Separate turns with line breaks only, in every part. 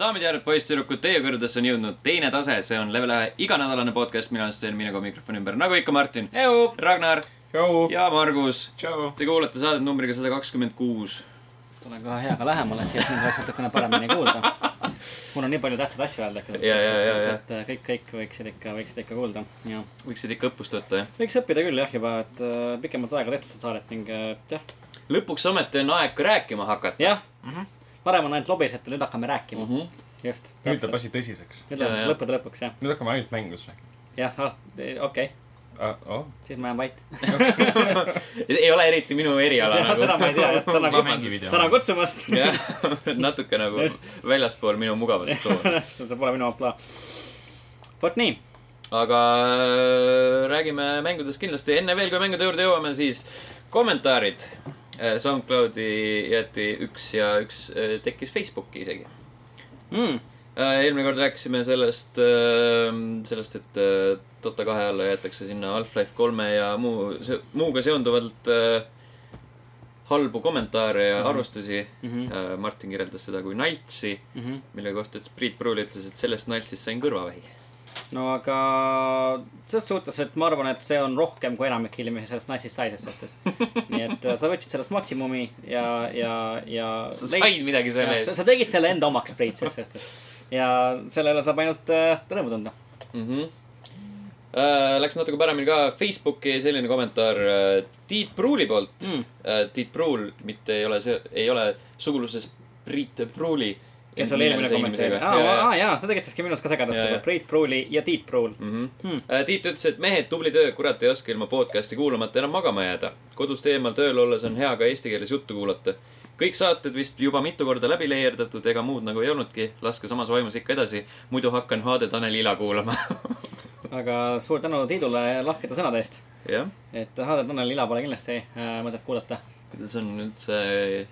daamid ja härrad , poisssüdrukud , teie kõrvadesse on jõudnud teine tase , see on level ühe iganädalane podcast , mina olen Sten , minuga mikrofoni ümber , nagu ikka , Martin , Ragnar
tšau .
ja Margus .
tšau .
Te kuulate saadet numbriga sada kakskümmend kuus .
tule kohe heaga lähemale , siis mind oleks natukene paremini kuulda . mul on nii palju tähtsaid asju öelda , et,
Ja, ja, ja, ja.
et, et kõik , kõik võiksid ikka , võiksid ikka kuulda ja
võiksid ikka õppust võtta , jah .
võiks õppida küll jah juba , et äh, pikemat aega tehtud seda saadet ning äh, jah ,
lõpuks ometi on aeg ka rääkima hakata .
jah mm
Mhm.
-hmm. . varem on ainult lobisetel , nüüd hakkame rääkima mm . -hmm. just .
nüüd läheb . asi tõsiseks .
nüüd
Ja,
läheb
ja.
lõppude lõpuks jah ,
nüüd hakkame ainult mängudest rääkima
jah , okei okay. ,
ah, . Oh.
siis ma jään vait .
ei ole eriti minu eriala nagu.
seda ma ei tea jah , tänan
Ma
kutsumast ,
mängin video.
tänan kutsumast .
jah , natuke nagu
Just.
väljaspool minu mugavast tsooni .
see pole minu ampla . vot nii ,
aga äh, räägime mängudest kindlasti , enne veel , kui mängude juurde jõuame , siis kommentaarid . SoundCloudi jäeti üks ja üks äh, tekkis Facebooki isegi .
mm,
eelmine kord rääkisime sellest , sellest , et äh, Dota kahe alla jäetakse sinna Half-Life kolme ja muu , muuga seonduvalt äh, halbu kommentaare ja arvustusi mm . -hmm. Martin kirjeldas seda kui naltsi ,
mm -hmm.
mille kohta ütles Priit Pruul ütles , et sellest naltsist sain kõrvavähi .
no aga selles suhtes , et ma arvan , et see on rohkem kui enamik inimesi sellest naisest sai selles suhtes . nii et äh, sa võtsid sellest maksimumi ja , ja , ja .
sa said midagi selle
sa,
eest
sa tegid selle enda omaks , Priit , selles suhtes . ja selle üle saab ainult äh, rõõmu tunda .
mm . -hmm. Äh, Läks natuke paremini ka Facebooki selline kommentaar äh, Tiit Pruuli poolt
Mm.
mm. . Tiit Pruul , mitte ei ole see , ei ole suguluses Priit Pruuli .
kes oli eelmine kommenteerija . aa , aa jaa , seda tegitaski minus ka segadust
Ja, ja.
juba . Priit Pruuli ja Tiit Pruul .
mm .
Hmm.
-hmm. Tiit ütles , et mehed , tubli töö , kurat ei oska ilma podcast'i kuulamata enam magama jääda . kodust eemal tööl olles on hea ka eesti keeles juttu kuulata . kõik saated vist juba mitu korda läbi leierdatud , ega muud nagu ei olnudki . laske samas vaimus ikka edasi , muidu hakkan HD Tanel Ila kuulama .
aga suur tänu Tiidule lahkete sõnade eest .
jah ,
et Hade Tanel Ila pole kindlasti äh, mõtet kuulata .
kuidas on üldse ,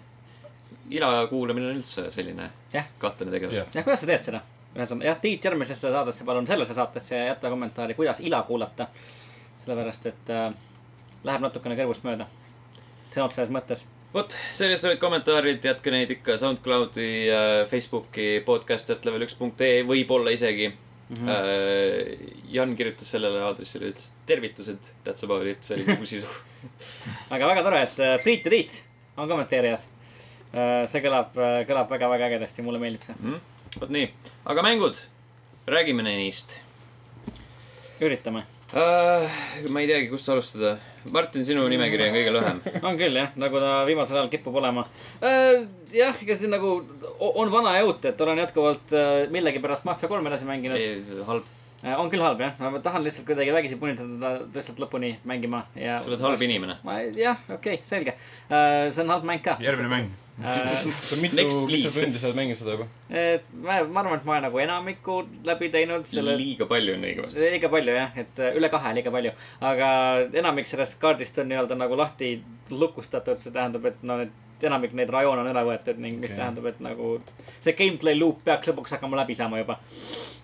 Ila kuulamine on üldse selline
jah
kahtlane tegevus
Jah.
yeah. .
jah , kuidas sa teed seda ? ühesõnaga jah , Tiit järgmisesse saatesse , palun sellesse saatesse ja jäta kommentaari , kuidas ila kuulata . sellepärast , et äh, läheb natukene kõrvust mööda . sõna otseses mõttes .
vot , sellised olid kommentaarid , jätke neid ikka SoundCloudi , Facebooki , podcast.level1.ee , võib-olla isegi mm . -hmm. Jan kirjutas sellele aadressile , ütles tervitused , that's about it , see oli kogu sisu .
aga väga tore , et äh, Priit ja Tiit on kommenteerijad . see kõlab , kõlab väga-väga ägedasti , mulle meeldib see .
Mhm. vot nii , aga mängud , räägime neist
üritame .
uh, . ma ei teagi , kust alustada . Martin , sinu nimekiri on kõige lühem .
on küll jah , nagu ta viimasel ajal kipub olema . jah , ega siin nagu o- on vana ja uut , et olen jätkuvalt äh, millegipärast Mafia kolme edasi mänginud .
halb ,
Äh, on küll halb jah , ma tahan lihtsalt kuidagi vägisi punitada ta lihtsalt lõpuni mängima ja .
sa oled halb . inimene .
ma ei , jah , okei okay, , selge uh, . see on halb mäng ka .
järgmine mäng .
uh, .
mitu ,
Next,
mitu
please.
tundi sa oled mänginud seda juba ?
et ma , ma arvan , et ma olen nagu enamiku läbi teinud selle .
liiga palju on õige vastus .
liiga palju jah , et äh, üle kahe liiga palju , aga enamik sellest kaardist on nii-öelda nagu lahti lukustatud , see tähendab , et no need , enamik neid rajoone on üle võetud ning mis
Okei.
okay. tähendab , et nagu see gameplay loop peaks lõpuks hakkama läbi saama juba .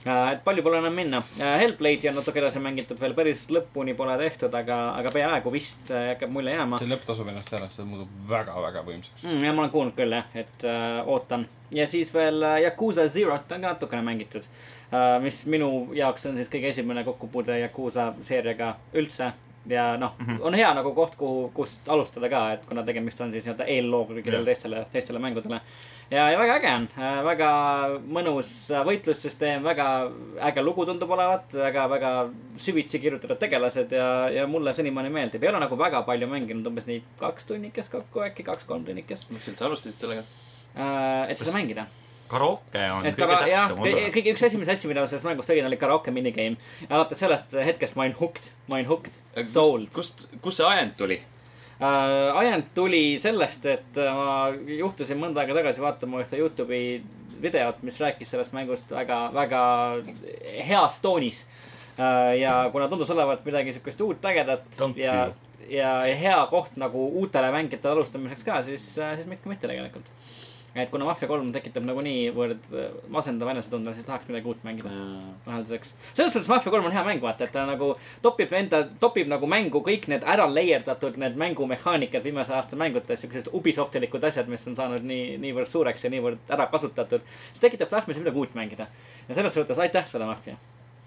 et palju pole enam minna . Hellblade'i on natuke edasi mängitud veel , päris lõpuni pole tehtud , aga , aga peaaegu vist äh, hakkab mulje jääma .
see lõpp tasub ennast ära , see muutub väga-väga võimsaks .
mm, . jah , ma olen kuulnud küll jah , et äh, ootan . ja siis veel äh, Yakuusa Zero't on ka natukene mängitud äh, . mis minu jaoks on siis kõige esimene kokkupuude Yakuusa seeriaga üldse . ja noh mm , -hmm. on hea nagu koht , kuhu , kust alustada ka , et kuna tegemist on siis nii-öelda eellooga kõigile
Jah.
teistele , teistele mängudele . ja , ja väga äge on äh, , väga mõnus äh, võitlussüsteem , väga äge lugu tundub olevat , väga , väga süvitsi kirjutatud tegelased ja , ja mulle senimaani meeldib . ei ole nagu väga palju mänginud , umbes nii kaks tunnikest kokku äkki , kaks-kolm tunnikest .
miks sa üldse alustasid sellega ?
Äh, et seda mängida .
karaoke on
et
kõige
kara- , jah ,
tähtsam osa .
kõige , üks esimesi asju , mida ma selles mängus tegin , oli karaoke minigame . alates sellest hetkest ma olin hooked , ma olin hooked ,
Äh,
sold .
kust , kust see ajend tuli ?
äh, . ajend tuli sellest , et äh, ma juhtusin mõnda aega tagasi vaatama ühte Youtube'i videot , mis rääkis sellest mängust väga , väga heas toonis äh, . ja kuna tundus olevat midagi siukest uut , ägedat
Don't
ja , äh, ja hea koht nagu uutele mängijatele alustamiseks ka , siis , siis miks ka mitte tegelikult . et kuna Mafia kolm tekitab nagu niivõrd äh, masendav enesetunde , siis tahaks midagi uut mängida lahenduseks . selles suhtes Mafia kolm on hea mäng , vaata , et ta nagu topib enda , topib nagu mängu kõik need ära layer datud need mängumehaanikad viimase aasta mängutes , siuksed Ubisoftilikud asjad , mis on saanud nii , niivõrd suureks ja niivõrd ära kasutatud . see tekitab tahtmise midagi uut mängida ja selles suhtes aitäh sulle , Mafia .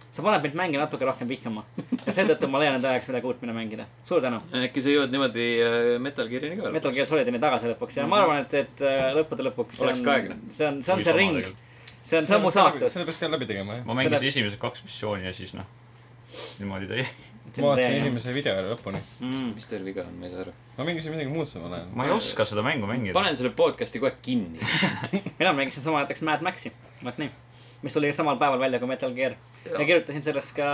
sa paned mind mänge natuke rohkem vihkama ja seetõttu ma leian enda jaoks midagi uut , mida mängida . suur tänu .
äkki sa jõuad niimoodi äh, Metal Gearini ka ?
Metal Gear Solidini tagasi lõpuks ja ma arvan , et , et äh, lõppude lõpuks .
Oleks ka aegne.
see on , see on see ring , see on sammu saatus .
selle peaks ka läbi tegema , jah .
ma mängisin
Selle-
esimesed kaks missiooni ja siis noh , niimoodi ta jäi .
ma vaatasin esimese video lõpuni .
mm. .
mis teil viga on , ma ei saa aru .
ma mängisin midagi muud samal ajal .
ma ei oska seda mängu mängida .
panen selle podcast'i kohe kinni .
mina mängisin sama näiteks Mad Maxi , vot nii . mis tuli samal päeval välja kui Metal Gear . ja kirjutasin sellest ka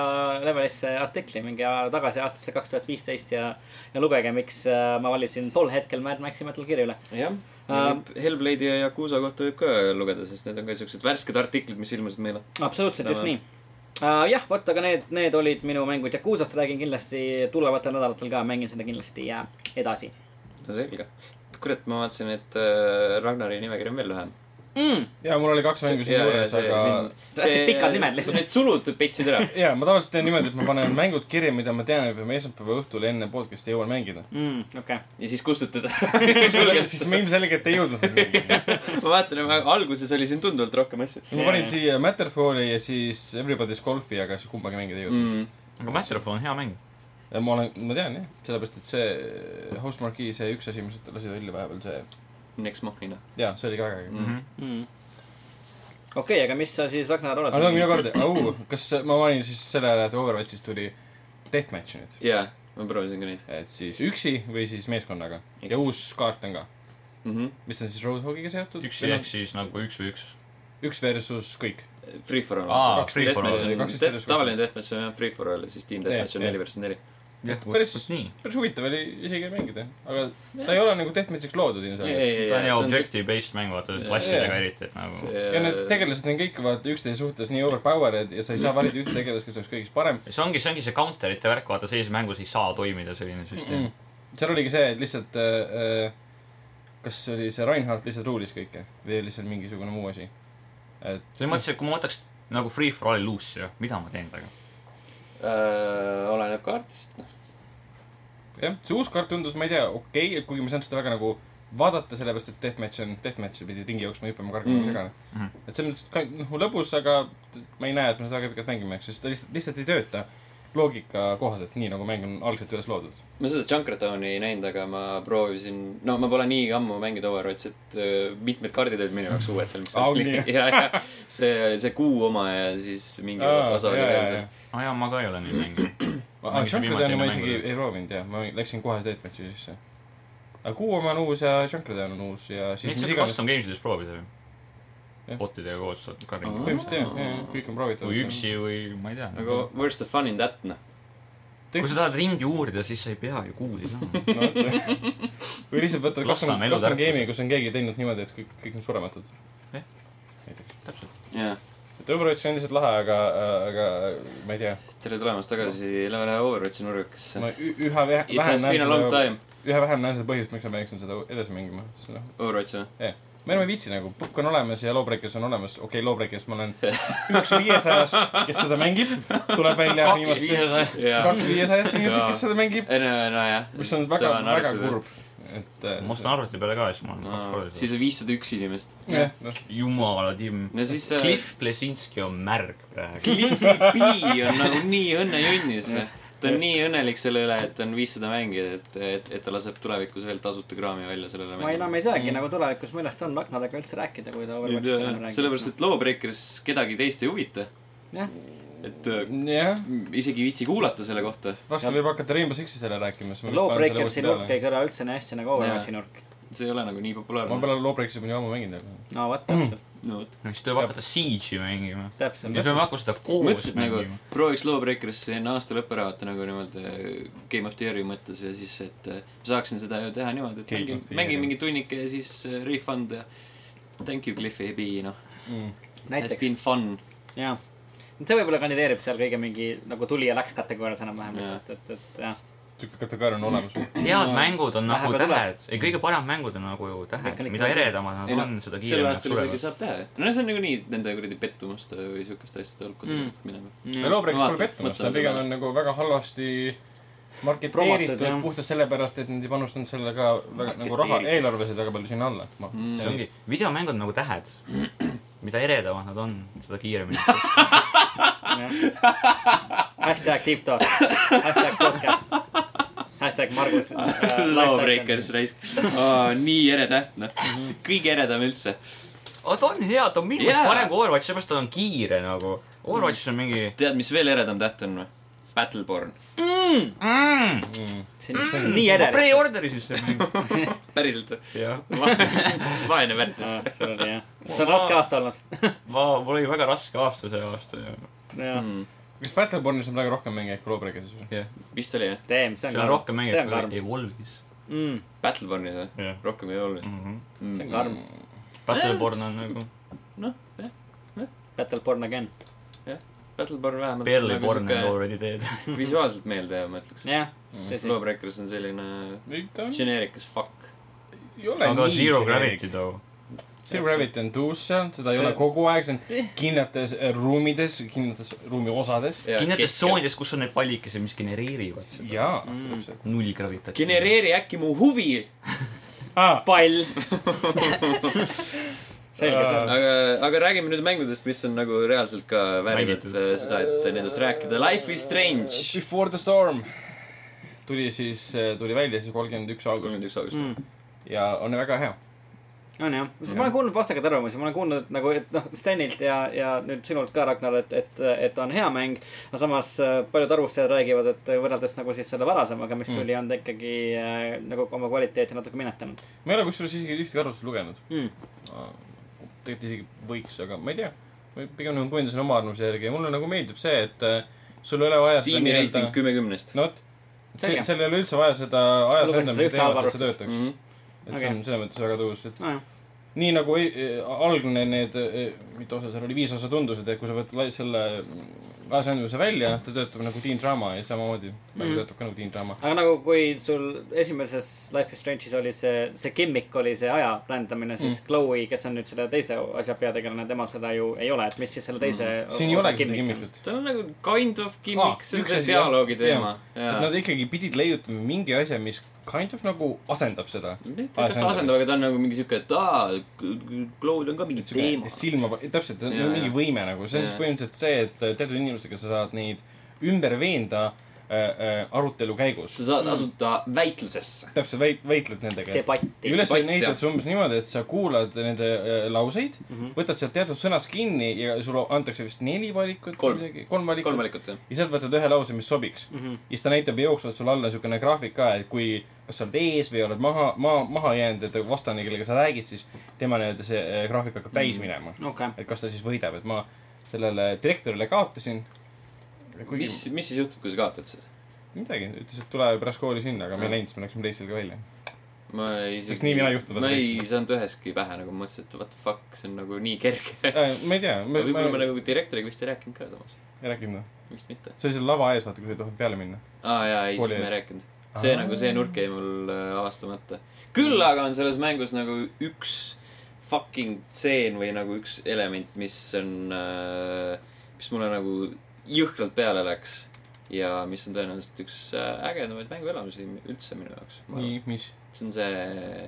Levelisse artikli mingi aja tagasi aastasse kaks tuhat viisteist ja , ja lugege , miks äh, ma valisin tol hetkel Mad Maxi Metal Gear'i üle .
jah .
Ähm,
Hellblade'i ja Yakuusa kohta võib ka lugeda , sest need on ka siuksed värsked artiklid , mis ilmusid meile .
absoluutselt , just
Tänan.
nii . Uh, jah , vot , aga need , need olid minu mängud ja Kuusast räägin kindlasti tulevatel nädalatel ka , mängin seda kindlasti ja edasi
no selge . kurat , ma vaatasin , et äh, Ragnari nimekiri on veel lühem .
mm. .
ja mul oli kaks mängu siin juures , aga
Hästi pikad nimed lihtsalt.
äh, Need sulud petsid ära .
ja ma tavaliselt teen niimoodi , et ma panen mängud kirja , mida ma tean , et ma esmaspäeva õhtul enne podcast'i jõuan mängida .
Mm, okei
ja siis kustutad
siis
ära .
ma ilmselgelt ei jõudnud neid mängida .
ma vaatan , alguses oli siin tunduvalt rohkem asju
ma panin siia Matterfalli ja siis Everybody's Golfi , aga siis kumbagi mängida ei jõudnud .
mm. .
aga Matchrof on hea mäng .
ja ma olen , ma tean jah , sellepärast et see Housemarque , see üks asi , mis lasi välja vahepeal , see ,
Next Machina .
jaa , see oli ka äge .
mm. . okei , aga mis sa siis Ragnar oled
aga no minu kord , au , kas ma mainin siis selle ära , et Overwatchis tuli Deathmatch nüüd .
jaa , ma proovisin ka neid
et siis üksi või siis meeskonnaga
Ehk
ja
siis-
uus kaart on ka ,
mm . -hmm.
mis on siis Roadhogiga seotud .
üks ehk siis nagu üks või üks .
üks versus kõik .
Free for all
Aa,
on see.
free for all.
Deathmatch on-
Kaks
te-
versus kaks.
tavaline deathmatch on jah free for all ja siis team deathmatch on
Jah,
neli
jah.
versus neli .
päris ,
nii .
päris huvitav oli isegi mängida , aga ta ei ole nagu Deathmatchiks loodud ilmselgelt .
ta on ju objective based mäng , vaata
Jaa.
klassidega
Jaa.
eriti , et nagu .
ja need
äh,
tegelased on kõik vaata üksteise suhtes nii overpowered ja sa ei saa valida ühte tegelast , kes oleks kõigis parem .
see ongi , see ongi see counter'ite värk , vaata sellises mängus ei saa toimida selline süsteem .
seal oligi see , et lihtsalt äh, äh, kas see oli see Reinhardt lihtsalt ruulis kõike või oli seal mingisugune muu asi ? et
selles mõttes , et kui ma võtaks nagu free for all'i loos'i , mida ma teen temaga ?
Öö, Äh, oleneb kaardist , noh .
jah , see uus kaart tundus , ma ei tea , okei okay, , kuigi ma ei saanud seda väga nagu vaadata , sellepärast et Deathmatch on Deathmatch ja pidid ringi jooksma , hüppama , kargama
Mhm.
mm. , mida
Mhm.
iganes . et selles mõttes ka noh , lõbus , aga t- ma ei näe , et ma seda väga pikalt mängima jääks , sest ta lihtsalt , lihtsalt ei tööta loogika kohaselt , nii nagu mäng on algselt üles loodud .
ma seda Junkertowni ei näinud , aga ma proovisin , no ma pole nii ammu mänginud Overwatchi , et öö, mitmed kaardid olid minu jaoks uued seal , mis
Au, nii.
ja , ja see , see kuu oma ja siis mingi osa oli veel seal .
aa jaa , ma ka ei ole nii mänginud .
aa , Junkradani
mängisin viimati
ma
enne
isegi
mängu.
ei proovinud jah , ma läksin kohe Deathmatchi sisse . aga Kuu oma on uus ja Junkradan on uus ja siis
Neid
mis
saab
iganes .
custom games ides proovida ju .
Jah.
botidega koos saad ka
Aa.
ringi .
põhimõtteliselt jah , jah , kõik on proovitud .
või . üksi või ma ei tea .
aga where's the fun in that , noh .
kui sa tahad ringi uurida , siis sa ei pea ju kuudi saama .
või lihtsalt võtad
Lasnamäe
custom ,
elu
custom
tarkus.
game'i , kus on keegi teinud niimoodi , et kõik , kõik on surematud .
Jah.
näiteks .
täpselt .
jaa .
et Overwatch on endiselt lahe , aga , aga ma ei tea ,
tere tulemast tagasi Läve Läve Overwatchi nurgakesse .
ma ü- üha vä-
It
vähem
has
näen
been a long
seda ,
time ,
üha vähem näen seda põhjust , miks ma peaksin seda edasi mängima . noh ,
Overwatch , jah .
me enam ei viitsi nagu , Pukk on olemas ja Lawbreakers on olemas , okei okay, , Lawbreakers ma olen üks viiesajast , kes seda mängib , tuleb välja viimast ,
viiesajast .
jaa .
kaks viiesajast inimesed , kes seda mängib ,
ei no , nojah .
mis on väga , väga . kurb , et äh,
ma ostan arvuti peale ka ja siis ma olen kaks korda
siis on viissada üks inimest .
jah , noh ,
jumala timm .
no siis äh, see
Cliff Plesinski on märg praegu .
Cliffi P on nagu nii õnnejõnnis . ta on nii õnnelik selle üle , et on viissada mängijat , et , et , et ta laseb tulevikus veel tasuta kraami välja sellele
ma enam
mängule .
ei teagi nagu tulevikus , millest on Ragnariga üldse rääkida , kui ta Overwatchist enam räägib .
sellepärast , et Lawbreakers kedagi teist ei huvita .
Jah.
et äh,
jah ,
m- isegi ei viitsi kuulata selle kohta .
varsti võib hakata Rainbow Six'i selle rääkima , siis ma
Lawbreakersi nurk ei kõla üldse nii hästi nagu Overwatchi
Jaa.
nurk .
see ei ole nagu nii
ma
populaarne .
pole Lawbreakersi juba nii ammu mänginud , aga
no vot ,
Mm.
no
täpselt ,
vot .
siis tuleb hakata Siege'i mängima . me
täpselt .
peame hakkama seda koos
mõtlesin nagu
mängima .,
prooviks Lawbreakerisse enne aasta lõppu ära vaata nagu niimoodi äh, Game of the Year'i mõttes ja siis , et äh, ma saaksin seda ju teha niimoodi , et
Game
mängin
of the , Year'i.
mängin mingi tunnike ja siis äh, refund ja thank you , Cliffi B , noh .
mm.
Has
näiteks ,
been fun .
jaa . see võib-olla kandideerib seal kõige mingi nagu tuli ja läks kategoorias enam-vähem
Jaa.
lihtsalt , et , et jah .
sihuke kategooria on olemas .
head mängud on nagu
Vahepeal
tähed , ei kõige paremad mängud on nagu ju tähed ,
Mechanical
mida eredamad nad
Ei, noh,
on , seda
sel
kiiremini nad
aastal isegi
surevad .
saab teha , jah . no see on niikuinii nende kuradi pettumuste või siukeste asjade hulka
Mm.
mm. minema .
ja Loobreks
Ma
pole
vaatan-
pettumus , ta
mõtlen
pigem
selle
on nagu väga halvasti
Promotud,
marketeeritud
jah.
puhtalt sellepärast , et nad ei panustanud selle ka väga nagu raha ,
Marketeeritud.
eelarvesid väga palju sinna alla .
see ongi , videomängud on nagu tähed , mida eredamad nad on , seda kiiremini .
hashtag deep talk , hashtag podcast , hashtag Margus äh, .
Lawbreakers raisk oh, , nii ere täht , noh .
Mhm.
kõige eredam üldse .
aga ta on hea , ta on minu meelest
Jaa.
parem kui Overwatch , sellepärast ta on kiire nagu . Overwatchis on mingi
tead , mis veel eredam täht on või ? Battleborn .
mm, .
nii edasi .
Pre-order'i süsteem mäng .
päriselt
jah .
või ? vaene väärtus .
see on raske aasta olnud .
ma , mul oli väga raske aasta see aasta ja .
Mm.
jah ,
kas Battlebornis on praegu rohkem mänge kui Loobreks siis või ?
jah ,
vist oli jah ?
teem , see on
seal on rohkem
see
mänge
on karm
kui Evolve'is .
mm, .
Battlebornis või ?
jah .
rohkem ei olnud
see on
mm. .
karm .
Battleborn on nagu
noh , jah ,
Battle porn again .
Battleborn vähemalt .
barely born and . already dead .
visuaalselt meelde jääb , ma ütleks .
jah , tõsi .
Lawbreakers on selline
ei , Mm. ta on-
generic as fuck .
ei ole
aga
nii
Zero
generic.
Gravity too .
Zero Gravity on tuus seal , seda ei
See-
ole kogu aeg , see on kindlates äh, ruumides , kindlates ruumi osades .
kindlates . tsoonides , kus on need pallikesed , mis genereerivad seda .
jaa
Mm.
mm. , täpselt .
null gravitatsiooni .
genereeri äkki mu huvi
aa ,
pall . selge , see on .
aga , aga räägime nüüd mängudest , mis on nagu reaalselt ka väärivad
Mängitud.
äh, seda , et nendest rääkida . Life is strange .
Before the storm tuli siis , tuli välja siis kolmkümmend üks
kolmkümmend
august
üks august .
ja on väga hea .
Mm. on jah , sest ma olen kuulnud vastakaid arvamusi , ma olen kuulnud nagu , et noh , Stenilt ja , ja nüüd sinult ka , Ragnar , et , et , et on hea mäng . aga samas äh, paljud arvustajad räägivad , et võrreldes nagu siis selle varasemaga , mis tuli , on ta ikkagi äh, nagu oma kvaliteeti natuke minetanud
ma ei ole kusjuures isegi ühtegi arvustust lugenud .
mm. .
tegelikult isegi võiks , aga ma ei tea . ma pigem nagu kujundasin oma arvamuse järgi ja mulle nagu meeldib see , et äh, sul ei ole vaja seda
Steam'i reiting kümme kümnest .
no vot ,
Selge.
seal ei ole üldse vaja seda ajas
Lugesin seda
lendamise
ühte
teemat , et
arvamust.
see töötaks .
Mhm.
et
Okei.
see on selles mõttes väga tõus , et
nojah ,
nii nagu ei- eh, algne need , mitu osa seal oli , viis osa tundusid , et kui sa võtad lai- selle mm, asjandmise välja ,
Mhm.
ta töötab nagu teen draama ja samamoodi mm.
Mhm.
töötab ka nagu teen draama .
aga nagu , kui sul esimeses Life is Strange'is oli see , see gimmick oli see aja rändamine , siis mm. Chloe , kes on nüüd selle teise asja peategelane , tema seda ju ei ole , et mis siis selle teise mm.
siin ei olegi seda . kimmikut .
ta on nagu kind of
Aa,
gimmick , see on
üks
see
asi, jah.
dialoogi teema .
et nad ikkagi pidid leiutama mingi asja , mis kind of nagu asendab seda .
kas ta asendab , aga ta on nagu mingi siuke , et aa , Cloud on ka mingi teema .
silma , täpselt ,
Jaa,
mingi
jaa.
võime nagu , see on siis
Jaa.
põhimõtteliselt see , et äh, teatud inimestega sa saad neid ümber veenda äh, äh, arutelu käigus .
sa saad asuda väitlusesse .
täpselt , väit- , väitled nendega .
debatti .
üles on
Debatt,
ehitatud umbes niimoodi , et sa kuulad nende äh, lauseid mm ,
Mhm.
-hmm. võtad sealt teatud sõnast kinni ja sulle antakse vist neli valikut .
Kolm.
kolm
kolm
valikut .
valikut , jah .
ja sealt võtad ühe lause , mis sobiks mm .
Mhm.
-hmm. ja siis ta näitab jooksvalt sulle alla niisugune graafik ka , et kui , kas sa oled ees või oled maha , maa , maha jäänud , et vastane , kellega sa räägid , siis tema nii-öelda see äh, graafik hakkab täis
Mm.
minema .
okei ,
et kas ta siis võidab , et ma sellele direktorile kaotasin . kuigi
mis , mis siis juhtub , kui sa kaotad siis ?
midagi , ütles , et tule pärast kooli sinna , aga me ei läinud , siis me läksime teisele ka välja .
ma isegi .
nii mina juhtun,
ma
vaata
ei saanud üheski pähe nagu , ma mõtlesin , et what the fuck , see on nagu nii kerge .
Äh, ma ei tea , ma
aga võib-olla ma
ei
nagu direktoriga vist ei rääkinud ka samas ,
rääkinud
vist mitte .
see oli seal lava ees , vaata , kui sa ei tohtinud peale minna .
aa ah, jaa , ei ,
Kooli
siis ma
ees.
ei rääkinud . see
Aa.
nagu , see nurk jäi mul äh, avastamata . küll aga on selles mängus nagu üks fucking tseen või nagu üks element , mis on äh, , mis mulle nagu jõhkralt peale läks . ja mis on tõenäoliselt üks äh, ägedamaid mänguelamusi üldse minu jaoks .
nii , mis ?
see on see ,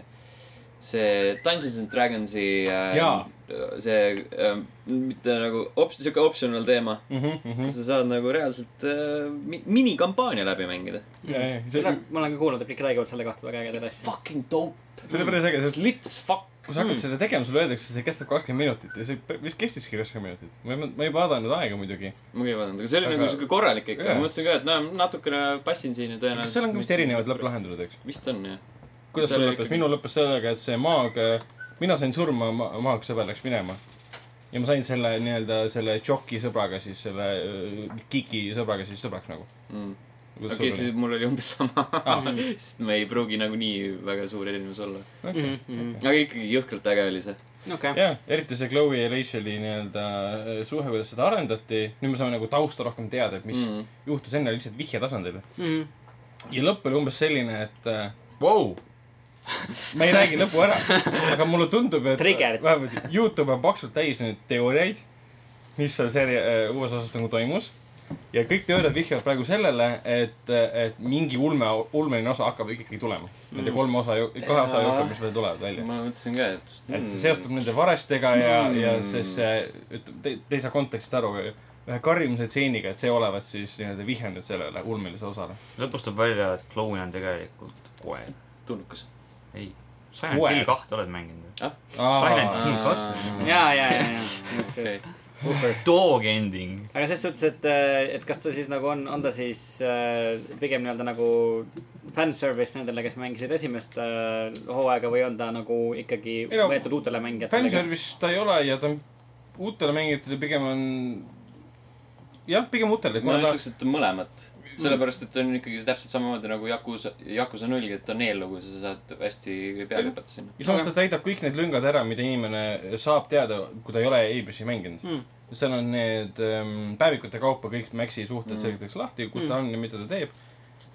see Dungeons and Dragonsi äh,
Jaa. ,
see äh, mitte nagu op- , sihuke optional teema ,
Mhm,
kus sa saad nagu reaalselt äh, mi- minikampaania läbi mängida .
see
seda
oli ,
Mhm. ma olen ka kuulnud , et kõik räägivad selle kohta väga ägedad
It's
asjad .
fucking dope .
see oli päris äge ,
It's
sest
lit as fuck .
kui sa hakkad seda tegema , sulle öeldakse , see kestab kakskümmend minutit ja see , mis kestiski kakskümmend minutit . ma ei , ma ei vaadanud aega muidugi .
ma ka ei vaadanud , aga see oli
Aga-
nagu sihuke korralik ikka ,
Jaa.
ma mõtlesin ka , et no natukene passin siin ja tõenäoliselt .
kas seal on ka vist erinevad ? lõpplahendused , eks ?
vist on jah .
kuidas
Seal
sul
oli
lõppes ?
ikkagi-
minu lõppes sellega , et see maag , mina sain surma , maag sõber läks minema . ja ma sain selle nii-öelda selle tšoki sõbraga siis , selle öö, kiki sõbraga siis sõbraks nagu .
Mm. okei , siis mul oli umbes sama
Ah. ,
sest me ei pruugi nagunii väga suur erinevus olla .
Mhm, okei ,
aga ikkagi jõhkralt äge oli see .
jah , eriti see Chloe ja Racheli nii-öelda äh, suhe , kuidas seda arendati , nüüd me saame nagu tausta rohkem teada , et mis mm.
Mm.
Mhm.
juhtus enne lihtsalt vihje tasandil . ja lõpp oli umbes selline , et äh,
Wow.
ma ei räägi lõpu ära , aga mulle tundub , et
Triggered.
vähemalt Youtube on paksult täis neid teooriaid , mis seal seeri- , uues osas nagu toimus . ja kõik teooriad vihjavad praegu sellele , et , et mingi ulme , ulmeline osa hakkab ikkagi tulema . Nende kolme osa , kahe osa
Jaa.
jooksul , mis veel tulevad välja .
ma mõtlesin ka , et Mm.
et see seostub nende varestega ja , ja see , see , ütleme , te , te ei saa kontekstist aru , ühe karjumuse tseeniga , et see olevat siis nii-öelda vihjanud sellele ulmelisele osale .
lõpus tuleb välja , et kloun on tegelikult koer .
tulnukas .
ei , Silent
Koer.
Hill kahte oled mänginud ? Silent
aa ,
Hill kaks .
ja , ja , ja , ja ,
Mm. okei ,
Dog ending .
aga ses suhtes , et , et kas ta siis nagu on , on ta siis äh, pigem nii-öelda nagu fanservice nendele , kes mängisid esimest äh, hooaega või on ta nagu ikkagi
Ei no,
võetud uutele mängijatele ?
fanservice ta ei ole ja ta on uutele mängijatele pigem on , jah , pigem uutele ,
ma
kuna ta ,
ütleks , et mõlemat .
Mm.
sellepärast , et on ikkagi see täpselt samamoodi nagu Yakuza , Yakuza nullgi , et on eellugu , sa saad hästi peale hüpata sinna .
ja samas ta täidab kõik need lüngad ära , mida inimene saab teada , kui ta ei ole Abelis'i mänginud
Mm.
mm. . seal on need ähm, päevikute kaupa kõik Maxi suhted mm. selgitatakse lahti , kus mm. ta on ja mida ta teeb .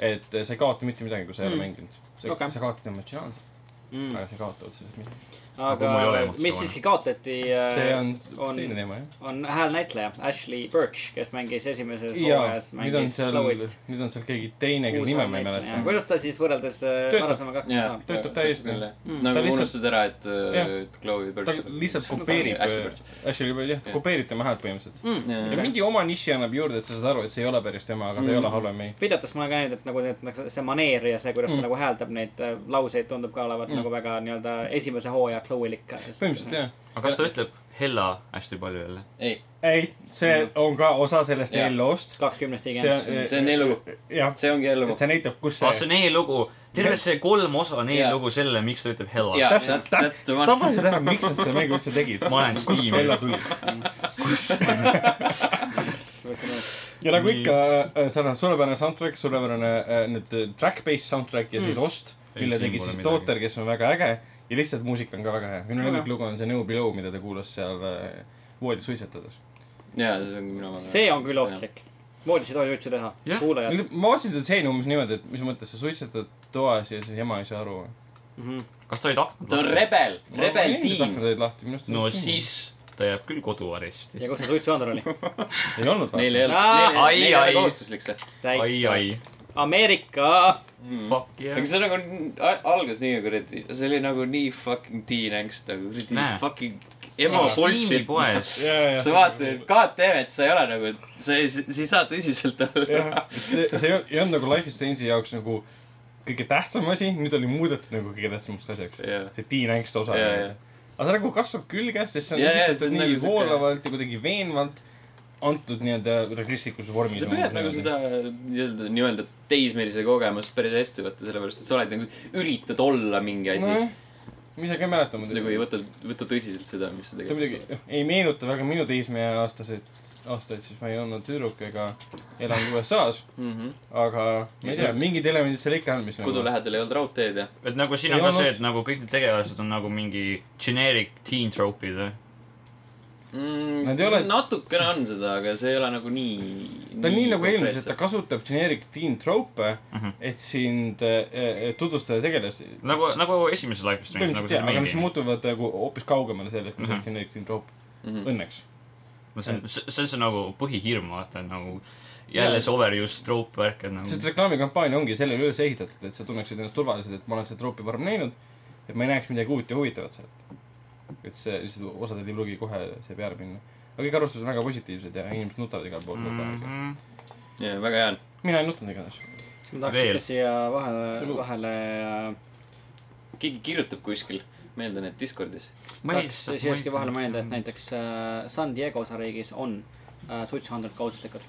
et äh, sa ei kaota mitte midagi , kui sa ei ole
Mm.
mänginud . sa
Okei.
okay. kaotad emotsionaalselt mm. , aga sa ei kaota otseselt midagi .
Aga mul ei ole
mhm. aga mis
emotsioone.
siiski kaotati äh,
see on,
on-
on... teine teema , jah .
on häälnäitleja Ashley Birch , kes mängis esimeses
jaa
hooajas ,,
nüüd on
mängis
seal
Chloe't .,
nüüd on seal keegi teine , kelle nime ma ei mäleta .
kuidas ta siis võrreldes äh,
Töötab.
varasemaga hakkama
jah
saab ?
töötab täiesti.
Mm.
Ah, nagu
Ta lihtsalt-
unustad ära , et
Jah.
äh, et Chloe
ta
Birch .
lihtsalt kopeerib ,
nagu Ashley Birch.
Ashley Birch , jah , ta
Jah.
kopeerib tema häält põhimõtteliselt .
Hmm.
ja
Jah.
mingi oma niši annab juurde , et sa saad aru , et see ei ole päris tema , aga ta
Mm.
ei ole halvem ei .
videotes ma olen ka näinud , et nagu need , nagu see maneer ja see , kuidas ta
Mm.
nagu hääldab neid äh, lauseid , tundub ka olevat
Mm.
nagu väga nii-öelda esimese hooaja Chloe'lik ka .
põhimõtteliselt . jah .
aga kas ta ütleb Hella hästi palju jälle ?
ei ,
ei , see on ka osa sellest
Mm. Jah.
eelloost .
kakskümnest
see
igen .
on
see on elu. .
jah ,
see ongi eellugu
et . see näitab , kus
Ah,
aa , Ah,
see .
see on eellugu . terve see kolm osa on
Jaa.
eellugu sellele , miks ta ütleb Hella .
Jaa.
täpselt ,
That's- that's the one.
täpselt , tabasid ära , miks nad selle mängu üldse tegid .
Ma olen
kust
Steam.
välja tuli . ja nagu ikka , seal on suurepärane soundtrack , suurepärane äh, nüüd äh, track-based soundtrack ja siis ost ,
Ei,
mille
siin
tegi
pole
siis
midagi.
Tooter , kes on väga äge ja lihtsalt muusika on ka väga hea . minu
Väga.
lemmiklugu on see New Below , mida ta kuulas seal äh, voodis suitsetades .
jaa , see on minu oma .
see on küll . ohtlik . moodis ei tohi üldse teha .
Jah.
kuulajad .
ma vaatasin seda stseeni umbes niimoodi , et mis mõttes sa suitsetad toas ja siis ema ei saa aru .
Mhm.
kas ta olid aknad
ta on ? rebel , rebel tiim .
aknad olid lahti , minu arust .
no . siis ta jääb küll koduaresti .
ja kus see suitsuandur oli ?
ei olnud
Neil ei
lahti .
ole ,
Aa,
neil ei ole , neil
ai,
ei ole
ai.
kohustuslik see .
ai ,
täitsa .
ai ,
Ameerika .
fuck yeah
aga . see nagu a- algas nii kuradi , see oli nagu nii fucking teenängst nagu kuradi
Näe.
fucking emo pulssi .
poes .
sa vaatad , et god damn it , sa ei ole nagu , sa ei , sa ei saa tõsiselt olla .
jah , see , see ei olnud- ei olnud nagu Life is Strange'i jaoks nagu kõige tähtsam asi , nüüd oli muudetud nagu kõige tähtsamaks asjaks .
Jah.
see Teen Angst osa
Jah, jah. .
aga see nagu kasvab külge , sest see on
Jah, jah, see
esitatud
on
nii
nagu sihuke-
voolavalt ja kuidagi veenvalt antud nii-öelda realistlikus vormis .
see püüab nagu seda nii-öelda , nii-öelda teismelise kogemust päris hästi võtta , sellepärast et sa oled nagu , üritad olla mingi asi .
ma ise ka ei mäleta
sa nagu ei
muidugi .
võta , võta tõsiselt seda , mis sa
ta muidugi noh,
tegelikult .
ei meenuta väga minu teismeeaastased , aastaid , siis ma ei olnud tüdruk ega elanud USA-s , aga ma ei tea , mingid elemendid seal ikka on , mis .
Mhm.
nagu-
kodu lähedal ei olnud raudteed ja .
et nagu siin
Ei
on ka
olnud.
see , et nagu kõik need tegelased on nagu mingi generic teen eh. troopid või ?
Nad
Mm,
ei ole-
see natukene on seda , aga see ei ole nagu nii .
ta on nii nagu eelmises , et ta kasutab generic teen trope mm , -hmm. et sind äh, äh, tutvustada tegelasi .
nagu , nagu esimeses Life is Strange , nagu
põhimõtteliselt jaa ,
selles
aga mis
meil .
muutuvad nagu hoopis kaugemale sellest , mis on
Mhm.
generic teen trope mm ,
Mhm.
-hmm. õnneks .
no see on , see on see nagu põhihirm , vaata , et nagu jälle see overuse troop värk , et
sest
nagu .
reklaamikampaania ongi sellele üles ehitatud , et sa tunneksid ennast turvaliselt , et ma olen seda troopi varem näinud , et ma ei näeks midagi uut ja huvitavat sealt . et see lihtsalt osadel ei pruugi kohe see peale minna . aga kõik arvustused on väga positiivsed ja inimesed nutavad igal pool mm . -hmm.
Mhm.
jaa , väga hea on .
mina ei nutanud igatahes .
ma tahaks
Veel.
ikka siia vahele , vahele äh,
keegi kirjutab kuskil , meeldan , et Discordis .
tahaks siiski vahele mõelda , et . näiteks äh, San Diego osariigis on äh, suitsuandurid kohustuslikud .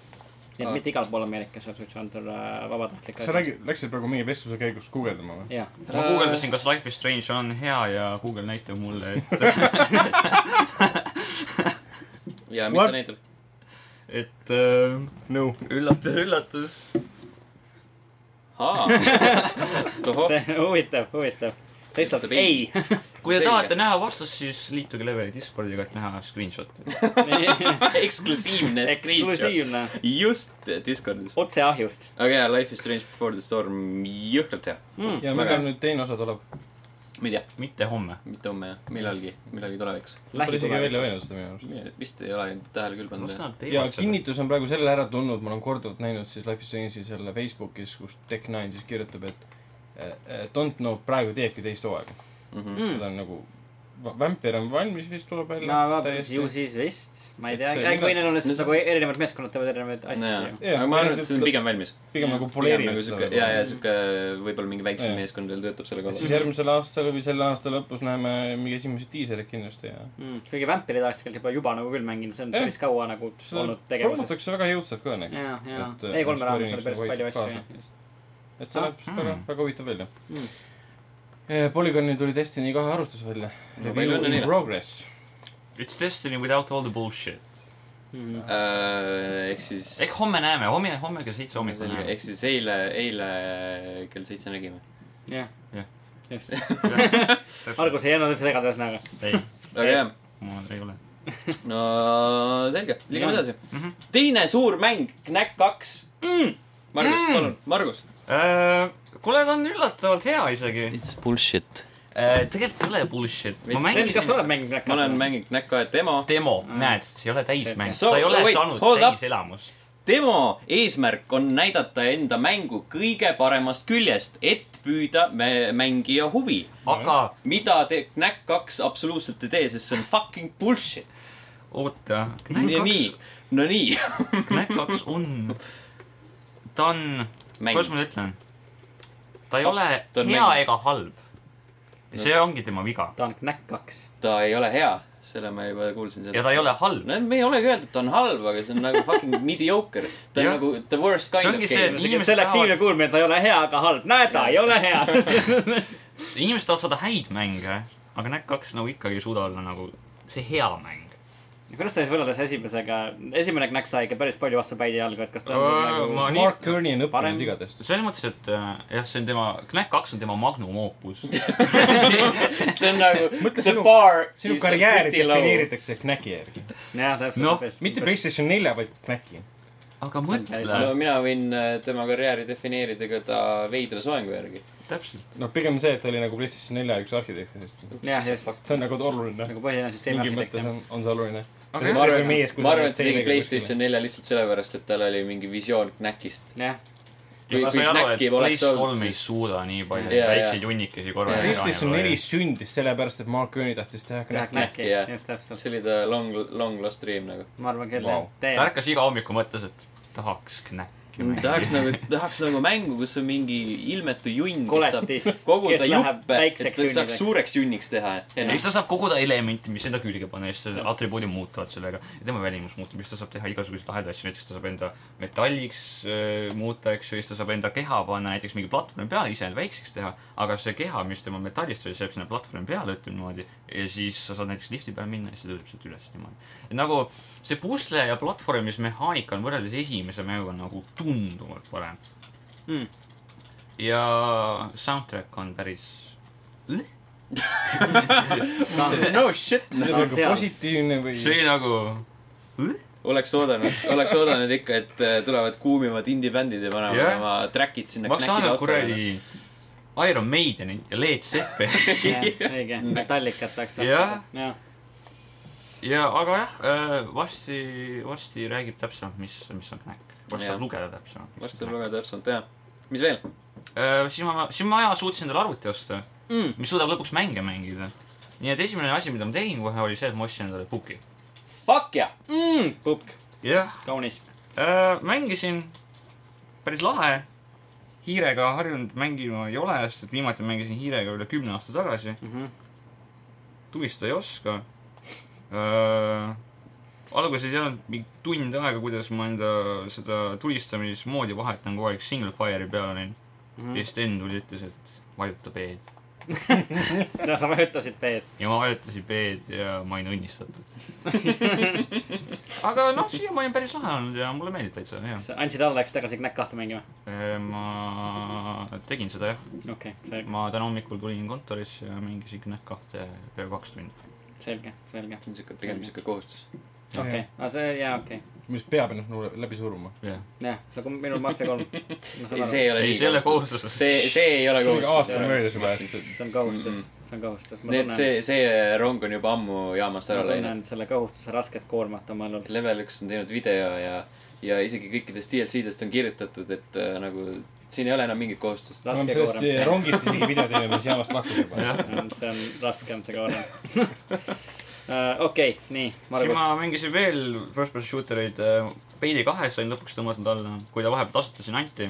nii et
Aa.
mitte igal pool Ameerikas on suitsuandur äh, vabatahtlik
sa . räägi , läksid praegu meie vestluse käigus guugeldama või ?
jah ,
ma guugeldasin , kas Life is Strange on hea ja Google näitab mulle , et ,
ja mis
What?
ta näitab ?
et äh,
no .
üllatus , üllatus .
ahah , tohoh ,
Oh.
see huvitav , huvitav . ta lihtsalt
Ütleb ei.
ei .
kui te
Selge.
tahate näha vastust , siis liituge Leveli Discordiga , et näha screenshot'e .
eksklusiivne screenshot .
eksklusiivne ,
just Discordis .
otse ahjust .
aga jaa , Life is Strange Before the Storm , jõhkralt hea .
Mm.
Väga
ja
hea.
millal nüüd teine osa tuleb ?
ma ei tea ,
mitte homme .
mitte homme jah , millalgi , millalgi tulevikus .
Pole isegi välja öelnud seda minu arust .
vist ei ole tähele küll
las
pannud .
nad
ja
teevad seda .
kinnitus on praegu selle ära tulnud , ma olen korduvalt näinud siis Life is Strange'i selle Facebookis , kus Tech9 siis kirjutab , et eh, eh, Don't know praegu teebki teist hooaega mm. .
Mhm. Hmm.
ta on nagu , Vampire on valmis vist , tuleb välja
no ju . siis vist , ma ei
Et
tea
see- ,
või neil on
No
lihtsalt
see-
nagu erinevad meeskonnad teevad erinevaid asju .
Jaa,
aga ma arvan , et see on
seda-
pigem valmis . pigem
pigem nagu
nagu
poleerinud
sihuke , jaa , jaa ,
seda .
sihuke võib-olla mingi väiksem
Jaa.
meeskond veel töötab selle
siis
kallal .
järgmisel aastal või selle aasta lõpus näeme mingi esimesi diisereid kindlasti ja .
Mm. kuigi Vampire'i tahaks tegelikult juba , juba nagu küll mängida , see on
Jah.
päris kaua nagu
seda
olnud tegevuses .
promotakse väga jõudsalt ka õnneks .
ja , ja
Et, eh,
E3-e
Square
raames
Enix
oli päris
nagu
palju
aitab
asju ,
kaasa.
jah .
et see näeb
Ah,
väga
hmm.
mm. ,
väga huvitav välja
Mm.
Eh, Polygoni tuli Destiny kahe arvustus välja .
No palju
Review
õnne
in
neile.
progress .
It's destiny without all the bullshit .
Mm.
Äh, ehk siis .
ehk homme näeme , homme , homme kell seitse hommikul
selge ,
näeme
ehk . siis eile , eile kell seitse nägime .
jah
Jah. ,
just . Margus ei jäänud üldse segada , ühesõnaga .
ei ,
väga hea ,
mul ei ole . Mhm.
no selge , liigume
Jah.
edasi . teine suur mäng , Knack kaks . Margus , palun , Margus .
Äh, kuule , ta on üllatavalt hea isegi .
It's bullshit .
tegelikult ei ole bullshit . ma
Veits-
Sven , kas sa oled
mängisin
mänginud Black
ma olen mänginud Knack kahe demo .
demo , näed , see ei ole täismäng ,
So,
ta ei ole
wait,
saanud
hold up.
täiselamust .
demo eesmärk on näidata enda mängu kõige paremast küljest , et püüda mä- mängija huvi .
aga
mida te , Knack kaks absoluutselt ei tee , sest see on fucking bullshit .
oota ,
no nii , no nii .
Knack kaks on , ta on ,
Mäng.
kuidas ma nüüd ütlen , ta ei
Fakt,
ole
ta on
hea
mäng.
ega halb . see ongi tema viga
ta on Knack kaks .
ta ei ole hea , selle ma juba kuulsin seda
ja . ta ei ole halb .
no me ei olegi öelnud , et ta on halb , aga see on nagu fucking mediocre . ta on
Jah.
nagu the worst
See
kind of
ongi see,
game .
et Inimesed
selektiivne
tahavad-
kuulmine , ta ei ole hea , aga halb . näed , ta ei ole hea .
inimesed tahavad saada häid mänge , aga Knack kaks nagu ikkagi ei suuda olla nagu see hea mäng .
kuidas ta siis võrreldes esimesega , esimene Knack sai ikka päris palju vastu päid ja jalgu , et kas ta on
Aa,
siis
ma-
nagu .
Mark Kearney on
parem-
õppinud igatahes .
selles mõttes , et äh, jah , see on tema , Knack kaks on tema magnum opus .
see on nagu
Mõtle
the
sinu-
bar
sinu
is
karjääri
pretty low.
defineeritakse Knäki järgi .
jah , täpselt .
Noh,
mitte . PlayStation nelja , vaid Knäki .
aga
no
mõtle ,
mina võin äh, tema karjääri defineerida ka ta veidra soengu järgi .
täpselt .
noh , pigem see , et ta oli nagu PlayStation nelja üks arhitektidest .
jah , just .
see on nagu oluline .
nagu põhiline süsteem .
mingi mõttes on , on see oluline .
Aga
ma arvan ,
mees, kui
ma
sa
arvan ,
oled
et ta tegi
teenega
Playstation nelja lihtsalt sellepärast , et tal oli mingi visioon Knackist .
jah ,
Kui-
ma
kui
sain aru ,
Knacki
et
poleks
Playstation
olnud,
kolm ei
siis-
suuda nii palju
Jaa, jaa.
väikseid hunnikesi nagu korraga .
PlayStation neli sündis sellepärast , et Mark Kearney tahtis teha
teha
Knäki .
Knacki ,
jah.
just täpselt .
see oli ta long , long lost dream nagu .
ma arvan küll ,
Vau.
jah .
ta
täielik .
ärkas iga hommiku mõttes , et tahaks knäkki
tahaks nagu , tahaks nagu mängu , kus on mingi ilmetu junn , kes
Koletis,
saab koguda
kes läheb
juppe , et
väikseks
ta saaks
junniks.
suureks junniks teha .
ja siis ta saab koguda elementi , mis enda külge panna ja siis selle atribuudid muutuvad sellega . ja tema välimus muutub , siis ta saab teha igasuguseid lahedaid asju , näiteks ta saab enda metalliks äh, muuta , eks ju , siis ta saab enda keha panna näiteks mingi platvormi peale , ise end väikseks teha . aga see keha , mis tema metallist oli , see jääb sinna platvormi peale , ütleme niimoodi . ja siis sa saad näiteks lifti peale minna ja siis ta tõuseb sealt üles niimoodi . et nagu see pusle ja platvormismehaanika on võrreldes esimese mänguga nagu tunduvalt parem
Mm.
ja soundtrack on päris
no shit .
see
No,
oli nagu
seal.
positiivne või ?
see oli nagu
oleks oodanud , oleks oodanud ikka , et äh, tulevad kuumimad indie-bändid ja panevad
Jah.
yeah. oma track'id sinna .
ma oleks saanud . kuradi Iron Maidenit ja Led Zeppeli
õige , metallikat tahaks
Jah.
tahtnud . jah ,
ja , aga jah , varsti , varsti räägib täpsemalt , mis , mis on Knack . varsti
Jah.
saab lugeda täpsemalt .
varsti saab lugeda täpsemalt , jaa . mis veel ?
lugeda . Äh, siis ma , siis ma ja suutsin endale arvuti osta
Mm. ,
mis suudab lõpuks mänge mängida . nii et esimene asi , mida ma tegin kohe , oli see , et ma ostsin endale puki .
Fuck yeah !
pukk ,
jah ,
Mm, kaunis .
Äh, mängisin , päris lahe . hiirega harjunud mängima ei ole , sest et viimati mängisin hiirega üle kümne aasta tagasi . tulistada ei oska äh, . alguses ei olnud mingi tund aega , kuidas ma enda seda tulistamismoodi vahetan kogu aeg single fire'i peale neid mm. . ja siis Sten tuli , ütles , et vajuta B-d .
no sa vajutasid B-d .
ja ma vajutasin B-d ja ma olin õnnistatud . aga noh , siiamaani on päris lahe olnud ja mulle meeldib täitsa , jah .
sa andsid alla , läksid tagasi Knack kahte mängima ?
Ehm, ma tegin seda jah ,
okei okay, ,
ma täna hommikul tulin kontorisse ja mängisin Knack kahte peaaegu kaks tundi .
selge , selge .
see on siuke , pigem siuke kohustus .
okei okay. , aga see , jaa , okei okay. .
mis peab ennast nagu läbi suruma .
jah ,
jah , nagu minul Mafia kolm .
ei , see ei ole
ei
nii
see ei ole . kohustus .
see , see ei ole
see on ikka aasta
kohustus .
möödas juba , et see ,
see on kohustus , see on kohustus .
nii et see , see rong on juba ammu jaamast ära
ma tunnen
läinud .
selle kohustuse rasket koormat oma õlul .
level üks on teinud video ja , ja isegi kõikidest DLC-dest on kirjutatud , et äh, nagu siin ei ole enam mingit kohustust .
me
Laske
oleme sellest
koorem.
rongist isegi video teinud , mis jaamast lahkus juba .
jah ,
see on raske on see koorem uh, . okei okay, , nii ,
siis ma
Margus .
mängisin veel first person shooter eid . Payday kahes sain lõpuks tõmmatud alla , kui ta vahepeal tasuta sinna anti .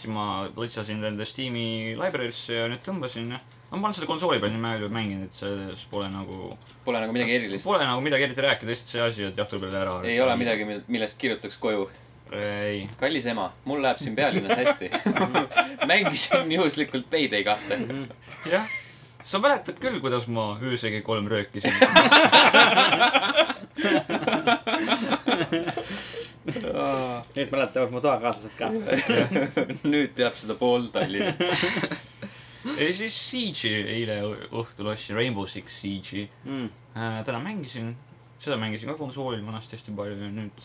siis ma lõtsasin nende Steam'i library'sse ja nüüd tõmbasin . aga ma olen seda konsooli peal nii palju mänginud , et selles pole nagu ,
Pole nagu midagi erilist .
pole nagu midagi eriti rääkida , lihtsalt see asi , et jah , tuleb jälle ära .
ei ole . midagi , millest kirjutaks koju .
ei ,
kallis ema , mul läheb siin pealinnas hästi . mängisin juhuslikult Payday kahte .
jah , sa mäletad küll , kuidas ma öösegi kolm röökisin .
nüüd mäletavad mu toakaaslased ka .
nüüd teab seda pool Tallinna .
ja siis Siege'i eile õ- õhtul ostsin , Rainbow Six Siege'i
Mm.
Äh, täna mängisin , seda mängisin ka konsoolil vanasti hästi palju ja nüüd ,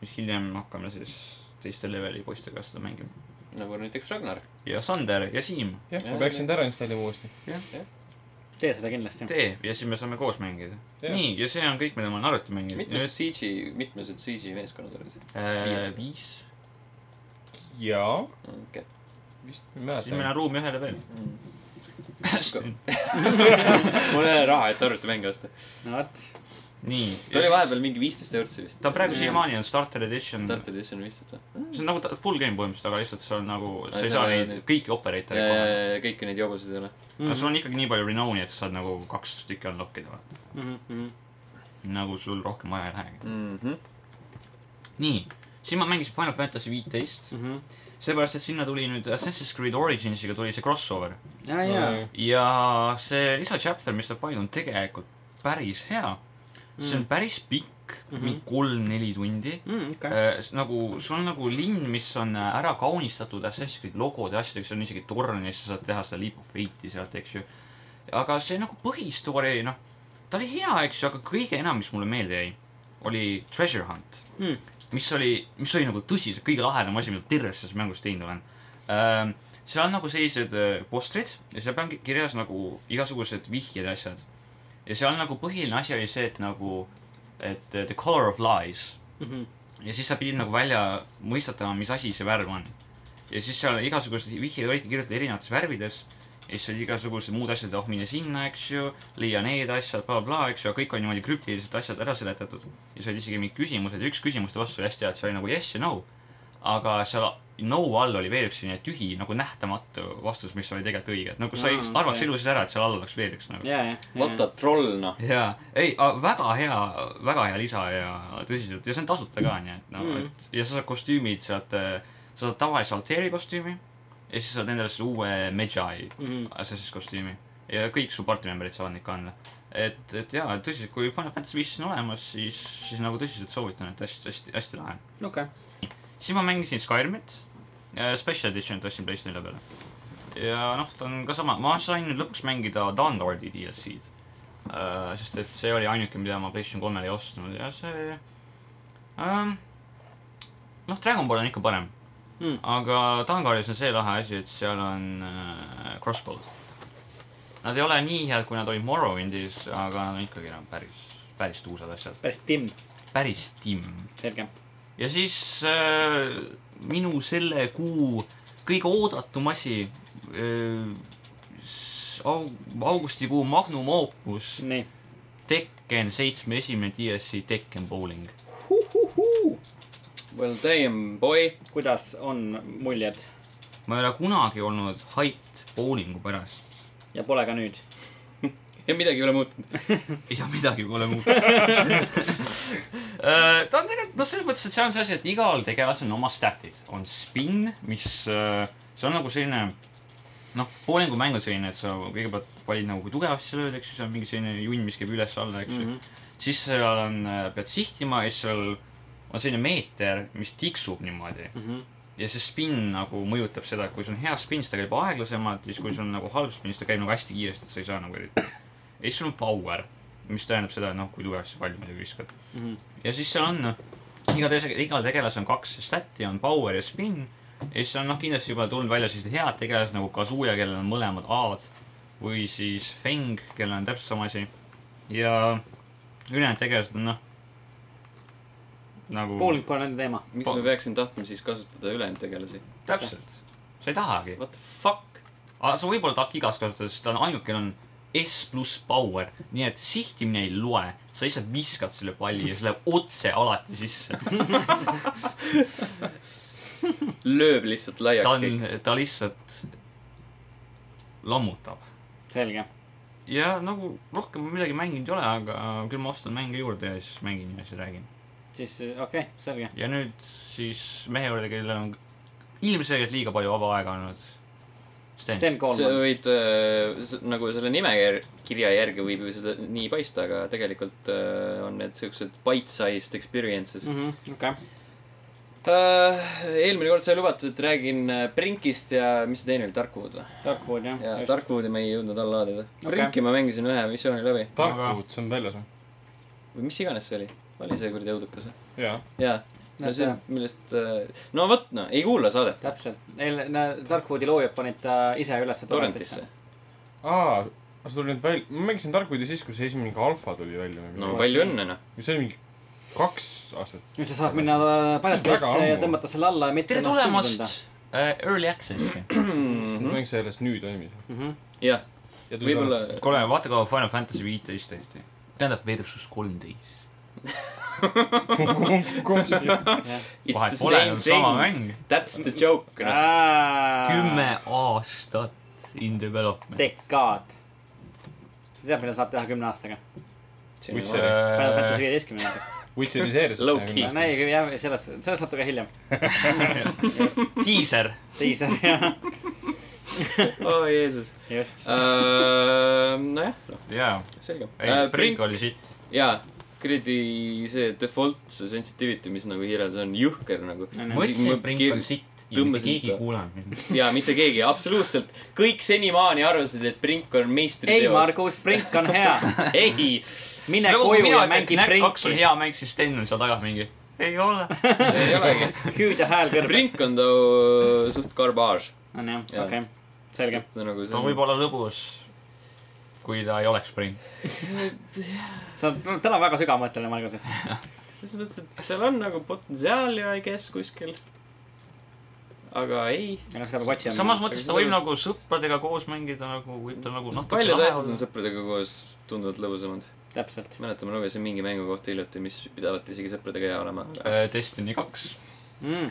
nüüd hiljem hakkame siis teiste leveli poistega seda mängima .
nagu näiteks Ragnar .
ja Sander ja Siim ,
jah , ma peaksin ta ära installima uuesti .
tee seda kindlasti .
tee ja siis me saame koos mängida .
Jah.
nii , ja see on kõik , mida ma olen arvuti mänginud .
mitmes Siege'i , mitmesed Siege'i meeskonnad olid ?
äh, viis ,
jaa ,
okei .
vist ma ei
Ah,
siis meil
mäleta .
on ruumi ühele veel . hästi ,
mul ei ole raha , et arvutimänge osta .
no vot ,
nii .
ta oli vahepeal mingi viisteist eurtsi vist .
ta praegu siiamaani on starter edition .
Start Edition viisteist või ?
see on nagu ta- full game põhimõtteliselt , aga lihtsalt seal nagu , sa ei
seal
saa
ei ole
neid
neid-
kõiki operatoreid kohe .
kõiki neid jobusid ei ole .
Mm,
aga sul on ikkagi nii palju renown'i , et sa saad nagu kaks tükki unlock ida , vaata .
mhm,
nagu sul rohkem vaja ei lähegi . nii , siis ma mängisin Final Fantasy viiteist ,
mhm.
seepärast , et sinna tuli nüüd Assassin's Creed Originsiga tuli see crossover
ja , ja .
ja see lisachapter , mis ta panid , on tegelikult päris hea . see on päris pikk ,
Mhm.
mingi kolm-neli tundi .
Mm, okei ,
Äh, s- nagu , sul on nagu linn , mis on äh, ära kaunistatud Assassin's Creed logode ja asjadega , seal on isegi torn ja siis sa saad teha seda Leap of Fate'i sealt , eks ju . aga see nagu põhistoori , noh , ta oli hea , eks ju , aga kõige enam , mis mulle meelde jäi , oli Treasure Hunt
Mm.
mis oli , mis oli nagu tõsiselt kõige lahedam asi , mida terves selles mängus teinud olen ähm, . seal on nagu sellised äh, postrid ja seal on ki- kirjas nagu igasugused vihjed ja asjad . ja seal nagu põhiline asi oli see , et nagu , et äh, the color of lies
mhm.
ja siis sa pidid nagu välja mõistatama , mis asi see värv on . ja siis seal igasugused vihjed olidki kirjutatud erinevates värvides ja siis olid igasugused muud asjad , oh mine sinna , eks ju , leia need asjad bla, , blablabla , eks ju , kõik on niimoodi krüptiliselt asjad ära seletatud . ja siis olid isegi mingid küsimused ja üks küsimuste vastus oli hästi hea , et see oli nagu yes ja no . aga seal no all oli veel üks selline tühi nagu nähtamatu vastus , mis oli tegelikult õige , et nagu sa ei
Aa,
arvaks
okei.
ilusti ära , et seal all oleks veel üks nagu .
ja , ja .
What a troll noh .
jaa , ei , väga hea , väga hea lisa ja tõsiselt ja see on tasuta ka , nii et noh
Mm.
mm. , et ja sa saad kostüümid sealt , sa saad tavalise Alteri kostüümi ja siis saad endale selle uue Medjai
Mhm.
Assassin's kostüümi ja kõik su party member'id saavad neid kanda . et , et jaa , tõsiselt , kui Final Fantasy viis on olemas , siis , siis nagu tõsiselt soovitan , et hästi , hästi , hästi lahe .
okei ,
siis ma mängisin Skyrimit , Special Editionit ostsin PlayStationi peale . ja noh , ta on ka sama , ma sain nüüd lõpuks mängida Downloadi DLC-d . Äh, sest et see oli ainuke , mida ma PlayStation kolmele ei ostnud ja see ähm, . noh , Dragonball on ikka parem
Mm.
aga Downloadis on see lahe asi , et seal on äh, crossbow . Nad ei ole nii head , kui nad olid Morrowindis , aga nad on ikkagi enam päris , päris tuusad asjad ,
päris timm ,
päris timm
selge .
ja siis äh, minu selle kuu kõige oodatum asi äh, , augustikuu magnum opus ,
nii .
Tekken seitsme esimene DLC Tekken Bowling .
Well damn boy .
kuidas on muljed
ma ei ole kunagi olnud hait bowlingu pärast
ja pole ka nüüd ?
ja midagi ei ole muutunud .
ja midagi pole muutunud . ta on tegelikult , noh , selles mõttes , et see on see asi , et äh, igal tegelasel on oma stat'id . on spin , mis , see on nagu selline , noh , bowlingu mäng on selline , et sa kõigepealt valid nagu , kui tugevasti sa lööd , eks ju , see on mingi selline junn , mis käib üles-alla , eks ju
Mhm.
mm . -hmm. siis seal on , pead sihtima ja siis seal on selline meeter , mis tiksub niimoodi . ja see spinn nagu mõjutab seda , et kui sul on hea spinn , siis ta käib aeglasemalt ja siis , kui sul on nagu halb spinn , siis ta käib nagu hästi kiiresti , et sa ei saa nagu eriti . ja siis sul on power , mis tähendab seda , et noh , kui tugevasti sa palli muidugi viskad . ja siis seal on , iga teise , igal tegelasel on kaks stat'i , on power ja spin . ja siis on noh , kindlasti juba tulnud välja sellised head tegelased nagu Kazuya , kellel on mõlemad A-d või siis Feng , kellel on täpselt sama asi . ja ülejäänud tegelased on noh , nagu
bowling pole nende teema .
miks me peaksime tahtma siis kasutada ülejäänud tegelasi ?
täpselt , sa ei tahagi .
What the fuck ?
aga sa võib-olla tahad igas kasutada , sest ta on ainukene on S pluss power , nii et sihtimine ei loe , sa lihtsalt viskad selle palli ja see läheb otse alati sisse .
lööb lihtsalt
ta
laiaks kõik .
on , ta lihtsalt lammutab .
selge .
ja nagu rohkem ma midagi mänginud ei ole , aga küll ma ostan mänge juurde ja siis mängin ja siis räägin .
siis okei okay, , selge .
ja nüüd siis mehe juurde , kellel on ilmselgelt liiga palju vaba aega olnud . Sten ,
Sten
sa
Koolman .
võid äh, s- nagu selle nimekirja järgi võib ju seda nii paista , aga tegelikult äh, on need siuksed bite-sized experiences mm. .
Mhm, okei .
Äh, eelmine kord sai lubatud , et räägin äh, Brinkist ja mis see teine oli , Darkwood või ?
tarkvood jah .
ja Darkwoodi me ei jõudnud alla laadida okay. .
Okei.
Brinki ma mängisin ühe missiooni läbi
tarkvõud , see on väljas või ?
või mis iganes see oli , oli see kuradi õudukas või ?
jaa .
jaa , no
Näed,
see
jah. ,
millest , no vot , no ei kuula saadet .
täpselt , neil , tarkvoodi loojad panid ta ise üles
Torrentisse ..
aa , see tuli nüüd välja , ma mängisin tarkvõudi siis , kui see esimene mingi alfa tuli välja või
no
midagi .
palju õnne noh .
mis oli mingi kaks aastat .
nüüd sa saad minna paljatesse
ammu.
ja tõmmata selle alla ja mitte .
tere tulemast . äh, Early Access'i .
siis ma mängin sellest nüüd valmis .
Mhm.
Mhm.
jah ,
ja tuli
võib-olla
tagasi.
kuule , vaata ka Final Fantasy viiteist tehti . tähendab versus kolmteist .
kumb , kumb see
it's
vahet
the
pole ,
same
sama
thing ,
mäng .
that's the joke noh .
kümme .
kümme aastat in development .
dekaad . sa tead , mida saab teha kümne aastaga ?
Witcher.
Final Fantasy viieteistkümne aastaga .
Witcheriseeris .
Low key.
no ei , jah , sellest , sellest natuke hiljem .
diiser .
teise , jah ,
oh Jeesus .
just .
nojah , noh ,
jaa ,
selge Äh,
ei . Brink . oli siit .
jaa , kuradi see default , see sensitivity , mis nagu hiireldes on jõhker nagu .
No, no.
ma ütlesin , et Brink oli siit ja mitte
tõmbasin
keegi
ta.
ei kuulanud mind .
jaa , mitte keegi , absoluutselt . kõik senimaani arvasid , et Brink on
ei ,
meistriteos .
Margus , prink on hea .
ei ,
mine
nagu
koju ja mängi
kaks on
prinki .
hea mäng , siis Sten on seal taga mingi . ei ole .
ei olegi .
hüüd ja hääl kõrval .
Brink on ta suht garbage .
on jah ,
Jaa.
okei , selge .
nagu see
ta võib . olla lõbus , kui ta ei oleks Brink .
sa oled täna väga sügavmõtteline , Margus .
selles mõttes , et seal on nagu potentsiaali , I guess , kuskil . aga ei .
aga seda peab otsima .
samas
aga
mõttes
seda
ta võib
võib-
nagu sõpradega koos mängida , nagu võib ta nagu natuke
paljud
lahe
asjad on
olla.
sõpradega koos tunduvalt lõbusamad .
täpselt .
mäletan , ma lugesin mingi mängu kohta hiljuti , mis pidavat isegi sõpradega hea olema .
Äh, Destiny kaks .
Mm.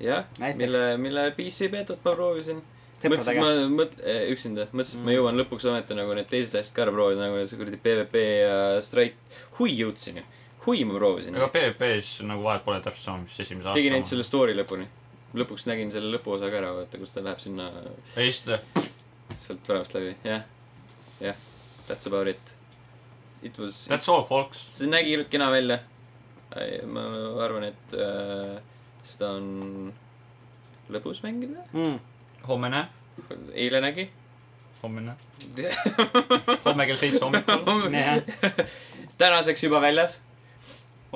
jah ,
Näiteks.
mille , mille PC betot ma proovisin . mõtlesin ,
sõpradega .
ma mõt- , üksinda , mõtlesin , et ma jõuan lõpuks ometi nagu need teised asjad ka ära proovida , nagu see kuradi PVP ja Strike . hui jõudsin ju , hui ma proovisin .
aga PvP-s nagu vahet pole täpselt sama , mis esimese aasta .
tegin ainult selle story lõpuni . lõpuks nägin selle lõpuosa ka ära , vaata , kus ta läheb sinna
ja siis ta ,
sealt väravast läbi , jah . jah , that's about it . It was ,
that's all folks .
see nägi kena välja . ma arvan , et äh, seda on lõbus mängida .
Mm.
hommene ,
eile nägi .
hommene . homme kell seitse hommikul .
tänaseks juba väljas ,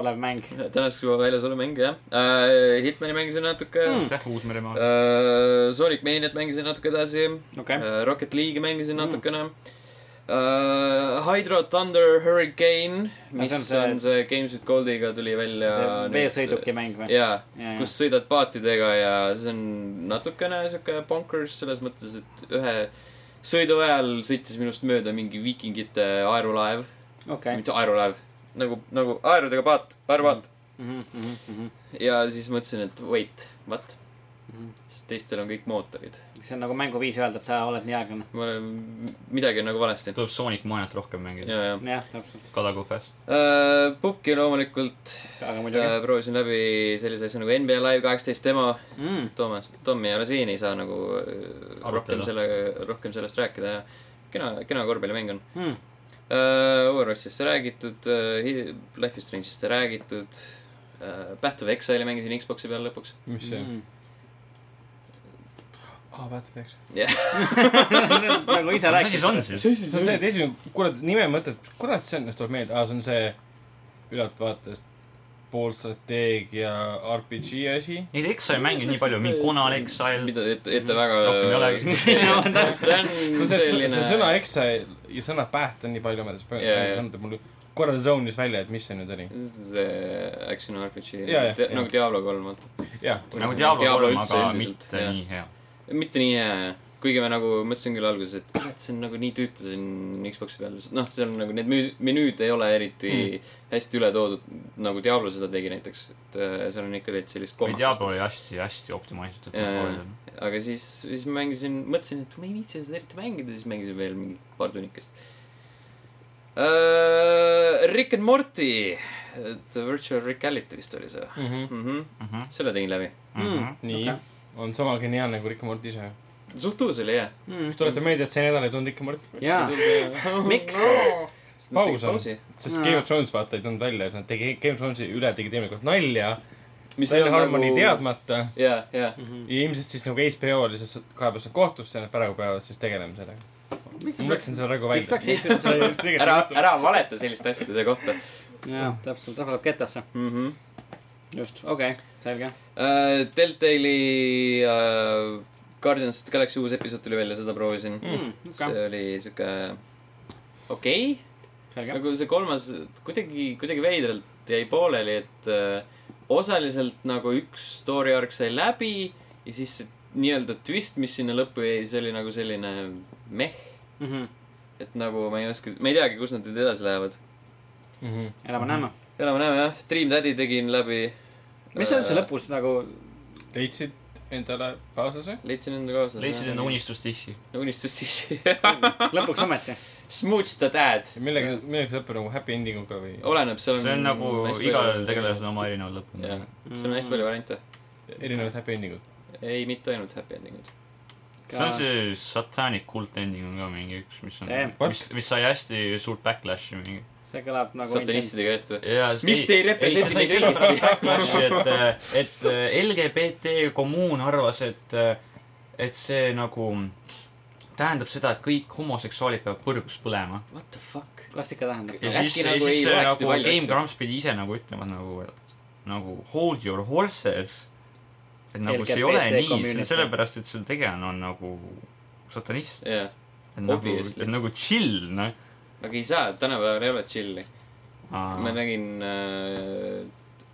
olev mäng .
tänaseks juba väljas olev mäng , jah äh, . Hitmani mängisin natuke
Hmm.
mm. .
aitäh , Uus-Meremaa .
Äh, Sonic Maniat mängisin natuke edasi
okei , Hmm.
Äh, Rocket League'i mängisin natukene uh, . Hydro Thunder Hurricane , mis
see on
on see, on
see-
see Games with Goldiga tuli välja .
veesõiduki . mäng või ?
jaa ,
Jaa,
kus sõidad paatidega ja see on natukene sihuke bonkers selles mõttes , et ühe sõidu ajal sõitis minust mööda mingi viikingite aerulaev okay. ,
okei .
mitte aerulaev , nagu , nagu
Mhm,
aerudega paat , aerupaat . ja siis mõtlesin , et wait , what ? sest teistel on kõik mootorid .
mhm. see on nagu mänguviis öelda , et sa oled nii aeglane .
ma olen , midagi on nagu valesti .
tuleb Sonic Maniat rohkem mängida .
ja , ja .
jah , täpselt ,
God of War Fast .
Pupki Äh, loomulikult
aga
äh,
muidugi .
proovisin läbi sellise asja nagu NBA Live kaheksateist demo .
Mm.
Toomas , Tommi ei ole siin , ei saa nagu äh, rohkem
Arutleda.
selle , rohkem sellest rääkida ja kena , kena korvpallimäng on .
Mm.
Overwatchist räägitud , Life is Strange'ist räägitud . Path of Exile'i mängisin Xbox'i peal lõpuks .
mis see
Mhm.
on ? Ah,
Mm.
aa , Battle Axe .
nagu ise
mis asi
rääkisid
see . on siis ?
see on see , et esimene , kurat , nime mõtled , kurat , see on , mis tuleb meelde , aa , see on see ülaltvaatest poolstrateegia RPG asi .
Neid Exile mänge nii palju , Mikona Exile .
mida ette , ette väga .
Rohkem ei olegi.
ta on
see on see , see
selline
see . sõna exile ja sõna path on nii palju omadus ,
Jaa, jaa.
andnud mul korra zone'is välja , et mis see nüüd oli .
see action RPG
Jaa, jah,
Dia-
jah.
nagu Diablo kolm , vaata .
jah ,
nagu Diablo kolm ,
üldse
aga
üldiselt,
mitte
jah.
nii hea .
mitte nii hea , jah . kuigi ma nagu mõtlesin küll alguses , et kurat , see on nagu nii tüütu siin Xbox'i peal , sest noh , seal nagu need müü- menüüd ei ole eriti mm. hästi üle toodud , nagu Diablo seda tegi näiteks . et äh, seal on ikka veits sellist
või Diablo oli
kolmandast .
hästi , hästi optimaalselt .
Jaa, jaa. aga siis , siis ma mängisin , mõtlesin , et ma ei viitsi seda eriti mängida , siis mängisin veel mingi paar tunnikest . Rick and Morty , The Virtual Reality vist oli see
nii ,
mm . -hmm.
Mhm,
selle tegin läbi .
Okei.
on sama geniaalne kui Rick and Morty ise .
suhteliselt oli hea .
Mm,
tuletan meelde , et see nädal ei tulnud Rick and Morty ,
jaa , miks ?
Paus on.
pausi .
sest
Jaa.
Game of Thrones , vaata , ei tulnud välja , nad tegi , Game of Thrones'i üle tegi teemalikult nalja .
mis
Sten Harmoni nagu... . teadmata
jaa , jaa .
ja ilmselt siis nagu HBO lihtsalt kaebas nad kohtusse ja nad praegu peavad siis tegelema sellega . ma mõtlesin selle praegu
miks peaks
välja .
Eestis olema ?
ära , ära valeta selliste asjade kohta
jaa , täpselt , rahvas läheb ketesse .
mm . -hmm.
just , okei okay, , selge .
Uh, Deltali uh, Guardians of the Galaxy uus episood tuli välja , seda proovisin mm. .
okei ,
see oli sihuke okei okay. ,
selge .
nagu see kolmas kuidagi , kuidagi veidralt jäi pooleli , et uh, osaliselt nagu üks story arc sai läbi ja siis see nii-öelda twist , mis sinna lõppu jäi , see oli nagu selline meh ,
Mhm,
et nagu ma ei oska , ma ei teagi , kus nad nüüd edasi lähevad .
Mhm.
elame-näeme .
elame-näeme jah , Dream Daddy tegin läbi .
mis see
Äh.
üldse ? lõpus nagu ,
leidsid endale kaaslase ?
leidsin enda kaaslase .
leidsid enda . unistustissi .
unistust sisse .
lõpuks ometi ?
Smoots the dad .
millega , milleks lõpeb nagu happy ending uga või ?
oleneb , seal on .
see on nagu igal tegelasel on oma erinevad lõpud .
jah , seal on hästi palju variante .
erinevad happy ending ud .
ei , mitte ainult happy ending'ud .
Mm,
see on see satanic cult ending on ka mingi üks , mis on
Damn. ,
mis , mis sai hästi suurt backlash'i mingi .
see kõlab nagu .
satanistidega hästi . Miks
miks
te ei representi
neid
neid õigesti?
backlash'i , et , et äh, LGBT kommuun arvas , et , et see nagu tähendab seda , et kõik homoseksuaalid peavad põrgus põlema .
What the fuck ?
klassika tähendab .
ja
Äkki
siis , ja
nagu ei
siis
loeks
see nagu
seda välja
Game
asja.
Grumps pidi ise nagu ütlema nagu , nagu hold your horses . et nagu see ei ole
LGBT
nii , see
community.
on sellepärast , et see tegelane on nagu satanist .
jah ,
et nagu ,
Obviously.
et nagu chill , noh .
aga ei saa , tänapäeval ei ole chill'i . ma nägin äh, ,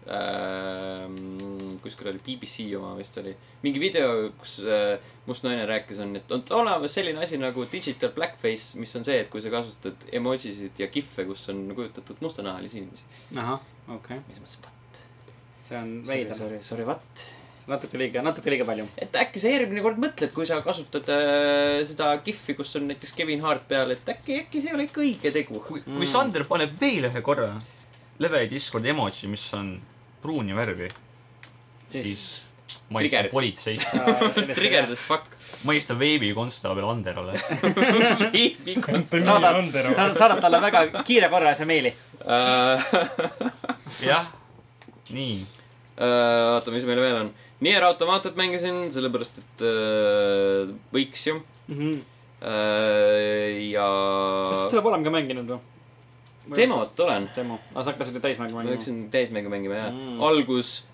äh, kuskil oli BBC oma vist oli , mingi video , kus äh, must naine rääkis , on , et on olemas selline asi nagu digital blackface , mis on see , et kui sa kasutad emojisid ja kihve , kus on kujutatud mustanahalisi inimesi .
ahah , okei okay. ,
ja siis mõtlesin , what ?
see on veider .
sorry , sorry , what ?
natuke liiga , natuke liiga palju .
et äkki sa järgmine kord mõtled , kui sa kasutad äh, seda kihvi , kus on näiteks Kevin Hart peal , et äkki , äkki see ei ole ikka õige tegu .
kui , kui Sander paneb veel ühe korra Level Discord emoji , mis on pruuni värvi , siis ma helistan
Triggered.
politseisse ,
Triggerdas , fuck .
ma helistan veebikonstaabel Anderole .
saadad , saadad talle väga kiire korra see meili .
jah , nii .
Äh, oota , mis meil veel on ? Nier Automatot mängisin , sellepärast et äh, võiks ju äh, . ja
Mhm. kas sa seda pole ka mänginud või ?
demot olen .
demo , aga sa hakkasid ju täismängu
ma
mängima .
hakkasin täismängu mängima ja
Mm.
mm. algus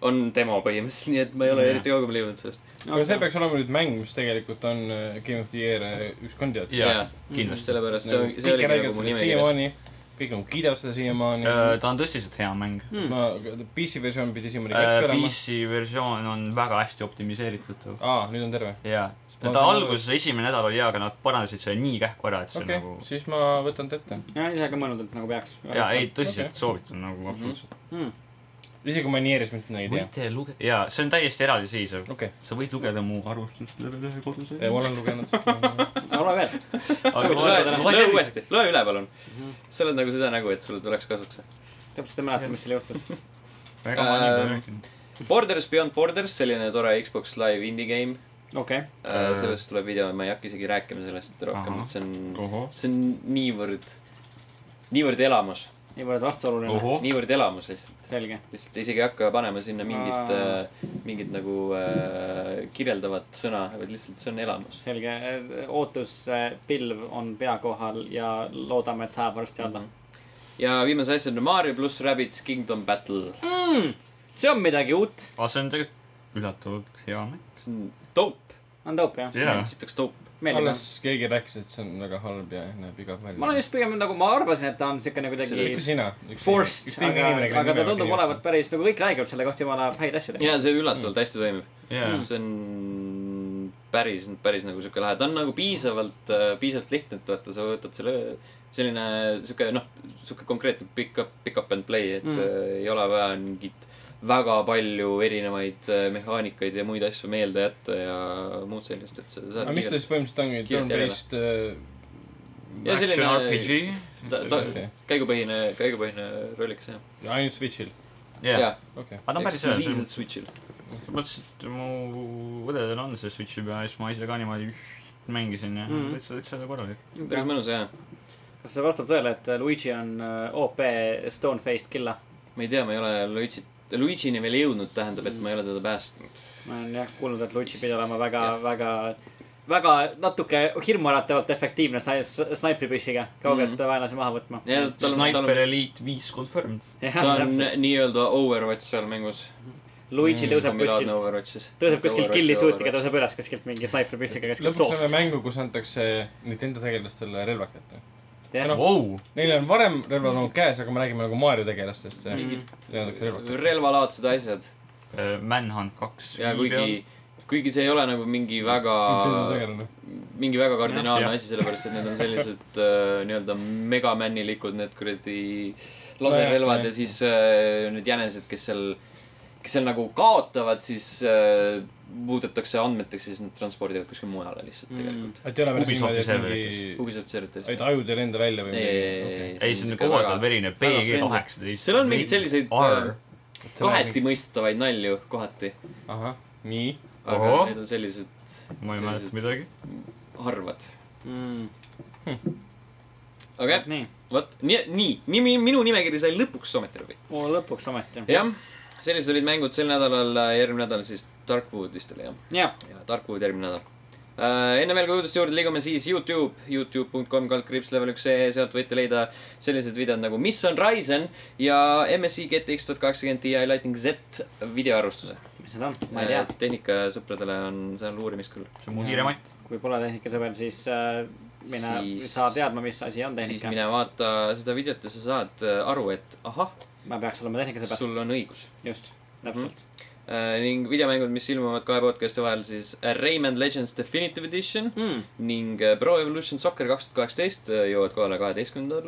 on demo põhimõtteliselt , nii et ma ei ole
Jah.
eriti kaugele jõudnud sellest .
aga see peaks olema nüüd mäng , mis tegelikult on äh, Game of the Year äh, üks kandidaat .
jah ,
Mhm.
kindlasti .
sellepärast see , see
kõik
oligi
räägivad
nagu mu
sellest
nimekirjas .
siiamaani , kõik nagu kiidavad seda siiamaani .
Äh, ta Äh, on tõsiselt hea mäng .
Mhm.
no aga PC versioon pidi siiamaani käest olema .
PC versioon on väga hästi optimiseeritud .
aa , nüüd on terve .
jaa ,
Ma
ta
saan aru.
alguses esimene nädal oli hea , aga nad parandasid selle nii kähku ära , et see
okei
nagu ,
siis ma võtan ta ette .
jah , ise ka mõelnud , et nagu peaks . Hmm.
jaa , ei
Okei. Mhm.
tõsiselt
Mhm.
soovitan nagu absoluutselt .
isegi manieeris ma mitte midagi ei tea .
võite lugeda , jaa , see on täiesti eraldiseisev .
okei ,
sa võid lugeda mu arvustust läbi ühe koduse .
ma olen lugenud .
ole veel .
loe loe uuesti , loe üle , palun . sa oled nagu seda nägu , et sulle tuleks kasuks .
täpselt ei mäleta , mis seal juhtus .
väga ma olen
Ähm,
juba rääkinud .
Borders Beyond Borders , selline tore Xbox Live indie game .
okei ,
Äh, sellest tuleb video , ma ei hakka isegi rääkima sellest rohkem
Ahah. ,
see on ,
ohoh .
see on niivõrd , niivõrd elamus ,
niivõrd vastuoluline .
ohoh ,
niivõrd elamus lihtsalt .
selge .
lihtsalt isegi ei hakka panema sinna mingit
Aa.
äh, , mingit nagu äh, kirjeldavat sõna , vaid lihtsalt see on elamus .
selge , ootuspilv on pea kohal ja loodame , et saab varsti alla .
ja viimase asjana Mario pluss Rabbids Kingdom Battle .
see on midagi uut .
aga see on tegelikult üllatavalt hea mäng .
see on dope ,
on dope jah ?
Jaa.
sitaks dope .
meeldib jah
alles ? keegi rääkis , et see on väga halb ja näeb igav välja .
ma olen just pigem nagu , ma arvasin , et ta on siukene
Selle-
kuidagi
mitte sina .
forced , aga , aga ta tundub olevat . päris nagu kõik räägivad selle kohta jumala häid asju .
ja see üllatavalt hästi toimib .
jaa ,
see on päris , päris nagu sihuke lahe , ta on nagu piisavalt , piisavalt lihtne , et vaata , sa võtad selle , selline sihuke noh , sihuke konkreetne pick up , pick up and play , et
Mm.
mm. ei ole vaja mingit väga palju erinevaid äh, mehaanikaid ja muid asju meelde jätta ja muud sellist , et sa
äh,
saad
aga mis ta
kiirelt
siis põhimõtteliselt ongi ,
kiirelt
turn-based äh,
ja
action
selline
RPG .
ta- ta-
okei.
käigupõhine , käigupõhine rollikas jah .
ja ainult Switch'il ,
jaa ,
okei .
aga ta on päris hea , selles
eksklusiivselt Switch'il .
mõttes , et mu õdedel on see Switchi peal ja siis ma ise ka niimoodi mängisin ja
Mm.
Mhm.
täitsa , täitsa korralik .
päris mõnus jah .
kas see vastab tõele , et Luigi on äh, OP Stone-faced killa ?
ma ei tea , ma ei ole Luigi't , Luigi'ni veel jõudnud , tähendab , et ma ei ole teda päästnud .
ma olen jah kuulnud , et Luigi pidi olema väga , väga , väga natuke hirmuäratavalt efektiivne , sai s- snaipripissiga kaugelt mm
Mhm.
-hmm. vaenlase maha võtma .
ja tal on , tal on
Sniper
vist-
Elite viis confirmed .
ta on Mm, nii-öelda Overwatch seal mängus .
Luigi tõuseb kuskilt ,
Overwatchis .
tõuseb kuskilt killi suutiga , tõuseb üles kuskilt mingi snaipripissiga kuskilt
lõpuks saame
soost .
mängu , kus antakse Nintendo tegelastele relvad kätte .
Noh.
jah ,
Vau ,
Neil on varem relvad olnud käes , aga me räägime nagu Mario tegelastest ja
Mhm.
ja antakse relvad kätte .
relvalaadsed asjad
Äh, Manhunt kaks .
ja kuigi , kuigi see ei ole nagu mingi väga ,
Nintendo tegelane .
mingi väga
Jah.
kardinaalne asi , sellepärast et need on sellised äh, nii-öelda megamännilikud , need kuradi
Nojah,
laserrelvad
jah.
ja siis äh, need jänesed , kes seal , kes seal nagu kaotavad , siis äh, muudetakse andmeteks ja siis nad transpordivad kuskile mujale lihtsalt
Mm.
tegelikult .
et ei ole päris
Ubisofti
niimoodi , et mingi ,
Ubisoft serveritest .
et ajud ei lenda välja või
ei , ei , ei ,
midagi .
ei .
ei , see on kohutavalt verine , PG
friendly.
kaheksateist .
seal on mingeid selliseid äh,
R .
kohati . mõistetavaid nalju , kohati .
ahah , nii .
aga
Ohoh.
need on sellised
ma ei mäleta
äh, sellised-
midagi .
harvad . aga jah ,
Mm. nii ,
vot nii , nii , nii minu nimekiri sai lõpuks ometi läbi .
lõpuks ometi .
jah , sellised olid mängud sel nädalal , järgmine nädal siis Darkwood vist oli jah ,
jah ,
ja Darkwood järgmine nädal . Uh, enne veel kui uudiste juurde liigume , siis Youtube , Youtube.com kaldkriips level üks ee , sealt võite leida sellised videod nagu Mis on Ryzen ja MSI GTX tuhat kaheksakümmend Ti Lightning Z videoarvustuse .
mis need on , ma ei tea ..
tehnikasõpradele on seal uurimist küll .
see on mu
Jaa.
kiiremaid .
kui pole tehnikasõber , siis äh, mine
Siis-
siis... , saa teadma , mis asi on
siis
tehnika .
mine vaata seda videot ja sa saad äh, aru , et ahah ,
ma peaks olema tehnikasõber ,
sul on õigus .
just , täpselt .
ning videomängud , mis ilmuvad kahe podcast'i vahel , siis äh, Rayman Legends Definitive Edition
Mm.
ning äh, Pro Evolution Soccer kaks tuhat kaheksateist äh, jõuavad kohale kaheteistkümnendal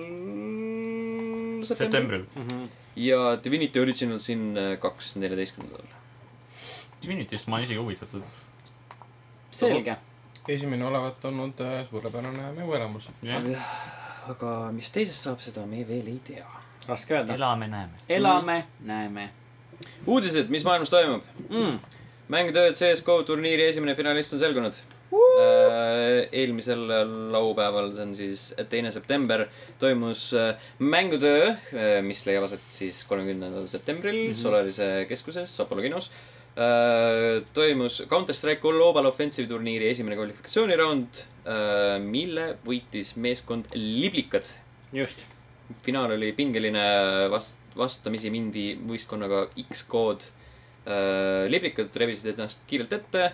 septembril
septembril .
Mhm.
ja Divinity Original siin äh, kaks neljateistkümnendal .
Divinitist ma olen isegi huvitatud .
selge ,
esimene olevat olnud äh, suurepärane mänguelamus .
jah ,
aga mis teisest saab , seda me veel ei tea .
raske
Noh.
öelda .
elame-näeme .
elame , näeme
uudised , mis maailmas toimub ?
mm. .
mängutööd CSGO turniiri esimene finalist on selgunud . eelmisel laupäeval , see on siis teine september , toimus äh, mängutöö , mis leiab aset siis kolmekümnendal septembril mm -hmm. Solarise keskuses Apollo kinos . toimus Counter Strike Global Offensive turniiri esimene kvalifikatsiooniraund , mille võitis meeskond Liblikad .
just ,
finaal oli pingeline , vast- , vastamisi mindi võistkonnaga X-kood . liblikad rebisid ennast kiirelt ette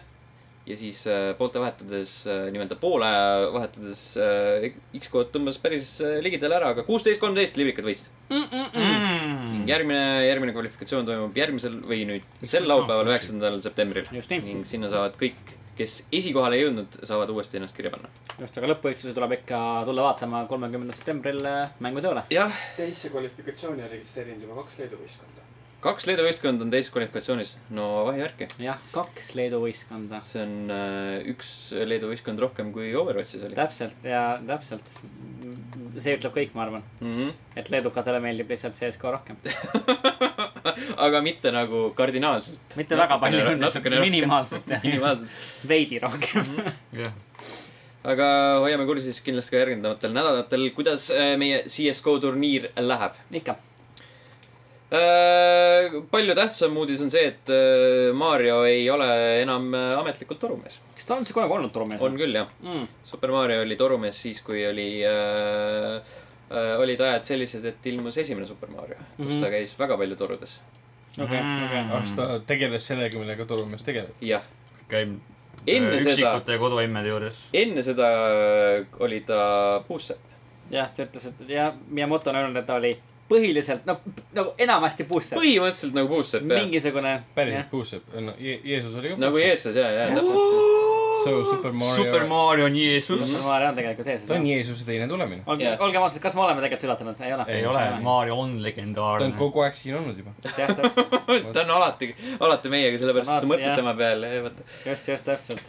ja siis äh, poolte vahetudes , nii-öelda poole vahetudes äh, X-kood tõmbas päris äh, ligidale ära , aga kuusteist , kolmteist liblikad võistlesid .
Mm.
järgmine , järgmine kvalifikatsioon toimub järgmisel või nüüd sel laupäeval , üheksandal septembril .
Just nii.
ning sinna saavad kõik , kes esikohale ei jõudnud , saavad uuesti ennast kirja panna .
just , aga lõpuehitluse tuleb ikka tulla vaatama kolmekümnendal septembril äh, mängutööle .
jah ,
teisse kvalifikatsiooni on registreerinud juba kaks Leedu võistkonda .
kaks Leedu võistkonda on teises kvalifikatsioonis , no vahivärki .
jah , kaks Leedu võistkonda .
see on äh, üks Leedu võistkond rohkem kui Overwatchis oli .
täpselt ja täpselt . see ütleb kõik , ma arvan ,
Mm -hmm.
et leedukatele meeldib lihtsalt CSGO rohkem .
aga mitte nagu kardinaalselt .
mitte väga
Natukene-
palju ,
natukene rohkem.
minimaalselt Mhm. jah ,
minimaalselt .
veidi rohkem .
jah ,
aga hoiame kursis kindlasti ka järgnevatel nädalatel , kuidas äh, meie CSGO turniir läheb .
ikka ,
palju tähtsam uudis on see , et äh, Mario ei ole enam äh, ametlikult torumees .
kas ta on siis kunagi olnud turumees ?
on küll , jah .
mm. .
Super Mario oli torumees siis , kui oli äh, , äh, olid ajad sellised , et ilmus esimene Super Mario mm , -hmm. kus ta käis väga palju torudes .
okei , okei .
Mm.
kas ta tegeles sellega , millega torumees tegeleb ?
jah ,
käib
Enne
äh,
seda-
üksikute koduemmede juures .
enne seda oli ta puussepp .
jah , ta ütles , et ja Miyamoto on öelnud , et ta oli põhiliselt , no nagu enamasti puusse .
põhimõtteliselt nagu puussepp , jah .
mingisugune .
päriselt puusepp , no Je- Jeesus oli ka
nagu
puusepp .
eestlase , ja , ja täpselt .
So Super
Super
Mario ,
Mario on Jeesus .
Mario on tegelikult ees .
ta on Jeesuse teine tulemine .
olge
Jah. ,
olgem ausad , kas me oleme tegelikult üllatunud ? ei ole .
ei ole , Mario on
ta on
legendaarne .
kogu aeg siin olnud juba .
jah , täpselt ,
ta on alati , alati meiega , sellepärast et sa mõtled
Jah.
tema peale ja vaata ,
just , just täpselt .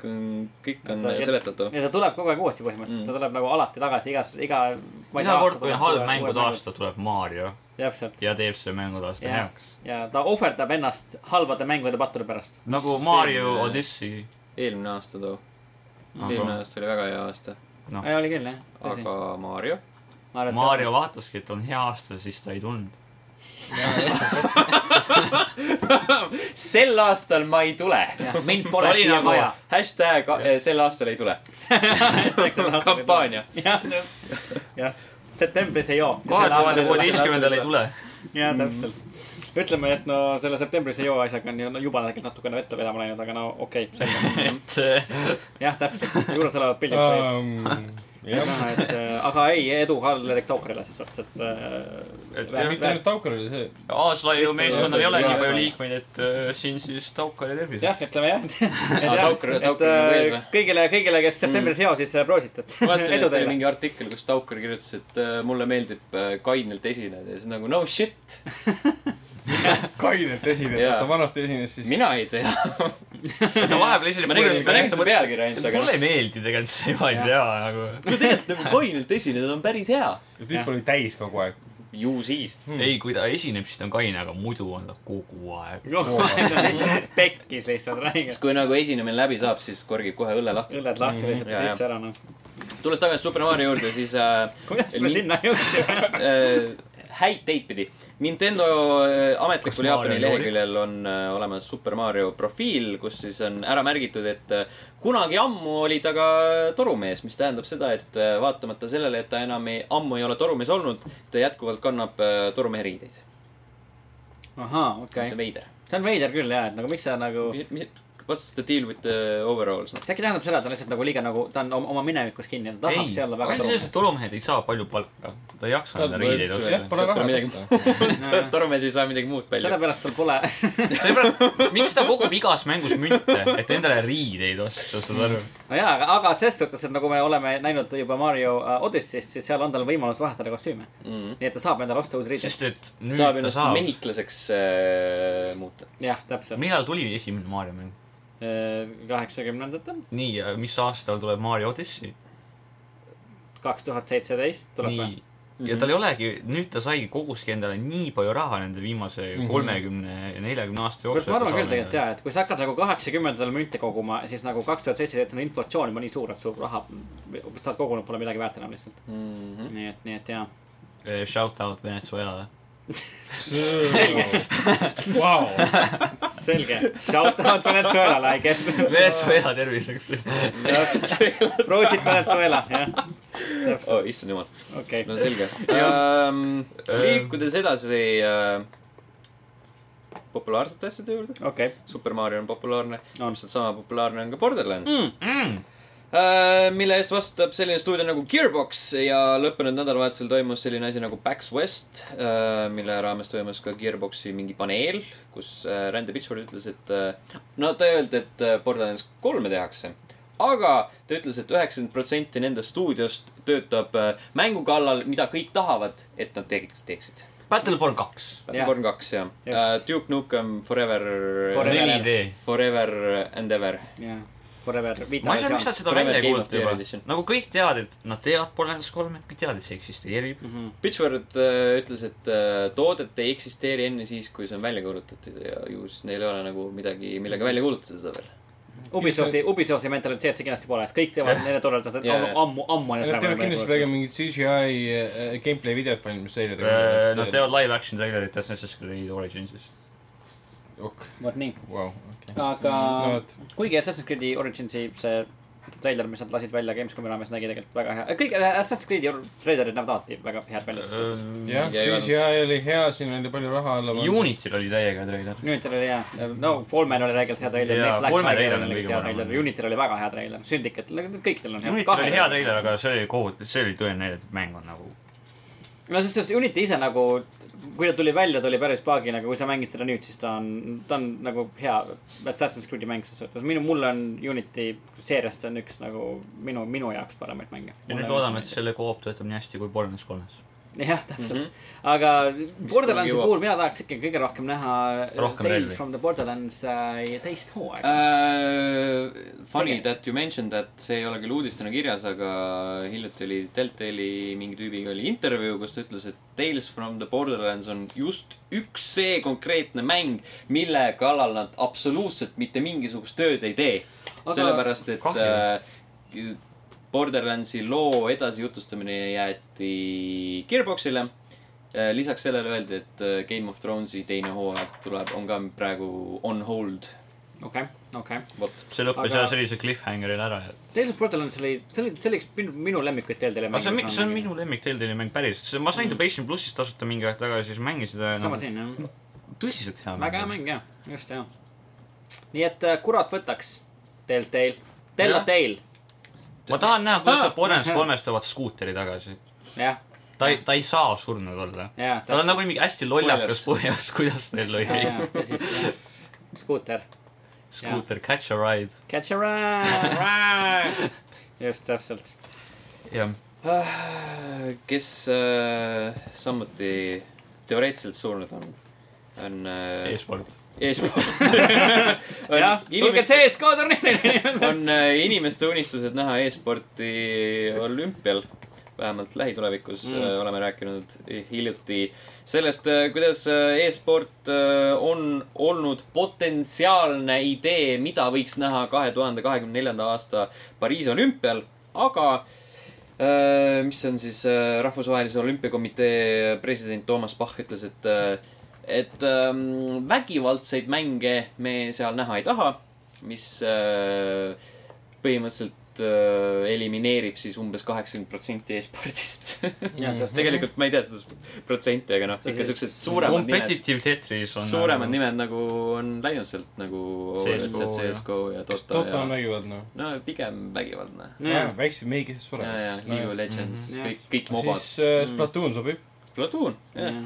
kõik on , kõik on
Ta- ja-
seletatav .
ja ta tuleb kogu aeg uuesti põhimõtteliselt
Mm.
mm. , ta tuleb nagu alati tagasi igas , iga .
iga kord , kui on halb mängude . aasta , tuleb Mario
täpselt
ja teeb selle mängude aasta
Jah.
heaks .
ja ta ohverdab ennast halbade mängude pattude pärast .
nagu
See- äh,
Mario Odyssey .
eelmine aasta too , eelmine aasta oli väga hea aasta ,
noh ,
ei , oli küll jah , tõsi .
aga Mario ?
Mario . vaataski , et on hea aasta , siis ta ei tulnud .
sel aastal ma ei tule .
mind
ta
pole
oli
siia
nagu
vaja .
hashtag eh, sel aastal ei tule . kampaania .
jah , jah , septembris ei joo .
kahe tuhande kuueteistkümnendal ei tule .
jah , täpselt . ütleme , et no selle septembris ei joo asjaga on ju no, juba tegelikult natukene vette vedama läinud , aga no okei okay, ,
Mhm.
selge .
et äh,
jah , täpselt , juures olevad pildid um, .
jah ,
jah , et äh, aga ei , edu Karl-Erik Tookerile siis saab , et äh,
Et
mitte ainult Taukar oli see .
A-slaiu meeskonnal ei ole nii palju
Jah.
liikmeid , et äh, siin siis Taukar ja tervis .
jah , ütleme jah .
Aa, Taukar- Taukar nagu ees või? Mm.
kõigile , kõigile , kes septembris eos , siis äh, proosid , et
ma vaatasin ,
edu
et oli
teile .
mingi artikkel , kus Taukar kirjutas , et äh, mulle meeldib äh, kainelt esineda ja siis nagu no shit ,
kainelt esines ,
Jaa.
ta vanasti esines siis .
mina ei tea .
ta vahepeal esines
ma nägin , ma nägin seda pealkirja ainult , aga
noh.
mulle ei meeldi tegelikult see , ma ei tea nagu .
no tegelikult nagu kainelt esineda on päris hea .
tüüp oli täis kogu aeg .
ju siis .
Hmm.
ei , kui ta esineb , siis ta on kaine , aga muidu on ta kogu aeg .
Noh, pekkis lihtsalt , räige
siis . kui nagu esinemine läbi saab , siis korgib kohe õlle lahti .
õlled lahti lihtsalt
Mhm. jaa,
ja
jaa.
sisse ära noh .
tulles tagasi Super Mario juurde , siis äh,
kuidas me
Nii-
sinna jõudsime ?
äh, häid teid pidi . Nintendo äh, ametlikul
Kas
Jaapani
Mario
leheküljel on äh, olemas Super Mario profiil , kus siis on ära märgitud , et äh, kunagi ammu oli ta ka torumees , mis tähendab seda , et äh, vaatamata sellele , et ta enam ei , ammu ei ole torumees olnud , ta jätkuvalt kannab äh, torumehe riideid .
ahaa , okei
mis on . veider .
see on veider küll jaa , et nagu miks sa nagu ,
mis , what's the deal with the overalls , noh .
see äkki tähendab seda , et ta on lihtsalt nagu liiga nagu , ta on oma- oma minevikus kinni , ta
ei
tahaks , olla väga
selles , et torumehed ei saa palju palka . ta ei jaksa
Ta-
enda riideid
võrdsus-
osta .
jah , pole
Sealt
raha
pole midagi.
tõsta .
tore .
torumehed ei saa midagi muud palju .
sellepärast tal pole ,
seepärast , miks ta kogub igas mängus münte , et endale riideid osta , saad aru ?
no jaa , aga , aga ses suhtes , et nagu me oleme näinud juba Mario äh, Odyssey'st , siis seal on tal võimalus vahetada kostüüme . nii et ta saab endale osta uusi riideid .
sest et nüüd
Mm. saab
ta
ennast
saab .
mehhiklaseks äh, muuta .
jah , täpselt .
millal tuli esimene Mario mäng ?
kaheksakümnendatel ,
nii , mis aastal tuleb Mario Odyssey ?
kaks tuhat seitseteist tuleb või ? Mhm.
nii , ja tal ei olegi , nüüd ta saigi , koguski endale nii palju raha nende viimase
Mhm.
kolmekümne ja neljakümne aasta
kurat ,
jooksul .
ma arvan küll tegelikult jaa , et kui sa hakkad nagu kaheksakümnendatel münte koguma , siis nagu kaks tuhat seitseteist on inflatsioon juba nii suur , et su raha , mis sa oled kogunud , pole midagi väärt enam lihtsalt .
Mhm.
Mm.
nii et , nii et jaa .
jaa . Eh, Shout out Venezuelale .
Vau ,
selge , shout out Venezuelale , I guess .
Venezuela terviseks .
proovisid Venezuela , jah . täpselt ,
oh, issand jumal ,
okei
no . selge um, . liikudes edasi uh, populaarsete asjade juurde .
okei ,
Super Mario on populaarne ,
On.
täpselt sama populaarne on ka Borderlands mm. . Uh, mille eest vastutab selline stuudio nagu Gearbox ja lõppenud nädalavahetusel toimus selline asi nagu Pax West uh, , mille raames toimus ka Gearboxi mingi paneel , kus uh, Randy Pitchford ütles , et uh, no ta ei öelnud , et uh, Borderlands kolme tehakse , aga ta ütles et , et üheksakümmend äh, protsenti nendest stuudiost töötab uh, mängu kallal , mida kõik tahavad , et nad teeks- teeksid .
Battleborn kaks .
Battleborn kaks , jah
Just.
uh, . Duke Nukem Forever .
Forever.
4D .
Forever and ever .
jah , forever .
ma ei saa , miks nad seda välja ei
Game of
kuulutanud
the Year
juba
edition. .
nagu kõik teavad , et nad teevad Borderlands kolme , kõik teavad , et see eksisteerib .
Mhm.
Pitchword uh, ütles , et uh, toodet ei eksisteeri enne siis , kui see on välja kuulutatud ja ju siis neil ei ole nagu midagi , millega välja kuulutada seda veel .
Ubisofti , Ubisofti mentaliteet see kindlasti pole , sest kõik teevad neile toredalt seda
Jah.
ammu , ammu , ammu on
Nad teevad kindlasti praegu . mingid CGI äh, gameplay videod valmis
Äh, Nad
treilerid .
teevad live action treilerit Assassin's Creed Originsis .
ok ,
vot nii ,
vau , okei .
aga
no
no,
vot ,
kuigi Assassin's Creed'i Originsi see treiler , mis nad lasid välja Gamescomi raames , nägi tegelikult väga hea , kõik Assassin's Creed'i or- treilerid näevad alati väga head välja .
Äh, Mm,
jah ,
Ja ei olnud.
CGI oli hea , siin oli palju raha alla .
Unitil oli täiega treiler .
Unitil oli hea , no Fallman oli tegelikult hea treiler
Jaa, ,
Black
Fallman
Flag
treiler on
oli
kõige
tegelikult hea
parem.
treiler , Unitil oli väga hea treiler , Syndicate , kõikidel on hea .
Unitil oli hea treiler , aga see oli kohutav , see oli tõeline näide , et mäng on nagu .
no sest just Unity ise nagu , kui ta tuli välja , ta oli päris paagina , aga kui sa mängid teda nüüd , siis ta on , ta on nagu hea Assassin's Creed'i mäng ses suhtes . minu , mul on Unity seeriast on üks nagu minu , minu jaoks paremaid mänge .
ja nüüd loodame , et selle koop töötab nii hästi kui Borderlands kolmes .
jah , täpselt mm . -hmm. aga Borderlandsi
jõuab.
puhul mina tahaks ikkagi kõige rohkem näha äh,
Rohkem
Tales
relvi.
from the Borderlands äh, teist hooaega uh, .
Uh, funny
Tegelikult.
that you mentioned that , see ei ole küll uudistena kirjas , aga hiljuti oli Deltali mingi tüübiga oli intervjuu , kus ta ütles , et Tales from the Borderlands on just üks see konkreetne mäng , mille kallal nad absoluutselt mitte mingisugust tööd ei tee .
Aga-
sellepärast , et
Kahju.
äh, Borderlandsi loo edasijutustamine jäeti Gearboxile . lisaks sellele öeldi , et äh, Game of Thronesi teine hooaeg tuleb , on ka praegu on hold ,
okei , okei .
vot
see lõppes
Aga-
aga... sellise cliffhangeril ära .
Tales of Borderlands oli , see oli , see oli üks minu, minu lemmikuid teeldele
aga see on , see on minu lemmik Telltali mäng päriselt , ma sain ta PlayStation plussist tasuta mingi aeg tagasi , siis mängisin seda ja
Mm. sama
noh ,
siin jah
tõsiselt hea mäng .
väga hea mäng jah , just jah . nii et äh, kurat võtaks teilt teil , tella
Jah.
teil ,
ma tahan näha , kuidas
Ah,
nad Borderlands
jah.
kolmes toovad skuuteri tagasi .
jah ,
ta ei , ta ei saa surnud olla .
jah .
tal on nagu mingi hästi lollakas põhjas , kuidas neil oli .
nagu . skuuter ,
skuuter Catch a Ride .
catch a ride . just täpselt ,
jah ,
Ah, kes äh, samuti teoreetiliselt surnud on , on äh,
e-sport .
e-sport .
jah , tulge
inimeste ,
CSGO turniirile .
on äh, inimeste unistused näha e-sporti olümpial , vähemalt lähitulevikus
Mm.
mm. äh, oleme rääkinud hiljuti sellest äh, , kuidas äh, e-sport äh, on olnud potentsiaalne idee , mida võiks näha kahe tuhande kahekümne neljanda aasta Pariisi olümpial , aga Äh, mis on siis äh, rahvusvahelise olümpiakomitee president Toomas Bach ütles , et , et ähm, vägivaldseid mänge me seal näha ei taha , mis äh, põhimõtteliselt äh, elimineerib siis umbes kaheksakümmend protsenti e-spordist .
Mhm.
tegelikult ma ei tea seda protsenti , aga noh ,
See
ikka
siis-
siuksed suuremad nimed ,
Competitive Tetris on .
suuremad . nimed nagu on läinud sealt nagu
CS:GO
üldiselt CSGO ja Dota
Dota
ja
on vägivaldne no. .
no pigem vägivaldne .
nojah ,
väiksed meigi , kes
ja , ja
surevad .
League of Legends ,
Mhm.
kõik , kõik mobad .
siis äh, Splatoon sobib .
Splatoon , jah .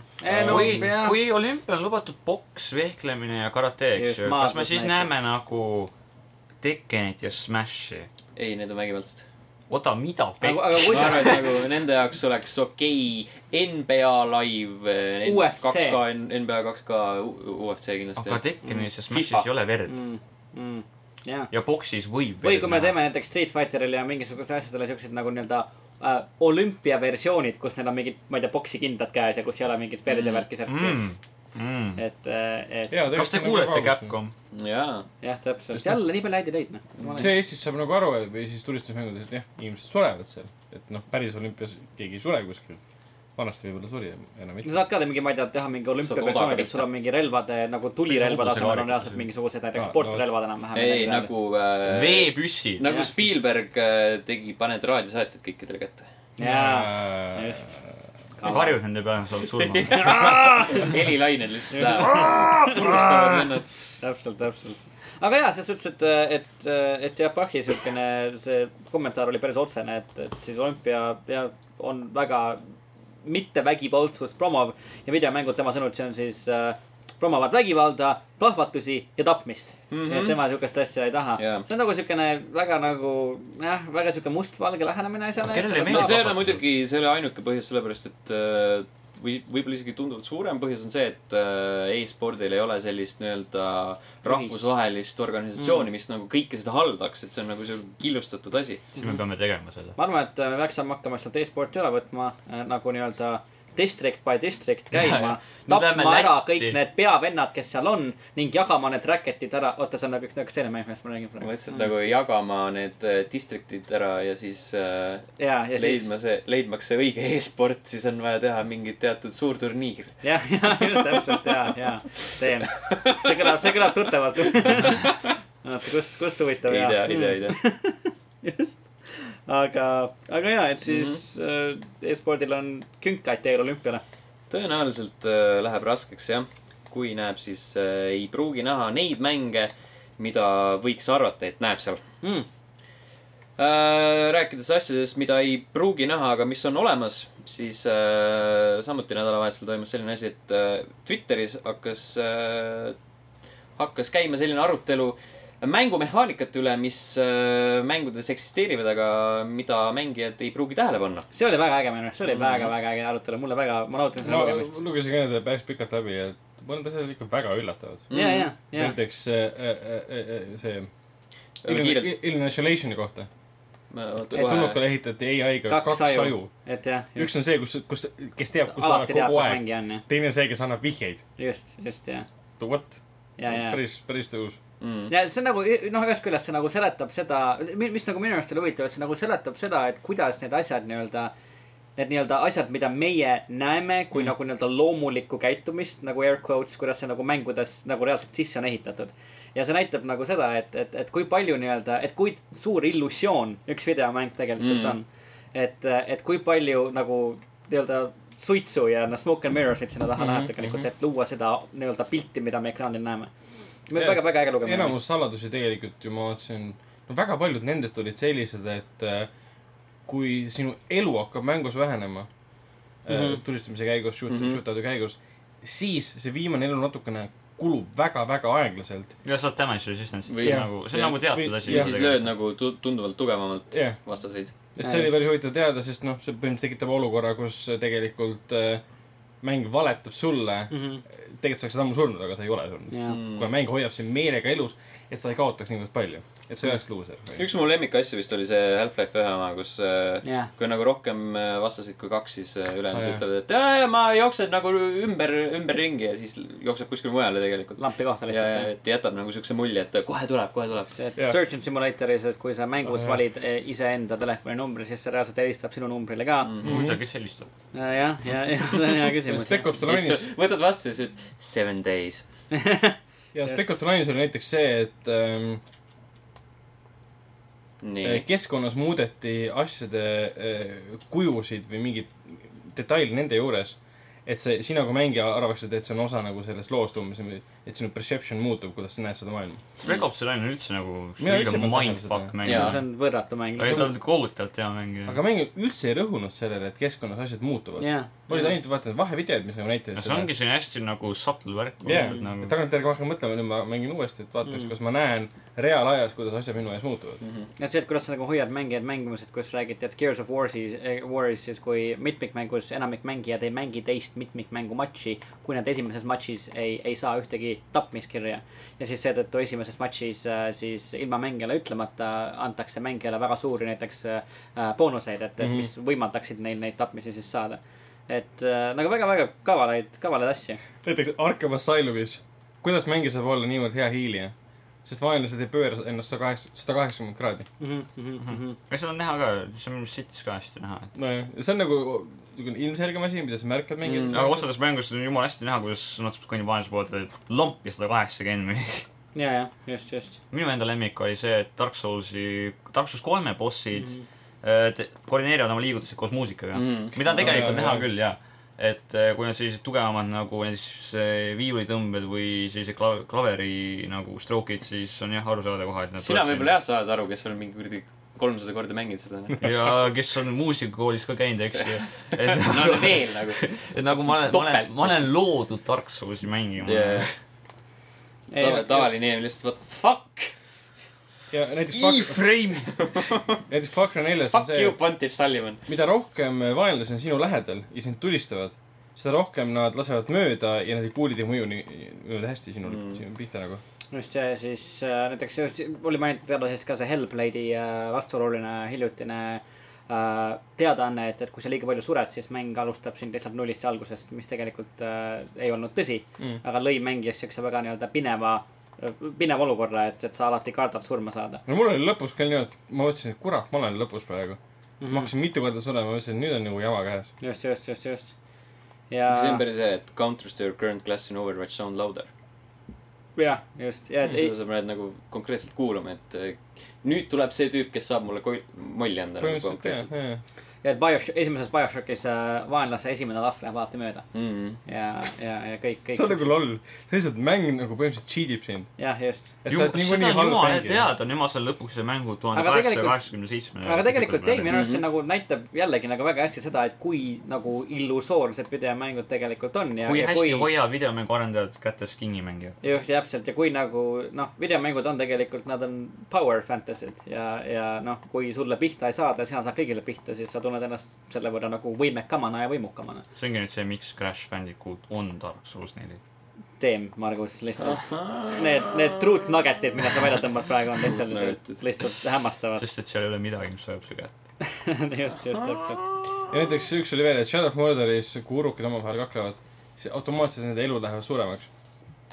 no
kui ,
jah ,
kui olümpial on lubatud poks , vehklemine ja karate ,
Just,
eks ju , kas me
maadlus
siis
näiteks.
näeme nagu Tekkenit ja Smashi ?
ei , need on vägivaldsed .
oota , mida
aga ,
pekki ?
aga
ma arvan ,
kuidas
et , nagu nende jaoks oleks okei okay, NBA live , eh,
UFC.
2K , NBA 2K , UFC kindlasti
aga
aga... .
Tekkenis ja
FIFA.
Smashis ei ole verd .
jah .
ja boksis võib
Mm. või kui me teeme . näiteks Street Fighterile ja mingisugusele asjadele siuksed nagu nii-öelda äh, olümpiaversioonid , kus neil on mingid , ma ei tea , poksikindad käes ja kus ei ole mingit verd ja värki sealt mm. . et , et
kas
nagu
te kuulete ? Capcom ?
jaa ,
jah , täpselt , jälle nii palju häid ideid , noh .
see Eestis saab nagu aru või siis turistusmängudes , et jah , inimesed surevad seal . et noh , päris olümpias keegi ei sure kuskil . vanasti võib-olla suri , enam
no
mitte .
saad ka teha mingi , ma ei tea , teha mingi olümpiapersoonid , et sul on mingi relvade nagu tulirelvade
hobuse
asemel on
kaarikesi.
reaalselt mingisugused näiteks
Aa,
sportrelvad enam-vähem .
ei nagu äh, ,
veepüssid .
nagu
Jah.
Spielberg äh, tegi , paned raadiosaated kõikidele kätte .
Äh,
jaa , just. .
karjud nende peale , saavad surma .
helilained lihtsalt lähevad . purustavad vennad .
täpselt , täpselt . aga jaa , selles suhtes , et , et , et jah , Bachi siukene , see kommentaar oli päris otsene , et , et siis olümpia ja on väga mittevägivaldsust promov ja videomängud tema sõnul , see on siis äh, promovad vägivalda , plahvatusi ja tapmist mm .
Mhm.
-hmm. et tema siukest asja ei taha
Jaa.
see on nagu siukene väga nagu jah , väga siuke mustvalge lähenemine asjale
Aga kellele ei
see
meeldi?
ei ole muidugi , see ei ole ainuke põhjus , sellepärast et äh, või võib-olla isegi tunduvalt suurem põhjus on see , et äh, e-spordil ei ole sellist nii-öelda rahvusvahelist organisatsiooni , mis nagu kõike seda haldaks , et see on nagu selline killustatud asi .
siis me peame tegema seda .
ma arvan , et äh, me peaksime hakkama sealt e-sporti üle võtma äh, nagu nii-öelda district by district käima ,
Nüüd lähme
tapma ära
Lätti.
kõik need peavennad , kes seal on ning jagama need racket'id ära . oota , see on nagu üks niisugune teine mäng , millest ma räägin
ma
praegu .
mõtlesin , et nagu jagama need äh, district'id ära ja siis äh,
ja , Mm. ja siis ,
leidma see , leidmaks see õige e-sport , siis on vaja teha mingi teatud suur turniir .
jah , ja just täpselt ja , ja teen . see kõlab , see kõlab tuttavalt . oota , kust , kust huvitav Mm,
ei tea , ei tea , ei tea .
just , aga , aga ja , et siis
Mhm.
mm -hmm. e-spordil on künkaid teel olümpiale .
tõenäoliselt äh, läheb raskeks jah , kui näeb , siis äh, ei pruugi näha neid mänge , mida võiks arvata , et näeb seal
Mm.
äh, . rääkides asjadest , mida ei pruugi näha , aga mis on olemas , siis äh, samuti nädalavahetusel toimus selline asi , et äh, Twitteris hakkas äh, , hakkas käima selline arutelu mängumehaanikate üle , mis äh, mängudes eksisteerivad , aga mida mängijad ei pruugi tähele panna .
see oli väga äge minu arust , see
Mm.
oli väga-väga äge arutelu , mulle väga , ma nautin seda
ma
lugemist .
lugesin ka need päris pikalt läbi ja mõned asjad olid ikka väga üllatavad .
ja , ja , ja ,
näiteks äh, äh, äh, äh, see
kiirelt ,
Alien Isolationi kohta .
kohe ,
tulnukale ehitati ai-ga
Kaks
kaks
aju.
aju .
et jah .
üks on see , kus , kus , kes teab , kus olla
alati teab ,
kogu
kus
aeg .
mängija on jah ,
teine on see , kes annab vihjeid .
just , just ja ,
What ?
ja , ja .
päris , päris tõus .
mm.
ja see on nagu , noh , ühest küljest see nagu seletab seda , mis nagu minu arust oli huvitav , et see nagu seletab seda , et kuidas need asjad nii-öelda . Need nii-öelda asjad , mida meie näeme kui
Mhm.
mm. nagu nii-öelda loomulikku käitumist nagu air quotes , kuidas see nagu mängudes nagu reaalselt sisse on ehitatud . ja see näitab nagu seda , et , et , et kui palju nii-öelda , et kui suur illusioon üks videomäng tegelikult
Mm.
Mhm.
mm. on . et , et kui palju nagu nii-öelda suitsu ja noh , smoke and mirrors'id sinna taha mm
Mhm,
-hmm, läheb tegelikult , et luua seda nii-öelda pilti , mida me ekraanil näeme .
Jah,
väga-väga äge lugemine .
enamus saladusi tegelikult ju ma vaatasin , no väga paljud nendest olid sellised , et äh, kui sinu elu hakkab mängus vähenema mm -hmm.
Mhm.
tulistamise käigus , shoot mm
Mhm.
-hmm. , shoot out'i käigus , siis see viimane elu natukene kulub väga-väga aeglaselt .
ja saad damage resistance'i ,
Või-
see on nagu , see on
jah.
nagu teatud
Või-
asi .
ja siis lööd nagu tu- tunduvalt tugevamalt
jah ,
vastaseid .
et see oli päris huvitav teada , sest noh , see põhimõtteliselt tekitab olukorra , kus tegelikult äh, mäng valetab sulle ,
Mhm.
tegelikult sa oleksid ammu surnud , aga sa ei ole surnud .
jah ,
Mm.
kuna mäng hoiab sind meelega elus , et sa ei kaotaks niivõrd palju , et sa ei oleks luuser .
üks mu lemmikasju vist oli see Half-Life ühe oma , kus äh,
jah ,
kui nagu rohkem äh, vastaseid kui kaks , siis äh,
Aa,
ülejäänud
jah.
ütlevad , et "Aa, ma jooksen nagu ümber , ümberringi ja siis jookseb kuskile mujale tegelikult .
lampi kohta
ja , ja
lihtsalt .
et jätab nagu siukse mulje , et kohe tuleb , kohe tuleb .
see , et
Jah.
Surgeon Simulatoris , et kui sa mängus
Ah, jah.
valid eh, iseenda telefoninumbri , siis see reaalselt helistab sinu numbrile ka .
Mhm. Mm.
Mm-hmm.
huvitav , kes helistab ?
jah , ja , ja see on hea küsimus .
Spec Ops Online'is ,
võtad vastu ja siis ütled seven days .
ja Spec Ops Online'is oli näiteks see , et ähm, äh,
nii .
keskkonnas muudeti asjade äh, kujusid või mingit detaili nende juures . et see , sina kui mängija arvaksid , et see on osa nagu sellest loost umbes , et sinu perception muutub , kuidas sa näed seda maailma .
Spec Ops Line on üldse nagu
Mina üldse ei pannud
selline
tähele
mindfuck
seda.
mäng .
Jaa.
see
aga
on võrratu mäng .
ta on kohutavalt hea mäng .
aga mängija üldse ei rõhunud sellele , et keskkonnas asjad muutuvad .
jah ,
olid ainult vaata need vahevideod , mis nagu näitasid
see ongi selline hästi nagu subtle värk .
jah ,
nagu
tagantjärgi ma hakkan mõtlema , nüüd ma mängin uuesti , et vaataks mm. , kas ma näen reaalajas , kuidas asjad minu ees muutuvad
Mhm.
mm .
ja see , et kuidas sa nagu hoiad mängijaid mängimas , et kus räägiti , et Gears of eh, Warsis , Waris siis kui mitmikmängus enamik mängijad ei mängi teist mitmikmängu matši , kui nad esimeses matšis ei , ei saa ühtegi tapmiskirja . ja siis seetõttu esimeses matšis äh, siis ilma mängijale ütlemata antakse mängijale väga suuri näiteks äh, boonuseid , et , et
Mhm.
mis võimaldaksid neil neid tapmisi siis saada . et äh, nagu väga-väga kavalaid , kavalaid asju .
-hmm. näiteks Arkham Asylumis , kuidas mängija saab olla niivõrd hea hiilija ? sest vaenlased ei pööra ennast sada kaheksa , sada kaheksakümmend kraadi .
ja seda on näha ka , see on City's ka hästi näha .
nojah , see on nagu niisugune ilmselgem asi , mida sa märkad mängijad
aga
mm. .
osades mängus on jumala hästi näha , kuidas nad kuni vaenlase poolt lompi sada kaheksakümmend või .
ja , ja just , just .
minu enda lemmik oli see , et Dark Soulsi , Dark Souls kolme bossid mm -hmm. koordineerivad oma liigutusi koos muusikaga mm ,
Mhm.
-hmm. mida on tegelikult
Jaa,
no, näha
jaa.
küll ja , et eh, kui on sellised tugevamad nagu näiteks eh, viiulitõmbed või sellised kla- , klaveri nagu stroke'id , siis on jah aru saada kohe , et nad
sina võib-olla jah saad aru , kes on mingi kuradi kolmsada korda mänginud seda . noh.
ja kes on muusikakoolis ka käinud , eks ju . et
no veel nagu .
et nagu ma olen , ma olen
Topelt. ,
ma olen loodud Dark Soulsi mängima
Mm-hmm.
yeah. .
tavaline inimene lihtsalt , what the fuck .
ja näiteks Far-
E-frame .
näiteks Far Cry neljas on
Fuck
see
you ,, Pontiff Sullivan .
mida rohkem vaenlasi on sinu lähedal ja sind tulistavad , seda rohkem nad lasevad mööda ja need kuulid ei mõju nii niivõrd hästi sinu
Mm.
mm. , sinu pihta nagu .
just ja siis äh, näiteks just- oli mainitud jälle siis ka see Hellblade'i äh, vastuoluline hiljutine äh, teadaanne , et , et kui sa liiga palju sured , siis mäng alustab sind lihtsalt nullist ja algusest , mis tegelikult äh, ei olnud tõsi
Mm.
mm. . aga lõi mängijaks siukse väga nii-öelda pineva , pineva olukorra , et , et sa alati kardad surma saada .
no mul oli lõpus ka niimoodi , et ma mõtlesin , et kurat , ma olen lõpus praegu mm . -hmm.
Mhm.
ma hakkasin mitu korda surema , ma mõtlesin , et nüüd on nagu jama käes .
just , just , just , just . ja ,
see on päris hea , et counter to your current class in overwatch sound louder .
jah , just ja , et ei
seda , sa pead nagu konkreetselt kuulama , et eh, nüüd tuleb see tüüp , kes saab mulle koi- , molli anda nagu
põhimõtteliselt jah ,
konkreetselt .
jah .
ja et BioShock , esimeses BioShockis äh, vaenlase esimene last läheb alati mööda
Mm.
ja , ja , ja kõik , kõik .
see on nagu loll . see lihtsalt mäng nagu põhimõtteliselt cheat ib sind .
jah , just .
seda on jumala teada , nüüd ma saan lõpuks selle mängu tuhande
Aga
kaheksasaja
tegelikult-
kaheksakümne seitsme .
aga tegelikult ei , minu arust see
Mhm.
nagu näitab jällegi nagu väga hästi seda , et kui nagu illusoorsed videomängud tegelikult on ja .
kui hästi hoiavad videomängu arendajad kätes kinni mängijad .
jah , täpselt ja kui nagu noh , videomängud on tegelikult , nad on power fantasy'd ja , ja noh , kui sulle pihta ei saada , sina saad kõigile pihta , siis sa tunned ennast selle võrra nagu võimekamana ja võimukamana .
see ongi nüüd see , miks Crash Bandicoot on Dark Souls neli .
teem , Margus , lihtsalt need , need truth nugget'id , mida sa välja tõmbad praegu on lihtsalt
Nugget'id. ,
lihtsalt hämmastavad .
sest et seal ei ole midagi , mis hoiab su kätt .
just , just täpselt .
ja näiteks üks oli veel , et Shadow of Murderis , kui urukid omavahel kaklevad , siis automaatselt nende elud lähevad suuremaks .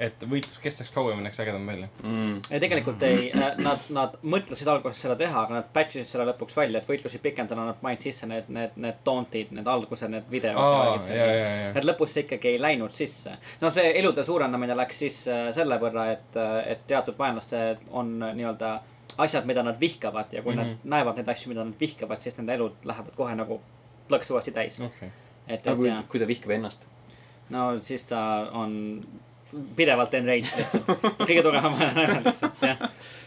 et võitlus kestaks kauem ja näeks ägedam välja .
Mm.
ei , tegelikult ei , nad , nad mõtlesid alguses seda teha , aga nad patch isid selle lõpuks välja , et võitlusi pikendada , nad panid sisse need , need , need taunt'id , need alguse , need
aa ,
videod .
ja , ja , ja .
et lõpus see ikkagi ei läinud sisse . no see elude suurendamine läks sisse selle võrra , et , et teatud vaenlased on nii-öelda asjad , mida nad vihkavad ja kui mm -hmm. nad näevad neid asju , mida nad vihkavad , siis nende elud lähevad kohe nagu plõks uuesti täis .
okei .
et ,
aga
et
kui
ja ,,
kui ta vihkab ennast ?
no siis ta on pidevalt enraged lihtsalt , kõige tugevam vaenlane lihtsalt , jah ,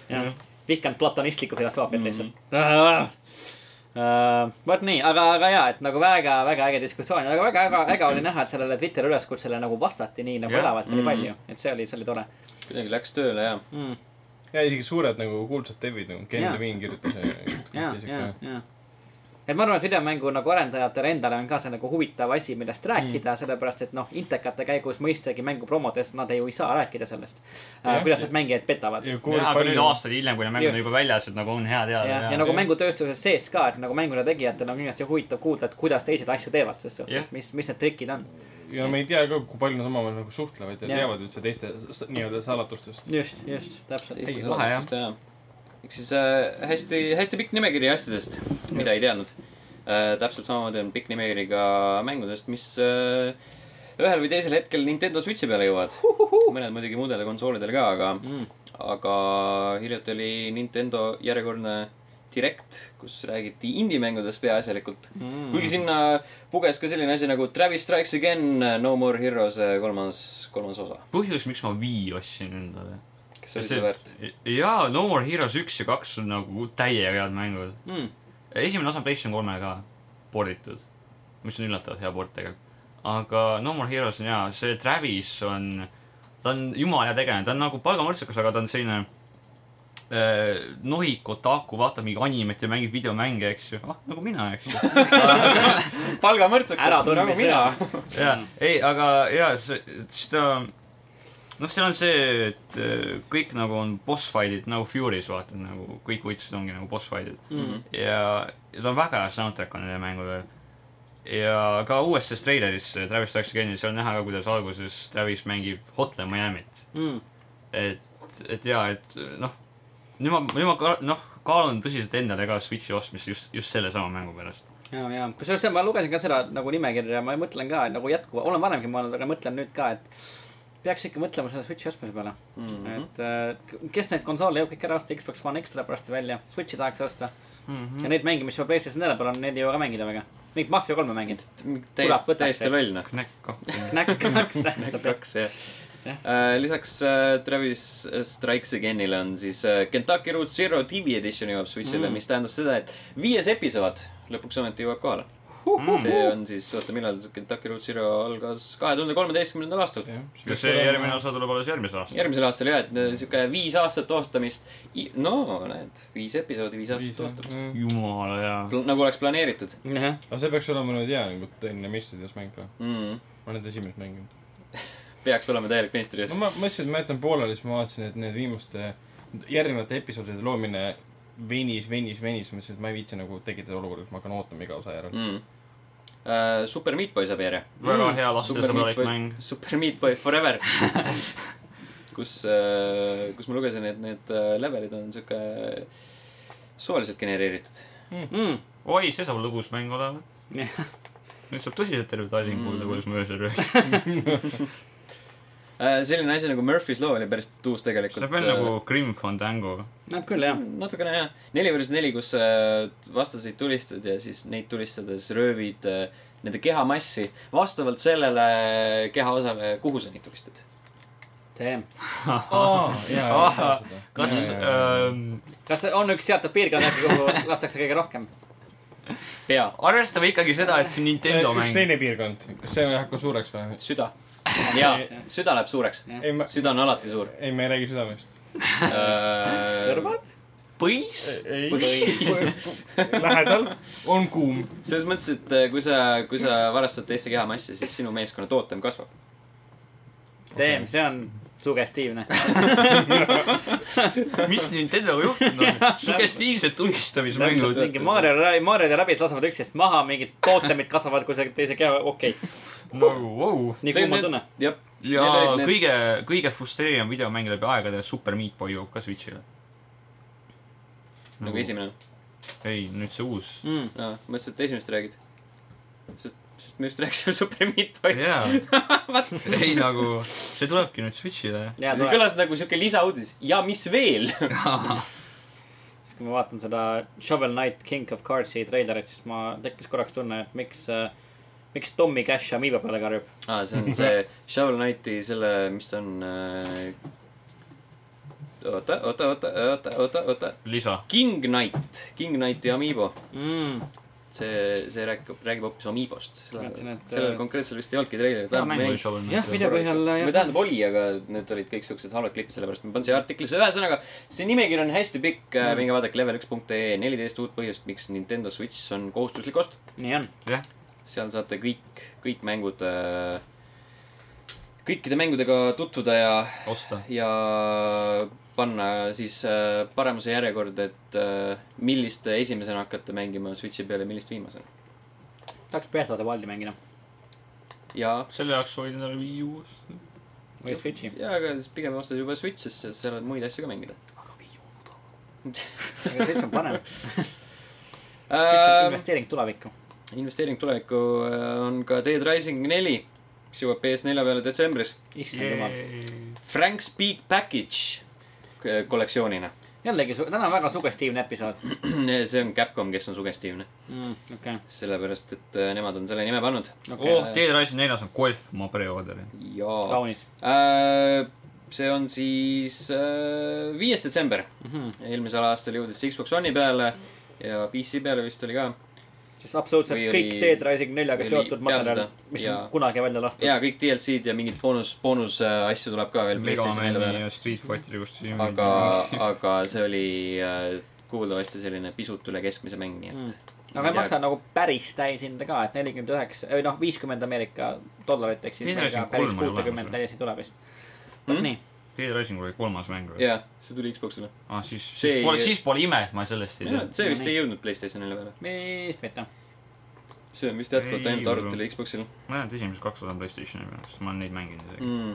jah . vihkan platonistlikku filosoofiat lihtsalt . Uh, vot nii , aga , aga ja , et nagu väga , väga äge diskussioon , aga väga äge , äge oli näha , et sellele Twitteri üleskutsele nagu vastati nii nagu
Jah.
elavalt ja nii
Mm.
palju , et see oli , see oli tore
kuidagi läks tööle ja .
mm. .
ja isegi suured nagu kuulsad devid nagu Ken
Jaa.
Levine kirjutas .
ja , ja , ja . et ma arvan , et videomängu nagu arendajatele endale on ka see nagu huvitav asi , millest rääkida mm. , sellepärast et noh , intekate käigus mõistagi mängu promodes nad ju ei saa rääkida sellest uh,
Jah. ,
kuidas nad mängijaid petavad .
ja kuuled
jah , aga nüüd
palju .
aastaid hiljem , kui need mängud on
Just.
juba väljas , et nagu on hea teada
ja , ja nagu mängutööstuses sees ka , et nagu mängude tegijatel on kindlasti huvitav kuulda , et kuidas teised asju teevad , ses
Jah.
suhtes , mis , mis need trikid on .
ja me ei tea ka , kui palju nad omavahel nagu suhtlevad ja
Jaa.
teavad üldse teiste s- nii-öelda salatustest .
just , just ,
Ei,
täpselt .
lahe, jah.
lahe, jah. ehk siis äh, hästi , hästi pikk nimekiri asjadest , mida ei teadnud äh, . täpselt samamoodi on pikk nimekiri ka mängudest , mis äh, ühel või teisel hetkel Nintendo Switchi peale jõuavad . mõned muidugi muudele konsoolidele ka , aga
Mm.
aga hiljuti oli Nintendo järjekordne Direct , kus räägiti indie-mängudest peaasjalikult mm. . kuigi sinna puges ka selline asi nagu Travis Strikes Again , No More Heroes äh, kolmas , kolmas osa .
põhjus , miks ma Wii ostsin endale .
kas see oli seda väärt ?
jaa , No More Heroes üks ja kaks on nagu täiega head mängud .
Hmm.
Mm.
esimene osa on PlayStation kolme ka porditud , mis on üllatavalt hea port tegelikult . aga No More Heroes on hea , see Travis on , ta on jumala hea tegelane , ta on nagu palgamõrtsukas , aga ta on selline äh, nohik , otaku , vaatab mingi animet ja mängib videomänge , eks ju , ah nagu mina , eks ju .
palgamõrtsukas
Ära tundmise
nagu mina .
jaa , ei , aga jaa , see , seda , noh , seal on see , et äh, kõik nagu on boss fight'id nagu Fury's vaata , nagu kõik võitlused ongi nagu boss fight'id
Mm.
ja , ja see on väga hea soundtrack on nendel mängudel . ja ka uues selles treileris , Travis Strikes Again'is , seal on näha ka , kuidas alguses Travis mängib Hotline Miami't .
Mm.
et , et jaa , et noh , nüüd ma , nüüd ma ka- noh , kaalun tõsiselt endale ka Switchi ostmist just , just selle sama mängu pärast .
ja , ja kusjuures ma lugesin ka seda nagu nimekirja , ma mõtlen ka et nagu jätkuva , olen varemgi mõelnud , aga mõtlen nüüd ka , et peaks ikka mõtlema selle Switchi ostmise peale mm ,
Mhm.
-hmm. et äh, kes neid konsoole jõuab kõik ära osta , Xbox One X tuleb varsti välja , Switchi tahaks osta mm .
Mhm.
-hmm. ja neid mänge , mis juba PlayStation 4 peal on , neid ei jõua ka mängida väga . mingit Mafia kolme mängid . Kurat,
täiesti ,
võtaks
täiesti
siis.
loll , noh .
Knack kaks .
Knack kaks tähendab jah .
kaks , jah .
Jah.
lisaks äh, Travis Strikes Again'ile on siis äh, Kentucky Route Zero TV Edition jõuab Switch'ile mm. , mis tähendab seda , et viies episood lõpuks ometi jõuab kohale . see on siis , oota , millal see Kentucky Route Zero algas ? kahe tuhande kolmeteistkümnendal aastal .
ja see järgmine osa tuleb alles järgmisel aastal .
järgmisel aastal jah , et äh, sihuke viis aastat ootamist . no näed , viis episoodi , viis aastat ootamist .
Mm.
jumala hea .
nagu oleks planeeritud
jah ,
aga see peaks olema nüüd hea nagu tõeline meistritöös mäng nagu ka .
mm. .
ma olen nüüd esimest mänginud .
peaks olema täielik meistriöös
no . ma mõtlesin , et ma jätan pooleli , siis ma vaatasin , et need viimaste , järgnevate episoodide loomine venis , venis , venis , mõtlesin , et ma ei viitsi nagu tekitada olukorda , kus ma hakkan ootama iga osa järel .
mm. . Uh, Super Meat Boy saab järje .
väga hea
Super Meat
lastesõbralik
Boy
mäng ,.
Super Meat Boy Forever . kus uh, , kus ma lugesin , et need uh, levelid on sihuke suvaliselt genereeritud .
mm. .
oi , see saab lõbus mäng olema .
Jah.
nüüd saab tõsiselt terve Tallinn kuulda , kuidas ma öösel röögin .
Uh, selline asi nagu Murphy's Law oli päris tuus tegelikult .
see on veel nagu Grim Fandango .
näeb küll jah .
natukene jah , neli versus neli , kus äh, vastaseid tulistad ja siis neid tulistades röövid äh, nende kehamassi vastavalt sellele kehaosale , kuhu sa neid tulistad .
Damn .
kas ähm,
kas on üks seatud piirkond äkki , kuhu lastakse kõige rohkem ?
pea ,
arvestame ikkagi seda , et see on Nintendo
üks
mäng ?
teine piirkond , kas see hakkab suureks või ?
süda . jaa , süda läheb suureks .
Jah.
ei , ma ,
süda on alati suur
ei , ma ei räägi südamest .
äh, .
kõrvad ?
põis ?
ei
Põis. ,
lähedal on kuum .
selles mõttes , et äh, kui sa , kui sa varastad teiste kehamassi , siis sinu meeskonna tootem kasvab .
Damn , see on sugestiivne .
mis Nintendoga juhtunud on ? sugestiivsed tulistamismängud .
mingi Mario , Mario ja Rabis lasevad üksteist maha , mingid tootemid kasvavad kusagilt teise keha , okei okay. .
nagu vau .
nii kuum on tunne .
jah .
ja kõige , kõige frustreerivam videomäng läbi aegade , Super Meat Boy jõuab ka Switch'ile .
nagu . esimene
ei , nüüd see uus .
mm. .
ah, . mõtlesin , et esimest räägid . sest , sest me just rääkisime Super Meat Boy'st .
jaa . ei nagu , see tulebki nüüd Switch'ile .
ja
see
tore ,
kõlas nagu siuke lisauudis ja mis veel
siis kui ma vaatan seda Shovel Knight King of Cardsi treilerit , siis ma tekkis korraks tunne , et miks , miks Tommy Cash Amiibo peale karjub .
ah, . see on see Shovel Knighti selle , mis ta on äh... . oota , oota , oota , oota , oota , oota .
lisa .
King Knight , King Knighti Amiibo .
mm. .
see , see räägib , räägib hoopis Amiibost .
Mõtlesin, et,
sellel
äh,
konkreetsel vist ei olnudki treilerit . või
jah , video põhjal jah .
tähendab oli , aga need olid kõik siuksed halvad klipid , sellepärast ma panen siia artiklisse . ühesõnaga , see nimekiri on hästi pikk mm. . minge vaadake level1.ee , neliteist uut põhjust , miks Nintendo Switch on kohustuslik ost .
nii on .
jah ,
seal saate kõik , kõik mängud , kõikide mängudega tutvuda ja ,
osta .
ja panna siis äh, paremuse järjekord , et äh, millist esimesena hakkate mängima Switchi peal ja millist viimasena .
tahaks Peetode valdi mängida .
ja ,
selle jaoks olin tal Wii U-s .
või Switchi .
ja aga siis pigem ostad juba Switch , sest seal on muid asju ka mängida .
aga Switch on parem . Switch on
Äh,
investeering tulevikku .
investeering tulevikku äh, on ka Dead Rising neli , mis jõuab PS4 peale detsembris .
issand jumal .
Frank's Big Package äh, kollektsioonina .
jällegi , täna on väga sugestiivne episood
see on Capcom , kes on sugestiivne .
mm, . okei okay. ,
sellepärast , et äh, nemad on selle nime pannud .
okei
oh
okay. ,.
Dead Rising neljas on golf , ma preorderin .
jaa .
kaunis .
see on siis äh, viies detsember mm .
Mhm.
-hmm. eelmisel aastal jõudis see Xbox One'i peale ja PC peale vist oli ka .
siis absoluutselt
Või
kõik
oli-
Dead Rising neljaga
või oli
seotud
peale
materjal
seda? ,
mis
Jaa.
on kunagi välja lastud .
ja kõik DLC-d ja mingid boonus , boonus äh, asju tuleb ka veel
Mega
PlayStationi
Mani
peale .
ja Street Fighteri just siin .
aga , aga see oli äh, kuuldavasti selline pisut üle keskmise mäng , nii et mm. .
aga ei maksa nagu päris täishinde ka , et nelikümmend üheksa , või noh , viiskümmend Ameerika dollarit , ehk siis
Dead
meil ka
Rising
päris
kolm oli
kuutekümmend
olemas,
täiesti tuleb vist .
Mm.
nii ,
Dead Rising oli kolmas mäng või ?
jaa , see tuli Xboxile .
aa , siis ,
See
siis pole ,
ei-
siis pole ime , et ma sellest ei tea .
see vist
Nii.
ei jõudnud PlayStationile peale .
vist mitte .
see on vist jätkuvalt
Ei
ainult
jõudnud.
arvutile Xboxil .
ma tean , et esimesed kaks osa on Playstationi peal , sest ma olen neid mänginud isegi .
mm .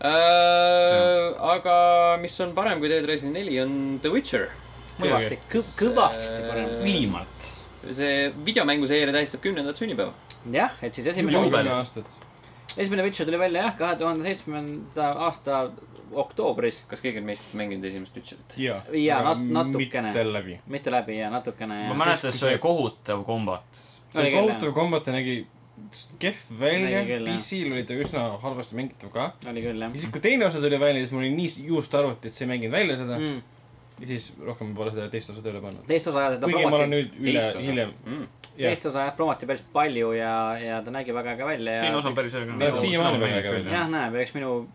-hmm. aga mis on parem kui Dead Rising neli , on The Witcher .
kõvasti , kõvasti parem .
viimalt .
see videomänguseeria tähistab kümnendat sünnipäeva .
jah , et siis esimene
Juba
uudis
uue-
kümme aastat .
esimene Witcher tuli välja jah , kahe tuhande seitsmenda aasta oktoobris .
kas keegi on meist mänginud esimest Witcherit ?
jaa
Jaa, nat- natukene.
mitte läbi .
mitte läbi ja natukene .
ma mäletan , see oli kohutav kombat .
Oli
see
küll,
kohutav kombat nägi kehv välja
Nägi , küll, jah.
PC-l oli ta üsna halvasti mängitav ka .
oli küll jah
ja . siis , kui teine osa tuli välja , siis mul oli nii juust arvuti , et see ei mänginud välja seda mm. .
Mm.
ja siis rohkem pole seda teist osa tööle pannud .
teist osa ajal seda
kuigi ma olen nüüd üle
teist , osa.
hiljem ,
Mm.
jah ,
teist osa jah , promoti päris palju ja , ja ta nägi väga äge välja ja .
teine osa on päris hea
Näeb siiamaani väga äge
jah , näeb , eks minu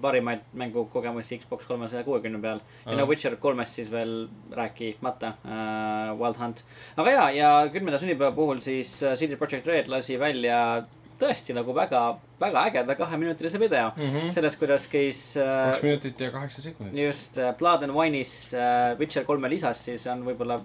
parimaid mängukogemusi Xbox kolmesaja kuuekümne peal . ja no
Ahah.
Witcher kolmest siis veel rääkimata äh, uh, , Wild Hunt . aga jaa , ja kümnenda sünnipäeva puhul siis äh, CD Projekt Red lasi välja tõesti nagu väga , väga ägeda kaheminutilise video
mm . -hmm.
sellest , kuidas käis
kaks
äh,
minutit ja kaheksa sekundit .
just äh, Blood and Wine'is äh, Witcher kolme lisas , siis on võib-olla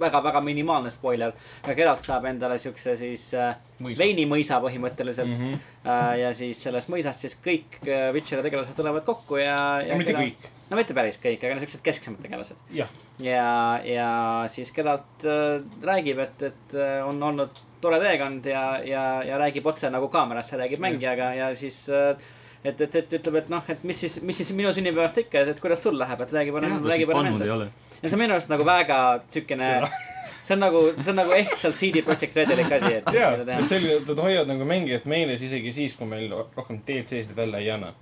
väga-väga minimaalne spoiler , aga Geralt saab endale siukse siis äh,
Mõisa. Mhm.
veinimõisa põhimõtteliselt mm . -hmm. Äh, ja siis sellest mõisast siis kõik äh, Witcheri tegelased tulevad kokku ja, ja .
no mitte . kõik ,
no mitte päris kõik , aga no siuksed kesksemad tegelased .
jah .
ja , ja siis Geralt äh, räägib , et , et äh, on olnud tore teekond ja , ja , ja räägib otse nagu kaamerasse räägib mängijaga ja siis äh, et , et , et ütleb , et noh , et mis siis , mis siis minu sünnipäevast ikka , et , et kuidas sul läheb , et räägi parem , räägi parem endast . ja see on minu arust nagu väga siukene , see on nagu , see on nagu ehtsalt CD Projekt Redelik asi , et
jaa ,
mida
et
teha .
selline , nad hoiavad nagu mängijat meeles isegi siis , kui meil rohkem DLC-sid välja ei anna .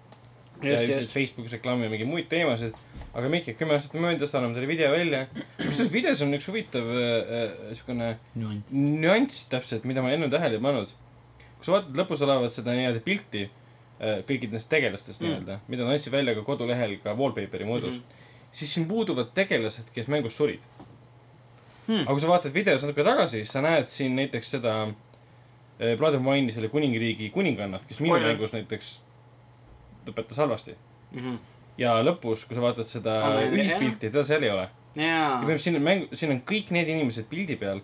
ja
just ,
ilmselt
just ,
Facebookis reklaami ja mingeid muid teemasid . aga Mikk , kümme aastat möödas , anname teile video välja . kusjuures videos on üks huvitav äh, äh, siukene nüanss täpselt , mida ma enne tähele ei pannud . kui sa vaatad lõpus olevat seda nii-öelda pilti äh, kõikidest tegelastest mm. nii-öelda , mida nad andsid välja ka kodulehel ka wallpaperi mõõdus mm , -hmm. siis siin puuduvad tegelased , kes mängus surid
Hmm.
aga kui sa vaatad videos natuke tagasi , siis sa näed siin näiteks seda äh, Blood and Wine'i selle kuningriigi kuningannat , kes minu
Spoiler.
mängus näiteks lõpetas halvasti .
Mhm.
ja lõpus , kui sa vaatad seda
Ah, jah.
ühispilti , teda seal ei ole .
jaa .
siin on mäng , siin on kõik need inimesed pildi peal .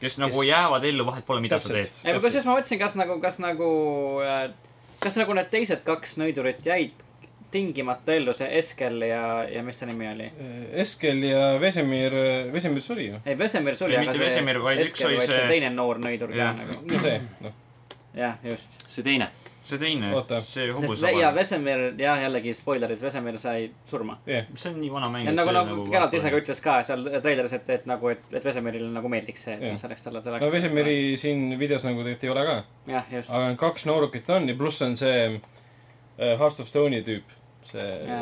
kes nagu
Kes-
jäävad ellu , vahet pole , mida sa teed .
ei , aga kusjuures ma mõtlesin , kas nagu , kas nagu , kas nagu need teised kaks nõidurit jäid tingimata ellu , see Eskel ja , ja mis ta nimi oli ?
Äh, Eskel ja Vesemir , Vesemir suri ju .
ei , Vesemir suri ,
Ei,
aga
mitte Vesemir, vaid üks oli
vaid
see-
teine noor nõidur ka
Jah.
nagu .
no see , noh .
jah , just .
see teine .
see teine
Oota. ,
see
sest Ve- ja
hobusevara ,
Vesemir , ja jällegi spoilerid , Vesemir sai surma .
jah ,
see on nii vana mäng .
ja nagu , nagu Geralt ise ka ütles ka seal treileris , et , et nagu , et , et Vesemirile nagu meeldiks see ,
Jah.
et see oleks talle , ta oleks .
no Vesemiri siin videos nagu tegelikult ei ole ka ,
jah , just .
aga need kaks noorukit on ja pluss on see äh, Hearts of Stone'i tüüp , see .
see-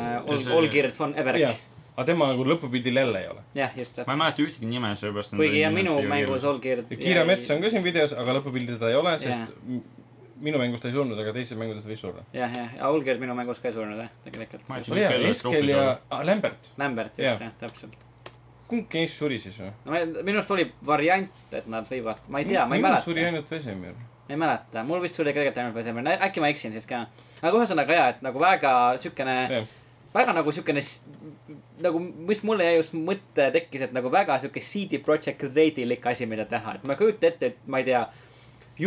Olgird Äh, von
jah
Everk .,
aga tema nagu lõpupildil jälle ei ole .
jah , just .
ma ei mäleta ühtegi nime , sellepärast .
kuigi ja minu mängus . Olgird .
Kiire mets on ka siin videos , aga lõpupildi teda ei ole , sest m- minu mängus ta ei surnud , aga teistes mängudes võis surra .
jah , jah , ja Olgerd minu mängus ka ei surnud jah , tegelikult
Ma ei .
oli hea ,
Kelly
Eskel ja
Troopis
ah, Lambert ,
Lambert
Jah.
just jah , täpselt .
kumb neist suri siis või ?
no ma ei- minu arust oli variant , et nad võivad , ma ei tea , ma ei
suri
mäleta ,
ainult Vesemir .
ma ei mäleta , mul vist oli tegelikult ainult Vesemir , äkki ma eksin siis ka . aga ühesõnaga jaa , et nagu väga siukene ,
jah ,
väga nagu siukene , nagu , mis mulle jäi just mõte tekkis , et nagu väga siuke CD Projekt Redilik asi , mida teha , et ma ei kujuta ette , et ma ei tea .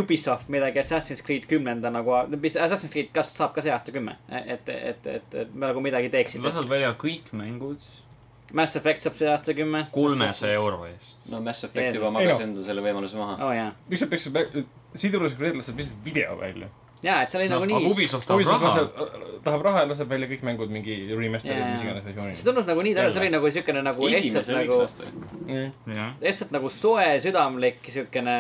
Ubisoft midagi Assassin's Creed kümnenda nagu , mis Assassin's Creed , kas saab ka see aasta kümme , et , et , et , et, et me nagu midagi teeksime .
lased välja kõik mängud
Mass Effect saab see aasta kümme .
kolmesaja . euro eest .
no Mass Effect
Jeesus.
juba magas enda selle võimaluse maha .
oo Oh, jaa ,
miks sa peaks , sidulasega reedlased lihtsalt video välja
jaa , et see oli
no
nagu
Noh, aga
nii ,
Ubisoft tahab
Ubisoft
raha .
laseb , tahab raha ja laseb välja kõik mängud mingi remaster'i
Jaa.
või mis iganes
see
versiooni .
tundus nagu nii täna , see oli nagu siukene nagu lihtsalt
esimese
nagu
võiks , lasta .
jah ,
lihtsalt nagu soe , südamlik siukene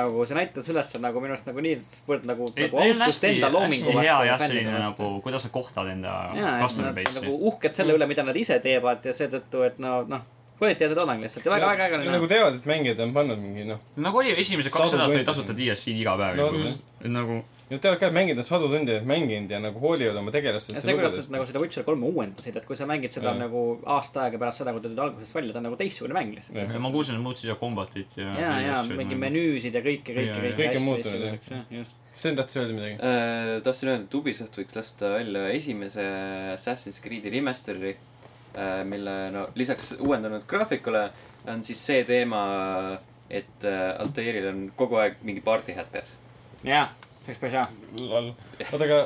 nagu see näitas üles nagu minu arust nagu nii võrd nagu , nagu austust enda loomingu
hea
vastu
jah , selline . nagu , kuidas sa kohtad enda
jaa , et
customer
nad nagu
base'i .
uhked selle üle , mida nad ise teevad ja seetõttu , et no , noh , kvaliteedne toodang lihtsalt ja väga-väga äge oli
nagu
näha .
teavad , et mängijad on pannud mingi noh ,
nagu oli esimesed
Saadud
kaks nädalat oli
võitu.
tasuta DLC-d iga päev
No
juba
vot. ,
et nagu
nad teavad ka , et mängijad on sadu tunde mänginud ja nagu hoolivad oma tegelastest
ja
ja
see , kuidas nad
lugudest .
nagu seda Witcher kolme uuendasid , et kui sa mängid seda
Jaa.
nagu aasta aega pärast seda , kui ta tuli alguses välja , ta on nagu teistsugune mäng lihtsalt .
Jah.
ma kuulsin , et muutsid ja kombatit ja . nagu-
ja , ja mingi . menüüsid ja kõike , kõike ,
Ja, ja.
nagu- kõike .
Kõik on muutunud, jah.
jah . just ,
Sten tahtis öelda midagi .
Äh, tahtsin öelda , et Ubisoft võiks lasta välja esimese Assassin's Creed'i remaster'i , mille no lisaks uuendanud graafikule on siis see teema , et äh, Altairil on kogu aeg mingi party hat peas .
jah , see oleks päris hea .
oota , aga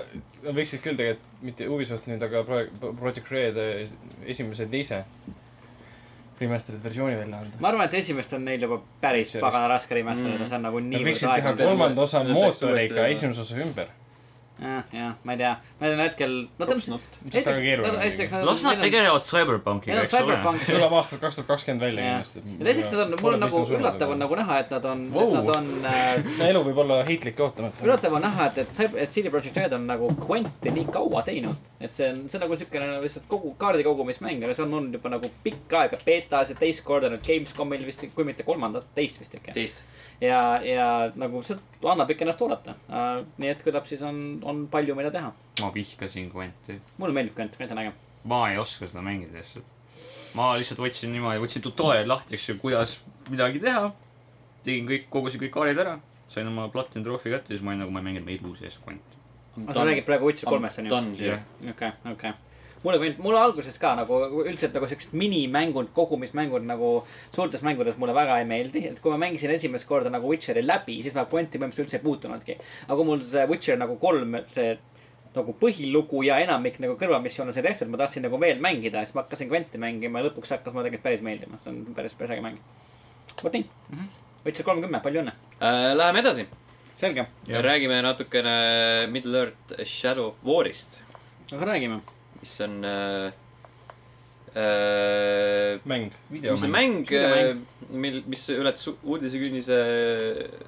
nad võiksid küll tegelikult mitte Ubisoft nüüd , aga praegu Project Red eh, esimese ja teise remaster'id versiooni välja anda .
ma arvan , et esimest on neil juba päris
Sellest.
pagana raske remasterida mm. , see on nagu
Nad
niivõrd
võiksid teha
aeglaselt.
kolmanda osa
Nad peaks
mootoriga
uuesti-
esimese osa ümber .
jah , jah , ma ei tea , ma ei tea hetkel , no
props
täpselt .
not .
See oleks väga keeruline muidugi.
las nad . tegelevad Cyberpunkiga ,
Neil on
eks ole .
see
Cyberpunk .
tuleb aastal kaks tuhat kakskümmend välja
ja
kindlasti .
teiseks nad on , mul on nagu üllatav on nagu näha , et nad on ,
Vau.
et nad on äh,
elu võib olla heitlik ja ootamatu .
üllatav on näha , et , et see , et CD Projekt Red on nagu kvante nii kaua teinud . et see on , see on nagu siukene nagu lihtsalt kogu , kaardi kogumismäng , aga see on olnud juba nagu pikka aega betas ja teist korda nüüd Gamescomil vist , kui mitte kolmandat , teist vist ikka .
teist .
ja , ja nagu see annab ikka ennast oodata uh, . nii et küllap siis on , on palju , mida teha .
ma vihkasin Quenti .
mulle meeldib Kvent , Kvent on äge .
ma ei oska seda mängida lihtsalt . ma lihtsalt võtsin niimoodi , võtsin tutorial'i lahti , eks ju , kuidas midagi teha . tegin kõik , kogusin kõik kaarid ära . sain oma Platinum Trophy kätte , siis ma olin nagu , ma ei mänginud meid uusi eeskond .
aga Ah, sa räägid praegu Witcher kolmest , on ju ?
Jah.
Dungeon .
okei , okei . mulle meeldib , mulle alguses ka nagu üldiselt nagu siuksed minimängud , kogumismängud nagu suurtes mängudes mulle väga ei meeldi . et kui ma mängisin esimest korda nagu Witcheri läbi , siis ma pointi põhimõtteliselt üldse ei puutunudki . aga kui mul see Witcher nagu kolm , see nagu põhilugu ja enamik nagu kõrvamissioone sai tehtud , ma tahtsin nagu veel mängida , siis ma hakkasin Quenti mängima ja lõpuks hakkas mulle tegelikult päris meeldima . see on päris , päris äge mäng . vot nii mm . -hmm. Witcher kolmkümmend , palju õnne .
Äh, Läheme edasi .
selge ,
räägime natukene Middle Earth Shadow of War'ist ,
aga räägime .
mis on äh, äh,
mäng .
mis on mäng äh,
Videomäng. ,
mil , mis ületas u- uudisekünnise äh,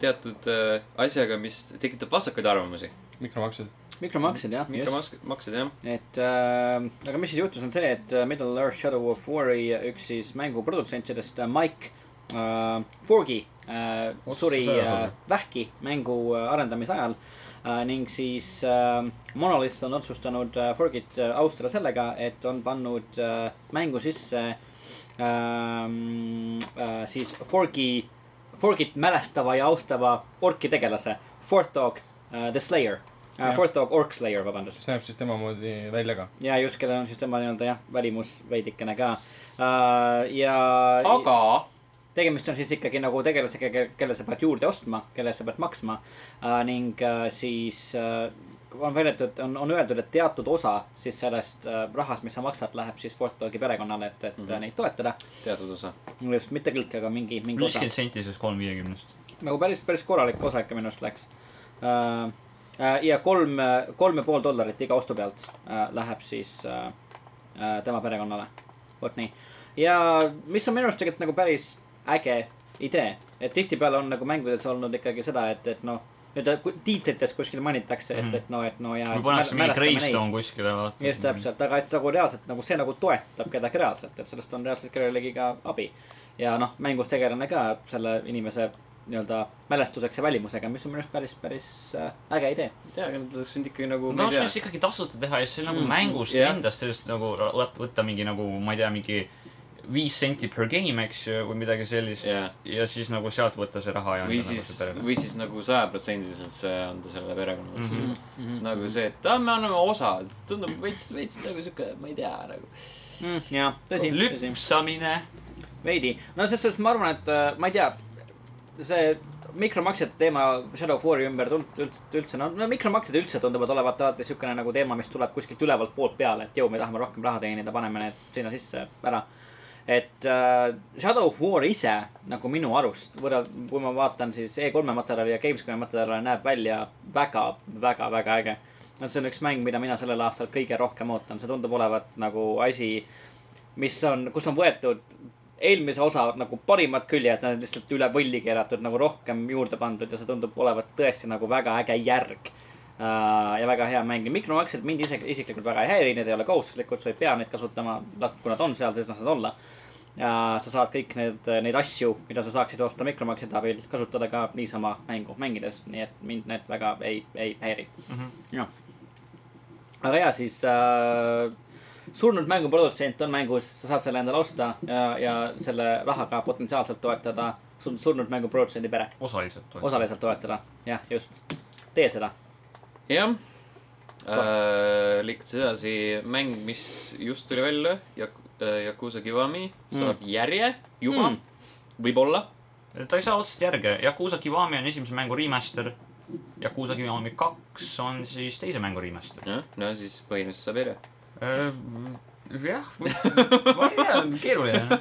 teatud äh, asjaga , mis tekitab vastakaid arvamusi .
mikromaksed .
mikromaksed jah .
mikromaksed , jah .
et äh, aga mis siis juhtus , on see , et äh, Middle Earth Shadow of War'i üks siis mängu produtsentidest äh, Mike äh, Forgi äh,
Otsustas
suri
ära
äh,
selle.
vähki mängu äh, arendamise ajal äh, ning siis äh, Monolith on otsustanud äh, Forgit äh, austada sellega , et on pannud äh, mängu sisse ähm, äh, siis Forgi , Forgit mälestava ja austava orki tegelase , Forthog äh, the Slayer äh,
Jah. ,
Forthog Orc Slayer , vabandust .
see näeb siis tema moodi välja ka .
ja just , kellel on siis tema nii-öelda jah , välimus veidikene ka uh, . ja
aga
tegemist on siis ikkagi nagu tegelasega , kelle sa pead juurde ostma , kelle sa pead maksma uh, . ning uh, siis uh, on väidetud , on , on öeldud , et teatud osa siis sellest uh, rahast , mis sa maksad , läheb siis Fort Dogi perekonnale , et , et mm
Mhm.
-hmm. neid toetada .
teatud osa .
mul just mitte kõik , aga mingi , mingi osa
viiskümmend senti , siis kolm viiekümnest .
nagu päris , päris korralik osa ikka minu arust läks uh, . Uh, ja kolm , kolm ja pool dollarit iga ostu pealt uh, läheb siis uh, uh, tema perekonnale , vot nii . ja mis on minu arust tegelikult nagu päris äge idee , et tihtipeale on nagu mängudes olnud ikkagi seda , et , et noh , nii-öelda ku- tiitrites kuskil mainitakse , et , et noh , et no ja .
või pannakse Mhm. mingi Greystone kuskile vaata .
just . täpselt , aga et see nagu reaalselt nagu see nagu toetab kedagi reaalselt , et sellest on reaalselt kellelegi ka abi . ja noh , mängus tegelane ka selle inimese nii-öelda mälestuseks ja välimusega , mis on minu arust päris , päris äh, äge idee .
ei tea , nad oleks võinud ikkagi nagu ,
no
ma ei
see
tea ,
ikkagi tasuta teha ja siis nagu mm, mängust
jah.
yeah. endast sellest nagu ra- võt- võtta mingi nagu , ma ei tea , mingi viis senti per game , eks ju , või midagi sellist
Jah.
ja siis nagu sealt võtta see raha ja
või siis , või siis nagu sajaprotsendiliselt see anda sellele perekonnale mm . -hmm. nagu see , et aa , me anname osa , tundub veits , veits nagu sihuke , ma ei tea nagu .
jah , Mm, tõsi , tõsi ,
lüpsamine .
veidi . no selles suhtes ma arvan , et äh, ma ei tea , see mikromaksete teema Shadow of War'i ümber tund- , üldse , üldse , no , no mikromaksed üldse tunduvad olevat alati niisugune nagu teema , mis tuleb kuskilt ülevalt poolt peale , et jõu , me tahame rohkem raha teenida , paneme need sinna sisse ära . et äh, Shadow of War ise nagu minu arust , võrreld- , kui ma vaatan siis E3-e materjali ja Gamescomi materjali , näeb välja väga , väga , väga äge . no see on üks mäng , mida mina sellel aastal kõige rohkem ootan , see tundub olevat nagu asi , mis on , kus on võetud eelmise osa nagu parimad küljed , need on lihtsalt üle võlli keeratud , nagu rohkem juurde pandud ja see tundub olevat tõesti nagu väga äge järg . ja väga hea mäng ja mikromaksed mind ise isiklikult väga ei häiri , need ei ole kohustuslikud , sa ei pea neid kasutama , las , kui nad on seal , siis las nad olla . ja sa saad kõik need , neid asju , mida sa saaksid osta mikromakside abil , kasutada ka niisama mängu mängides , nii et mind need väga ei , ei häiri mm -hmm. . jah . aga ja siis äh, surnud mänguprodutsent on mängus , sa saad selle endale osta ja , ja selle rahaga potentsiaalselt toetada sur- surnud mänguprodutsendi pere ,
osaliselt .
osaliselt toetada , jah , just . tee seda ,
jah äh, . liikudes edasi , mäng , mis just tuli välja , Jak- , Yakuusa Kiwami saab mm. järje juba
Mm.
mm. , võib-olla .
ta ei saa otseselt järge , Yakuusa Kiwami on esimese mängu remaster . Yakuusa Kiwami kaks on siis teise mängu remaster .
jah , no siis põhimõtteliselt saab järje .
jah , ma ei tea , keeruline .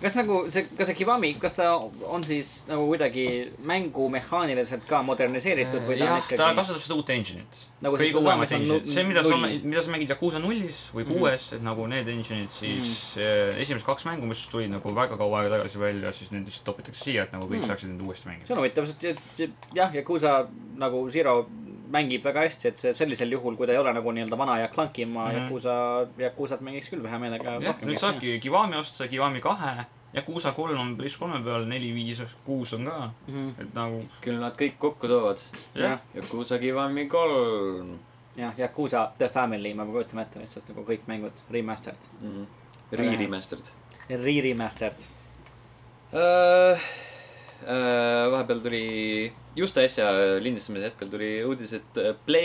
kas nagu see , kas see Kiwami , kas ta on siis nagu kuidagi mängu mehaaniliselt ka moderniseeritud või ta on
jah , ta
ikkagi ?
kasutab seda uut engine'it
Nagu siis
kõige
see
uuemat
saamas on
engine'it ,
nu-
see , mida sa ,
null.
mida sa mängid Yakuusa nullis või kuues , et nagu need engine'id siis mm. esimesed kaks mängu , mis tulid nagu väga kaua aega tagasi välja , siis need lihtsalt topitakse siia , et nagu kõik
Mm.
mm. saaksid neid uuesti mängida
see . on huvitav , sest et- et jah , Yakuusa nagu Zero mängib väga hästi , et see sellisel juhul , kui ta ei ole nagu nii-öelda vana ja klankima mm
Mhm.
-hmm. Yakuusa , Yakuusat mängiks küll hea meelega
jah ,
rohkem .
nüüd saabki Kiwami osta , Kiwami kahe , Yakuusa kolm on PlayStation kolme peal , neli , viis , kuus on ka , et nagu
küll nad kõik kokku toovad .
jah ,
Yakuusa Kiwami kolm
jah , Yakuusa The Family , ma kujutan ette lihtsalt nagu kõik mängud remastered ,
mm. .
Äh.
Re-remastered
re-remastered .
uh, . vahepeal tuli , just äsja lindistamise hetkel tuli uudis , et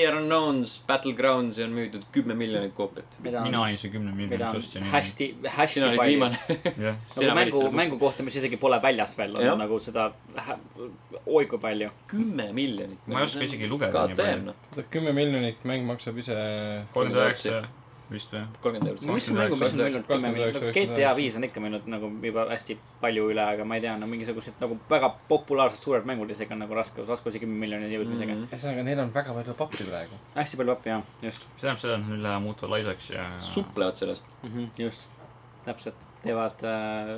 PlayerUnknown's Battlegrounds'i on müüdud kümme miljonit koopiat .
mina olin see kümne
mida
miljoni
on
ostja .
hästi , hästi
sina olid
palju .
viimane .
jah ,
sina
nagu
valid
mängu ,
selle
mängu kohta , mis isegi pole väljas veel ,
Jah.
on nagu seda hä- oi kui palju .
kümme miljonit .
Ma ei oska isegi lugeda nii palju.
KTM , noh ,
kümme miljonit mäng maksab ise
kolmkümmend üheksa vist või ?
kolmkümmend eurot .
mis mängu , mis on müünud kümme
kakskümmend
miljonit
üheksa, , kakskümmend
GTA
üheksa.
viis on ikka müünud nagu juba hästi palju üle , aga ma ei tea , no mingisugused nagu väga populaarsed suured mängud isegi on nagu raske , raskusi kümme miljonit jõudmisega mm .
Mm-hmm.
ühesõnaga , neil on väga palju pappi praegu .
-hmm. hästi palju pappi jah , just
see tähendab seda , et nad lähevad muutuvad laisaks ja .
suplevad selles .
mm , -hmm. just , täpselt , teevad äh,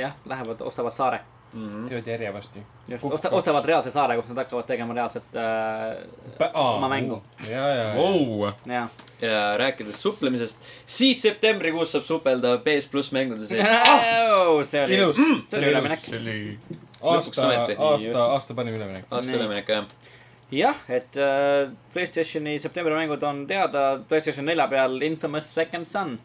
jah , lähevad , ostavad saare
Mm-hmm.
teevad järje varsti .
just , osta- , ostavad reaalse saare , kus nad hakkavad tegema reaalset äh, oma mängu .
ja , ja , ja .
Vau ,
jah .
ja rääkides suplemisest , siis septembrikuus saab supelda PS pluss mängude sees . Ah!
see oli ,
ilus ,
see oli üleminek .
see Mm! oli ,
Lõpuks
aasta ,
ometi.
Just.
aasta , aasta parim üleminek .
aasta
Nii.
üleminek , jah .
jah , et äh, Playstationi septembri mängud on teada , Playstation nelja peal Infamous Second Son ,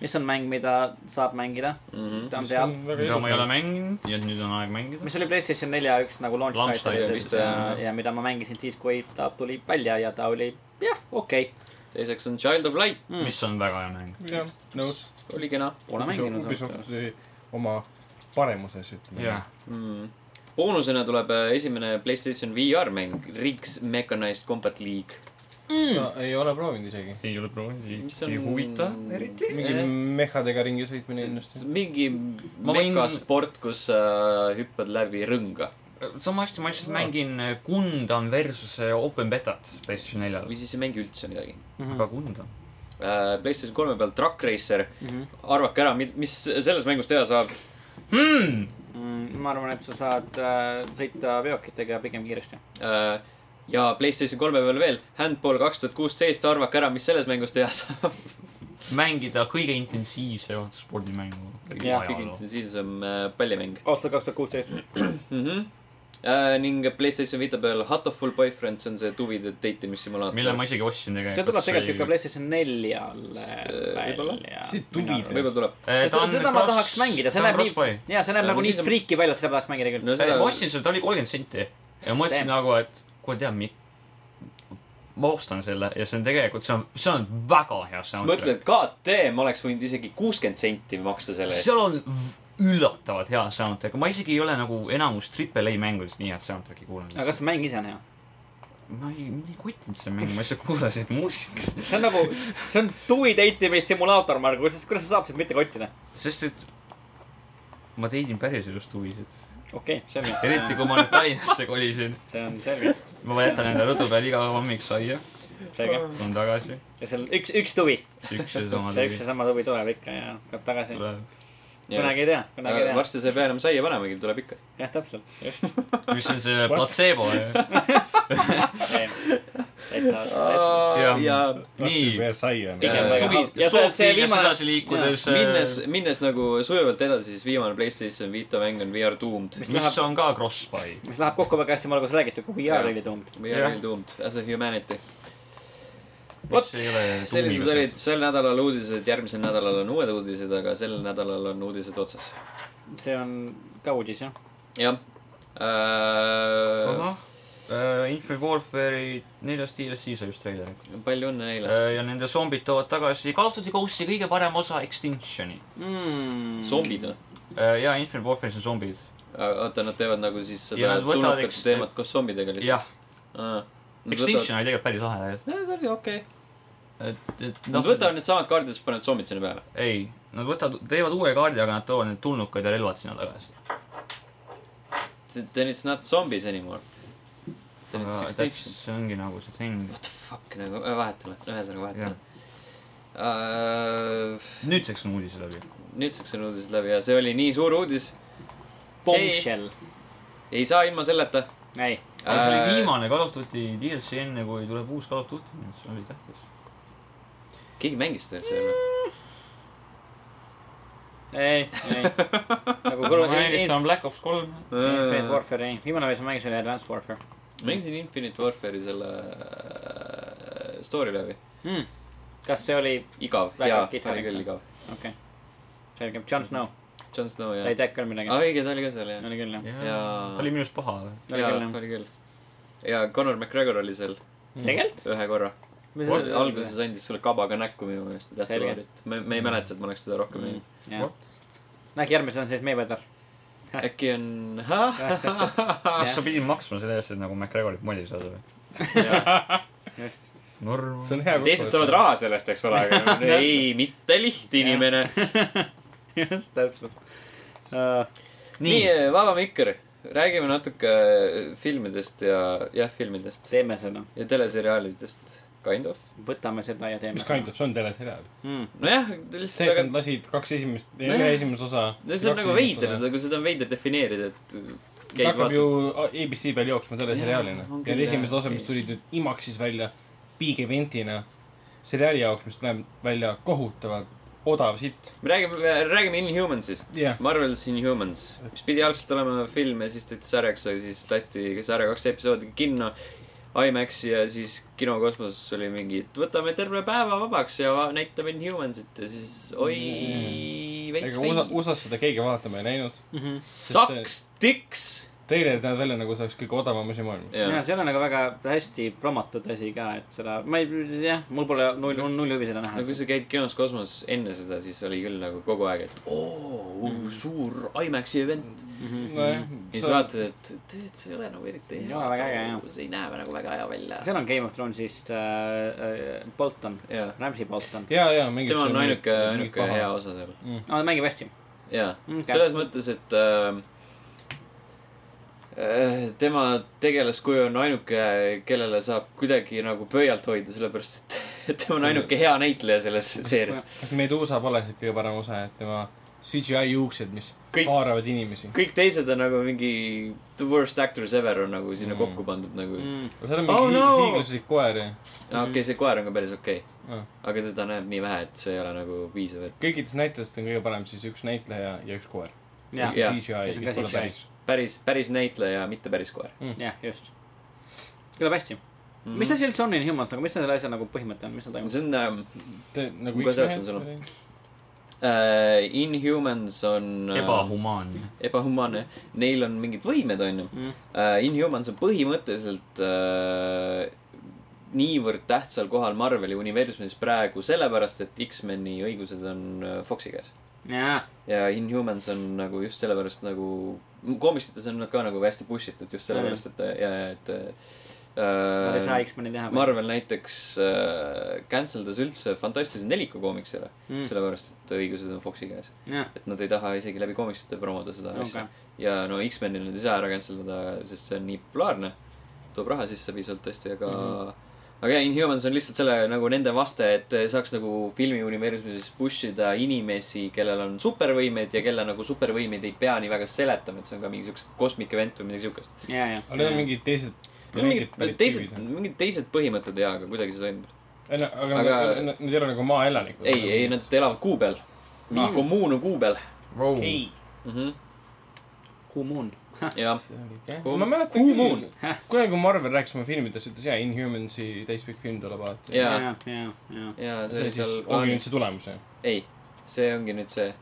mis on mäng , mida saab mängida ,
Mm-hmm.
ta on peal .
mida ma ei ole mänginud ja nüüd on aeg mängida .
mis oli Playstation nelja üks nagu launch
Launch title
vist,
title ja,
jah.
ja mida ma mängisin siis , kui ta tuli välja ja ta oli jah , okei okay. ,
teiseks on Child of Light ,
mis on väga hea mäng .
jah , nõus .
oli kena
pole mänginud .
Ubisoft oma paremuses , ütleme .
jah ,
mm. . boonusena tuleb äh, esimene Playstation VR mäng , Rigs Mechanized Combat League .
ma ei ole proovinud isegi .
ei ole proovinud
Mis , on-
ei huvita eriti .
mingi
Eh.
mehhadega ringi sõitmine kindlasti .
mingi
Ma võin-
megasport , kus sa hüppad läbi rõnga
sama hästi ma lihtsalt mängin äh, Gundam versus äh, Open Betat PlayStation neljal
või . siis ei mängi üldse midagi .
Mhm.
aga Gundam .
Äh, PlayStation kolme peal Truck Racer mm ,
Mhm.
-hmm. arvake ära , mis selles mängus teha saab .
Hmm!
Mm, ma arvan , et sa saad äh, sõita veokitega pigem kiiresti .
Äh, ja PlayStation kolme peal veel Handball kaks tuhat kuusteist , arvake ära , mis selles mängus teha saab .
mängida kõige intensiivsemat spordimängu .
Jah,
kõige intensiivsem äh, pallimäng
aastal kaks tuhat kuusteist .
mm . -hmm. Äh, ning PlayStation Vita peal Hatoful Boyfriend , see on see tuvide date imissimulaator .
mille ma isegi ostsin
see
tegelikult .
tuleb tegelikult ju ka . Playstation neljale
S- võib-olla.
välja .
See tuvid.
võib-olla tuleb .
seda, seda ma tahaks mängida , see
ta on
näeb
crossplay
nii ,. jaa , see näeb
Ja,
nagu
no
nii
siis on-
friiki välja , et seda tahaks mängida küll .
no
Ei,
seda
ma ostsin selle , ta oli kolmkümmend senti ja ma mõtlesin
Damn.
nagu , et kuule , tead , mi- , ma ostan selle ja see on tegelikult , see on , see on väga hea
mõtle ,
soundtrack .
et KTM oleks võinud isegi kuuskümmend senti maksta selle eest .
seal on v- üllatavalt hea soundtrack , ma isegi ei ole nagu enamus Triple A mängudest nii head soundtrack'i kuulanud .
aga kas see mäng ise on hea ?
ma ei , mind ei kottinud see mäng , ma lihtsalt kuulasin muusikat .
see on nagu , see on tui date imissimulaator , Margus , kuidas , kuidas sa saab sind mitte kottida ?
sest et ma teidin päris elust huvisid .
okei okay, , selge .
eriti kui ma nüüd Tallinnasse kolisin ,
see on selge ,
ma jätan enda rõdu peal iga hommik saia ,
selge .
tulen tagasi ,
ja seal üks , üks tuvi ,
see üks ja sama
see üks
tegi
ja sama tuvi tuleb ikka ja peab tagasi .
tuleb .
kunagi ei tea , kunagi ei tea .
äh, varsti sa ei pea enam saia panemagi , tuleb ikka .
jah , täpselt , just .
mis on see platseebo ?
täitsa , täitsa .
ja, ja
nii ,
sai on .
Pigem
väga halb. Ja see-
tuvi ,
see
sohvi ja
viimane-
sedasi liikudes . äh,
minnes , minnes nagu sujuvalt edasi , siis viimane Playstation Vita mäng on We are doomed .
Mis-
mis on ka crossbuy .
mis läheb kokku väga hästi Margus räägitud , kui
Jaa.
VR oli tundnud .
We are
Jah.
yeah. doomed as a humanity . vot
mis , ei ole .
sellised olid . sel nädalal uudised , järgmisel nädalal on uued uudised , aga sel nädalal on uudised otsas .
see on ka uudis , jah .
jah äh, .
ahah , Infinite Warfare'i neljas DLC sai just välja .
palju õnne neile .
Äh, ja nende zombid toovad tagasi Call of Duty Ghost'i kõige parem osa Extinction'i . Mm.
zombid või ?
ja Infinite Warfare'is on zombid .
oota , nad teevad nagu siis
Ja
seda
nad võtavad
tulnukate
eks-
teemat koos zombidega
jah
lihtsalt ., aa .
Extinction Noh, oli tegelikult päris lahe ,
see oli okei .
et , et noh,
Nad võtavad needsamad kaardid , siis panevad zombid sinna peale .
ei , nad võtavad , teevad uue kaardi , aga nad toovad need tulnukad ja relvad sinna tagasi .
Then it's not zombies anymore . Then it's extinction .
see ongi nagu see thing .
What the fuck nagu , vahetame , Äh, ühesõnaga
Jah.
vahetame .
nüüdseks on uudised läbi .
nüüdseks on uudised läbi ja see oli nii suur uudis ,
Bombshell ,
ei saa ilma selleta .
ei .
Äh,
aga see oli viimane Call of Duty DLC enne , kui tuleb uus Call of Duty , nii et see oli tähtis .
keegi mängis seda üldse veel või ?
ei , ei . nagu
ma
kuradi .
eelistan Black Ops kolm .
Infinite Warfare , ei . viimane , mis ma mängisin , oli Advanced Warfare
mängisin Infinite Warfare'i selle äh, story läbi .
mm. . kas see oli ,
igav ,
Väga
jaa ,
kitarikas.
oli küll igav .
okei okay. . selge , Jon Snow .
Jon Snow
ta
jah
ei . tekka midagi .
aa , õige , ta oli ka seal Ah, jah .
oli küll jah .
Jaa.
jaa ja... , ta oli minu arust paha .
oli
jaa
küll, , jah.
oli küll . ja Conor McGregor oli seal
tegelikult ?
ühe korra . alguses andis sulle kabaga näkku minu meelest , ei tahtnud
Selge. Mm.
vaadata . me , me ei mäleta , et ma oleks seda rohkem näinud .
Hmm. jah . no äkki järgmises on siis Mayweather . Mm.
äkki on ,
kas sa pidid maksma selle eest , et nagu McGregorit molli saada või ?
just .
norm .
see on hea
teised saavad . raha sellest , eks ole , aga ei , mitte lihtinimene .
just , täpselt uh, .
nii , Vaba Mikker , räägime natuke äh, filmidest ja , jah , filmidest
teeme seda ,
ja teleseriaalidest , kind of .
võtame seda ja teeme
mis . kind of , see on teleseriaal .
Hmm.
mm. ?
nojah , lihtsalt ,
Second
aga
lasid kaks esimest ,
Nojah.
ühe esimese osa .
no see on nagu veider , nagu seda on veider defineerida , et äh,
ta
käid
hakkab
vaatad .
ju abc peal jooksma teleseriaalina
Jaa, on .
ja
küll,
need esimesed
jah.
osad , mis tulid nüüd IMAX-is välja , big event'ina , seriaali jaoks , mis tuleb välja kohutavalt odav sitt .
me räägime , räägime Inhumansist
Jah.
Marvel's Inhumans , mis pidi algselt olema film ja siis tehti sarjaks , aga siis lasti sarja kaks episoodi kinno . IMAX-i ja siis kinokosmoses oli mingi , et võtame terve päeva vabaks ja va- näitame Inhumansit ja siis oi
Mm. ,
veits
ega USA , USA-s seda keegi vaatama ei näinud .
Mhm. Sucks dicks .
treilerid näevad välja nagu see oleks kõige odavam asi maailmas .
ja see on nagu väga hästi promotud asi ka , et seda , ma ei , jah , mul pole null , null huvi seda näha
no kui . sa käid kinos kosmoses enne seda , siis oli küll nagu kogu aeg , et oo , suur IMAX-i
Mhm.
event .
nojah ,
ja siis vaatad , et dude , see ei ole nagu eriti
Ei ole väga äge, jah.
see ei näe nagu väga hea välja .
seal on Game of Thronesist äh, äh, Bolton ,
jaa ,
Ramsey Bolton .
ja , ja mingi . Mm.
tema on ainuke , ainuke hea . osa seal .
no ta mängib hästi . Mm,
jaa ,
Okei.
selles mõttes , et äh, äh, tema tegelaskuju on ainuke , kellele saab kuidagi nagu pöialt hoida , sellepärast et et tema on ainuke hea näitleja selles seerias .
kas Medusa pole siis kõige parem osa , et tema CGI juuksed , mis
Kõik-
haaravad inimesi .
kõik teised on nagu mingi the worst actors ever on nagu sinna
Mm.
mm. kokku pandud nagu mm. .
seal on
Oh
mingi
no!
hi- hiiglaslik koer ja ah.
okei okay, , see koer on ka päris okei okay. ,
ja.
aga teda näeb nii vähe , et see ei ole nagu piisav , et
kõikides näitlejatest on kõige parem siis üks näitleja ja üks koer .
jah ,
Jah.
CGI ,
see on ka
kes pole
CGI.
päris .
päris , päris näitleja , mitte päris koer .
jah , just . kõlab hästi . Mhm. mis asi üldse on Inhumans nagu , mis selle asja nagu põhimõte on , mis seal toimub ?
see on ähm, ,
nagu
Ma kohe seletan sulle.
X-mehed .
äh, Inhumans on äh,
ebahumaanne .
ebahumaanne , neil on mingid võimed , onju
Mm.
äh, . Inhumans on põhimõtteliselt äh, niivõrd tähtsal kohal Marveli universumis praegu sellepärast , et X-meni õigused on äh, Foxi käes .
jaa ,
ja Inhumans on nagu just sellepärast nagu , komiksites on nad ka nagu hästi push itud just sellepärast , et ja , et
nad ei saa
äh, .
X-meni teha .
Marvel näiteks äh, cancel das üldse fantastilise neliku koomiksile mm. ,
mm. .
sellepärast et õigused on Foxi käes .
jah ,
et nad ei taha isegi läbi koomiksite promoda seda
okei
asja . ja no X-meni nad ei saa ära cancel ida , sest see on nii populaarne . toob raha sisse piisavalt tõesti , aga mm , -hmm. aga jah , Inhumans on lihtsalt selle nagu nende vaste , et saaks nagu filmiuniversumis push ida inimesi , kellel on supervõimeid ja kelle nagu supervõimeid ei pea nii väga seletama , et see on ka mingi siukse kosmik event või midagi siukest .
ja , ja .
aga need on mingid teised planeedid
mingid
pärit
teised ,
tüübid .
mingid teised põhimõtted jaa , aga kuidagi see toimib .
aga
aga-
nad- nad nad ei ole nagu maa elanikud .
ei , ei nad elavad kuu peal . mingi kommuun on kuu peal
ei .
mm . -hmm.
Kuu Moon .
jah , Kuu-
ma mäletan
Kuu Moon.
küll , kunagi kui Marvel rääkis oma filmidest , ütles jaa , Inhumansi täispikk film tuleb vaadata .
Jaa.
ja , ja , ja .
ja see
see
oli
siis
seal
ongi
plaanis
nüüd . see tulemus , jah .
ei , see ongi nüüd see ,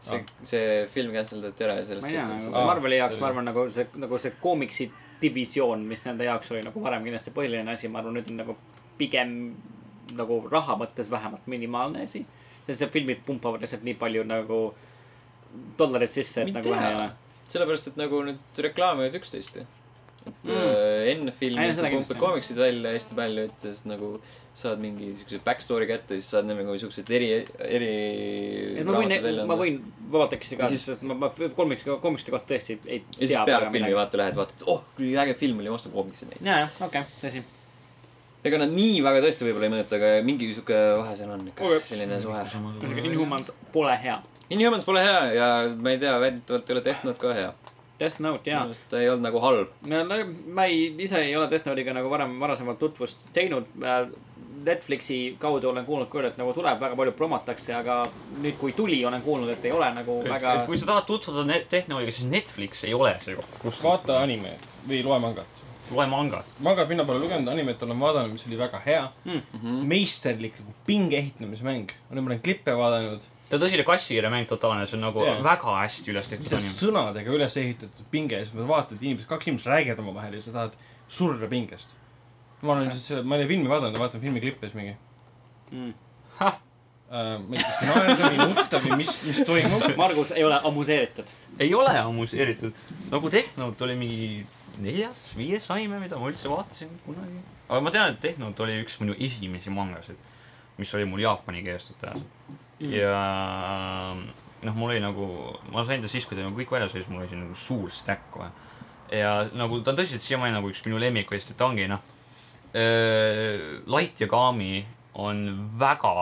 see , see film cancel dati ära ja sellest
Ah. ma ei
tehti
tea , nagu
seda
Aa,
see Marveli jaoks ,
selge.
ma arvan , nagu see , nagu see koomiksi divisioon , mis nende jaoks oli nagu varem kindlasti põhiline asi , ma arvan , nüüd on nagu pigem nagu raha mõttes vähemalt minimaalne asi . sest need filmid pumpavad lihtsalt nii palju nagu dollareid sisse , et
Ma ei
nagu vähe
tea.
ei ole .
sellepärast , et nagu nüüd reklaamivad üksteist ju . et
Mm.
mm. äh, enne
Ei,
filmi
seda
sa pumpad
kindlasti.
koomiksid välja hästi palju , et siis nagu saad mingi siukse backstory kätte , siis saad neil nagu siukseid eri , eri
et ma
raamatuid
võin
välja ,
ma
anda .
võin vabalt eksida
Ja
ka ,
siis-
sest ma , ma koomikste , koomikste kohta tõesti ei
ja siis peale filmi . vaata lähed , vaatad , oh , kui äge film oli , ma ostan koomiksid neid .
ja , jah , okei , tõsi .
ega nad nii väga tõesti võib-olla ei mõjuta , aga mingi siuke vahe seal on ikka
Okei. ,
selline suhe . Mm-hmm.
ühesõnaga , Inhumans pole hea .
Inhumans pole hea ja ma ei tea , väidetavalt ei ole Death Note ka hea .
Death Note ,
minu
jaa .
meelest ta ei olnud nagu halb .
no no ma ei , ise ei ole Death Note'iga nagu varem , varasemalt tutvust teinud . Netflixi kaudu olen kuulnud küll , et nagu tuleb , väga palju promotakse , aga nüüd , kui tuli , olen kuulnud , et ei ole nagu
et
väga
et . kui sa tahad tutvuda net- tehnoloogiaga , siis Netflix ei ole see koht , kus
vaata anime või loe mangat .
loe mangat .
mangat mina pole lugenud , animet olen vaadanud ,
Mhm.
mis oli väga hea mm . -hmm. meisterlik nagu pinge ehitamise mäng . olen mõned klippe vaadanud
ta tõsine kassikiire mäng totaalne , see on nagu
Jaa.
väga hästi üles tehtud
see on
anime .
sõnadega üles ehitatud pinge ja siis sa vaatad inimesed , kaks inimest räägivad omavahel ja sa tahad surra pingest . ma olen lihtsalt selle , ma ei ole filmi vaadanud , vaatan filmi klippe siis mingi
mm. .
äh, . ma ei tea , kas naerda või nutta või mis , mis toimub .
Margus ei ole amuseeritud .
ei ole amuseeritud , nagu Tehnout oli mingi neljas , viies anime , mida ma üldse vaatasin kunagi . aga ma tean , et Tehnout oli üks minu esimesi mangasid , mis oli mul jaapani keeles tõenäoliselt mm. . ja noh , mul oli nagu , ma sain ta siis , kui ta nagu kõik väljas oli , siis mul oli siin nagu suur stack kohe . ja nagu ta on tõsiselt siiamaani nagu üks minu lemmikuid , sest ta ongi noh , Light Yagami on väga ,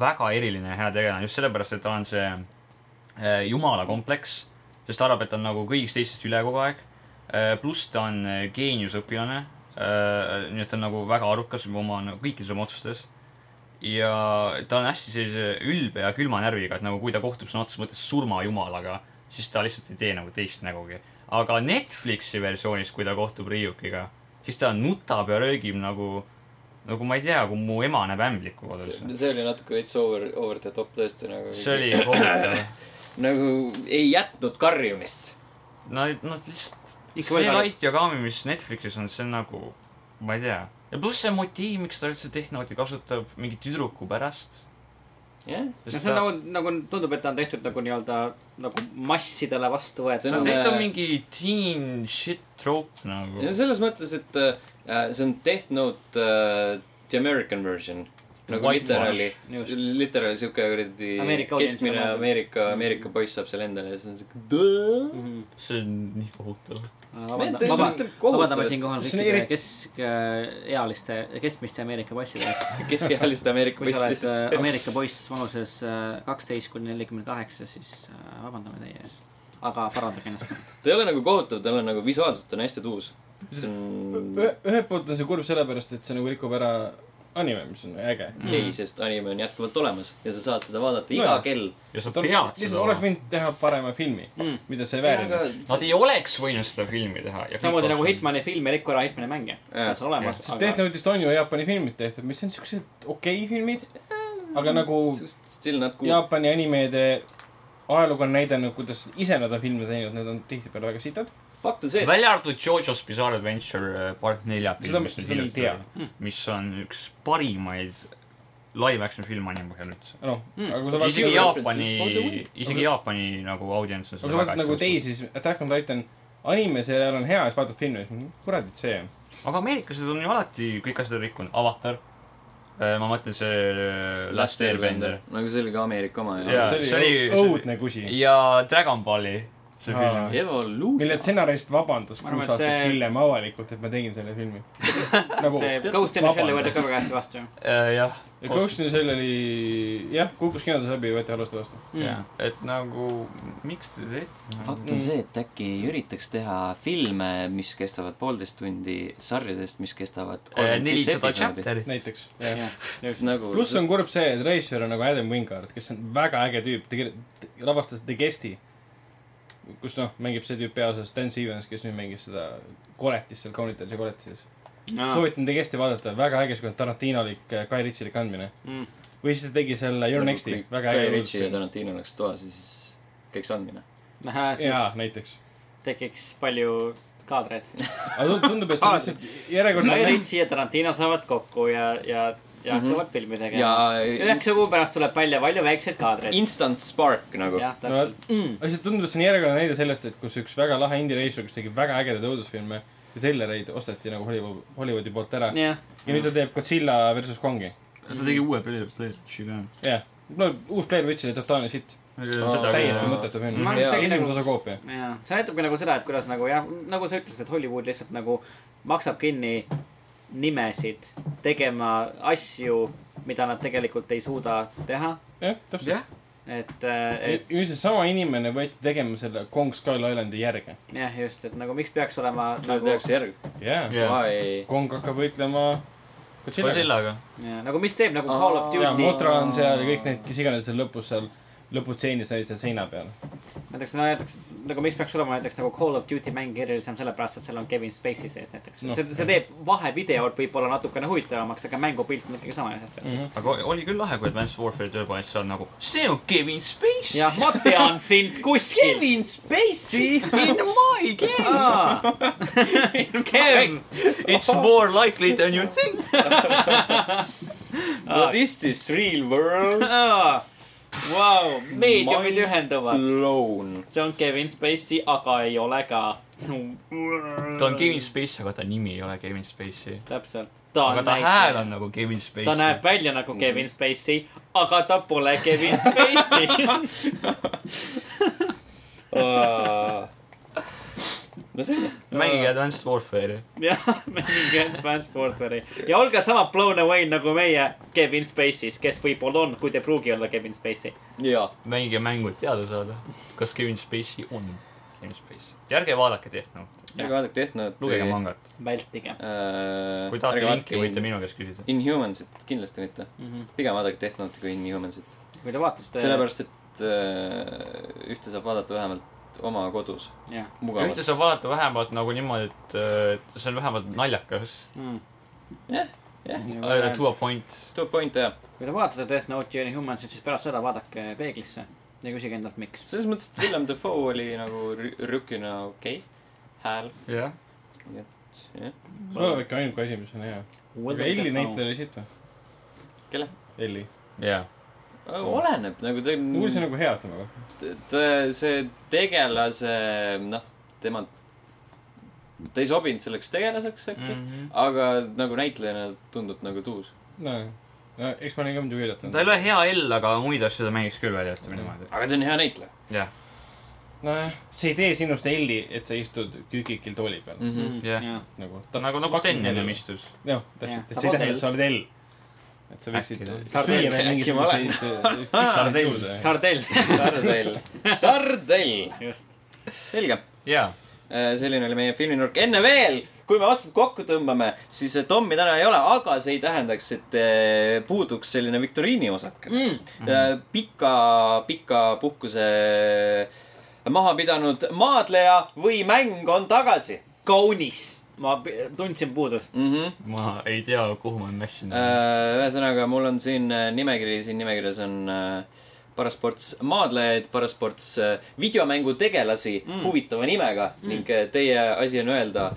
väga eriline ja hea tegelane just sellepärast , et tal on see äh, jumala kompleks , sest ta arvab , et ta on nagu kõigist teistest üle kogu aeg . pluss ta on äh, geeniusõpilane , nii et ta on nagu väga arukas oma nagu, kõikides oma otsustes . ja ta on hästi sellise ülbe ja külma närviga , et nagu kui ta kohtub sõna otseses mõttes surmajumalaga , siis ta lihtsalt ei tee nagu teist nägugi . aga Netflixi versioonis , kui ta kohtub Riiukiga , siis ta nutab ja röögib nagu , nagu ma ei tea , kui mu ema näeb ämblikku kodus .
see oli natuke veits over , over the top tõesti nagu .
see oli kohutav .
nagu ei jätnud karjumist .
Nad , nad lihtsalt ,
Ikka
see
võidavad.
Light Yagami , mis Netflixis on , see on nagu , ma ei tea . ja pluss see motiiv , miks ta üldse tehnoti kasutab mingi tüdruku pärast .
jah ,
Mm.
no see on nagu , nagu tundub , et ta on tehtud nagu nii-öelda nagu massidele
See on-
vastuvõetav .
tehtud mingi teen shit troop nagu
ja . selles mõttes , et äh, see on Death Note äh, the American version . nagu
Whitewash.
literaali ,
Just.
literaali siuke kuradi
Ameerika audientsile
keskmine
mõeldud.
Ameerika , Ameerika poiss saab selle endale ja siis on siuke .
see on nii kohutav .
Mente- see on
vabandame
kohutav,
Äh, vabandame
et-
siinkohal
see on
kõikide
eri-
keskealiste , keskmiste Ameerika poisside eest .
keskealiste Ameerika
kui sa oled
poissidest .
äh, Ameerika poiss vanuses äh, kaksteist kuni nelikümmend kaheksa , siis äh, vabandame teie ees . aga parandage ennast .
ta ei ole nagu kohutav , ta on nagu visuaalselt on hästi tuus . see on ,
ühelt poolt on see kurb sellepärast , et see nagu rikub ära anime , mis on äge .
ei , sest anime on jätkuvalt olemas ja sa saad seda vaadata iga
Nojah.
kell .
ja sa
ta on ,
pead
lihtsalt
seda
oleks
olema .
võinud teha parema filmi
Mm.
mm. , mida see ei väärinud .
Nad ei oleks võinud seda filmi teha .
samamoodi nagu . Hitmani film ei riku ära Hitmani mänge . see on sul olemas ,
sest
aga
Dehnotist on ju Jaapani filmid tehtud , mis on siuksed okei filmid , aga nagu
Still not good .
Jaapani animeede ajalugu on näidanud , kuidas ise nad on filme teinud , need on tihtipeale väga sitad .
fakt on see , et
välja arvatud Jojo's Bizarre Adventure eh, part nelja
Seda
film
ma- , seda ma ei tea.
mis on üks parimaid live action filme anime põhjal üldse .
noh
Mm.
mm. , aga kui sa vaatad ,
Isegi
isegi Jaapani
references. ,
isegi Jaapani nagu audients on
aga kui sa vaatad nagu . teisi , siis Attack on Titan anime , see on hea , siis vaatad filmi , kuradi , et see on .
aga ameeriklased on ju alati kõik asjad rikkunud , Avatar . ma mõtlen see äh, Last Airbender .
nagu see oli ka Ameerika oma
Jaa,
ja .
see oli,
see oli- see
õu-
oli-
õudne kusi ,
ja Dragon Balli , see
Aa.
film .
mille
Evolution .
stsenarist vabandas
Ma arvan,
kuus
et
aastat
see-
hiljem avalikult , et ma tegin selle filmi . nagu
see
tead-
Ghost in the Shell'i
vabandust.
võetakse ka väga hästi vastu ju .
Äh, jah .
ja Ghost in the Shell oli , jah , kukkus kinodes läbi ja võeti halvasti vastu .
et nagu , miks te teete ?
fakt on see , et äkki ei üritaks teha filme , mis kestavad poolteist tundi , sarjadest , mis kestavad kolmkümmend seitse
Äh, nelisada
episoodi .
chapter'it .
näiteks ,
Mm,
jah .
just nagu .
pluss on kurb see , et reisijal on nagu Adam Wingard , kes on väga äge tüüp , ta kir- ta lavastas The Guest'i , kus noh , mängib see tüüp peaosas , Dan Stevens , kes nüüd mängis seda koletis seal , kaunitamise koletis . soovitan The Guest'i vaadata , väga äge siukene Tarantinolik , äh, Guy Ritchielik andmine .
mm.
või siis ta tegi selle Your Next'i , väga
Guy
äge
Nagu Ritchie ja . Tarantino oleks toas ja siis käiks andmine .
jaa ,
siis
näiteks .
tekiks palju kaadreid .
aga tund- tundub , et see on lihtsalt järjekordne
Ritsi ja Tarantino saavad kokku ja , ja , ja
Mhm.
hakkavad filmi tegema .
ja
üheksa kuu pärast tuleb välja palju väikseid kaadreid .
instant spark nagu .
jah ,
no vot
täpselt ., Mm.
aga see tundub , et see on järjekordne näide sellest , et kus üks väga lahe indie reisijal , kes tegi väga ägedaid õudusfilme ja tellereid , osteti nagu Hollywood , Hollywoodi poolt ära .
jah ,
ja nüüd ta teeb Godzilla versus Kongi .
ta tegi uue Player , Player'i ka .
jah , no uus Blair Witch oli totaalne sitt . täiesti mõttetu film
Ma . arvan, et see
esimese
nagu-
osa koopia .
jah , see näitabki nagu seda , et kuidas nagu jah , nagu sa ütlesid , et Hollywood lihtsalt nagu maksab kinni nimesid tegema asju , mida nad tegelikult ei suuda teha .
jah ,
jah
täpselt .,
et , et
üldiselt sama inimene võeti tegema selle Kong Skull Islandi järge .
jah , just , et nagu miks peaks olema
seda
nagu ,
tehakse järg .
jaa ,
Jah.
ei .
Kong hakkab võitlema Godzillaga .
Godzillaga .
nagu mis teeb nagu Call of
Aa,
jaa ,
Duty ,
Motra on seal ja kõik need , kes iganes seal lõpus seal , lõputseenis olid seal seina peal .
näiteks no näiteks nagu miks peaks olema näiteks nagu Call of Duty mäng erilisem sellepärast , et seal on Kevin Spacey sees näiteks
Noh.
no. . see , see teeb vahevideod võib-olla natukene huvitavamaks , aga mängupilt on ikkagi sama asja .
aga oli küll lahe , kui Advanced Warfare tööpanelis saad nagu , see on Kevin Space .
jah , ma tean sind kuskil .
Kevin Spacey in my game .
Kev ,
It's more likely than you think .
What is this real world
vau , meediumid
Mind
ühenduvad .
blown ?
see on Kevin Spacey , aga ei ole ka .
ta on Kevin Space , aga ta nimi ei ole Kevin Spacey .
täpselt .
aga ta hääl on . nagu Kevin Spacey . Mm.
ta näeb välja nagu Kevin Spacey , aga ta pole Kevin Spacey .
no selge .
mängige Advanced Warfare'i .
jah , mängige Transporteri ja olge sama blown away nagu meie Kevin Spacey's , kes võib-olla on , kuid ei pruugi olla Kevin Spacey .
jaa .
mängige mängu , et teada saada , kas Kevin Spacey on Kevin Spacey . ja ärge vaadake Tehnot ,
ärge vaadake äh, Tehnot .
lugege mangat .
vältige .
äh,
kui tahate linki , võite minu käest küsida .
Inhumansit kindlasti mitte .
Mm
Mhm.
-hmm.
pigem vaadake Tehnot kui Inhumansit .
kui te vaatate .
sellepärast , et äh, ühte saab vaadata vähemalt oma kodus .
jah
mugavalt
ühte . saab vaadata vähemalt nagu niimoodi , et äh, et see on vähemalt naljakas .
mm. .
jah , jah .
To a point .
To a point jah .
kui te vaatate Death Note'i ja Inhumansit , siis pärast seda vaadake peeglisse ja küsige endalt , miks .
selles mõttes , et William Dafoe oli nagu rü- rükina okei okay. hääl .
jah .
jah ,
see olevat ikka ainuke asi , mis on hea . aga Elli näitleja oli siit või ?
Kelle? ?
Elli .
jah . Oh.
oleneb nagu ta
Mm.
on .
kuulsin nagu hea temaga .
et äh, see tegelase , noh , tema , ta ei sobinud selleks tegelaseks
Mhm.
äkki mm , -hmm. aga nagu näitlejana tundub nagu tuus .
nojah . eks ma olin ka muidugi üllatunud .
ta ei ole hea L , aga muid asju ta mängiks küll välja , ütleme niimoodi .
aga ta on hea näitleja
jah ,
nojah , see ei tee sinust Elli , et sa istud kükikil tooli peal mm. .
mm .
Mhm.
-hmm.
Jah.
jah .
nagu
ta on nagu , nagu Sten ennem . istus .
jah ,
Jah.
täpselt , et
Ta
see ei
pole
tähenda ,
L.
et sa oled L . et sa võiksid
Äkki ta on.
Sardell,
süüa veel
äkki ma olen.
mingisuguseid .
Sardell.
Sardell ,
Sardell , Sardell ,
just .
selge .
jaa .
Äh, selline oli meie filminurk , enne veel , kui me otsad kokku tõmbame , siis eh, Tommi täna ei ole , aga see ei tähendaks , et eh, puuduks selline viktoriini osake mm. . pika , pika puhkuse äh, maha pidanud maadleja või mäng on tagasi
kaunis . ma p- tundsin puudust .
mm . -hmm.
ma ei tea , kuhu ma mässin .
Äh, ühesõnaga , mul on siin äh, nimekiri , siin nimekirjas on äh, parasports maadlejaid , parasports äh, videomängutegelasi mm. huvitava nimega mm. ning äh, teie asi on öelda ,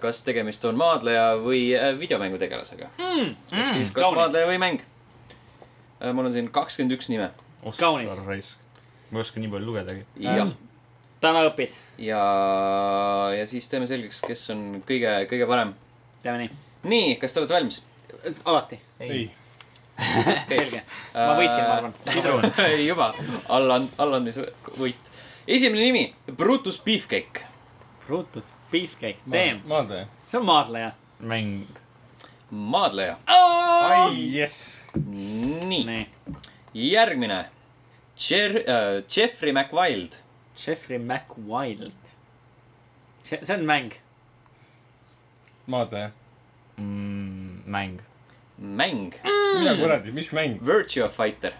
kas tegemist on maadleja või äh, videomängutegelasega mm. . ehk siis kas
Kaunis.
Kaunis. maadleja või mäng . mul on siin kakskümmend üks nime .
kaunis.
ma ei oska nii palju lugedagi .
Äh.
jah ,
täna õpid ,
ja , ja siis teeme selgeks , kes on kõige , kõige parem .
teeme nii .
nii , kas te olete valmis ?
alati ,
ei ,
selge . ma võitsin ,
Äh,
ma arvan .
sidrun .
Ei, juba , allan , allandmisvõit . esimene nimi , Brutus Beefcake .
Brutus Beefcake , damn ,
maadleja .
see on maadleja .
mäng .
maadleja .
ai , jess .
nii ,
nii ,
järgmine . Jer- , Jeffrey McWild .
Jeffrey McWild . see , see on mäng ,
maadleja .
Mm, mäng .
mäng .
mida kuradi , mis mäng ?
Virtua Fighter .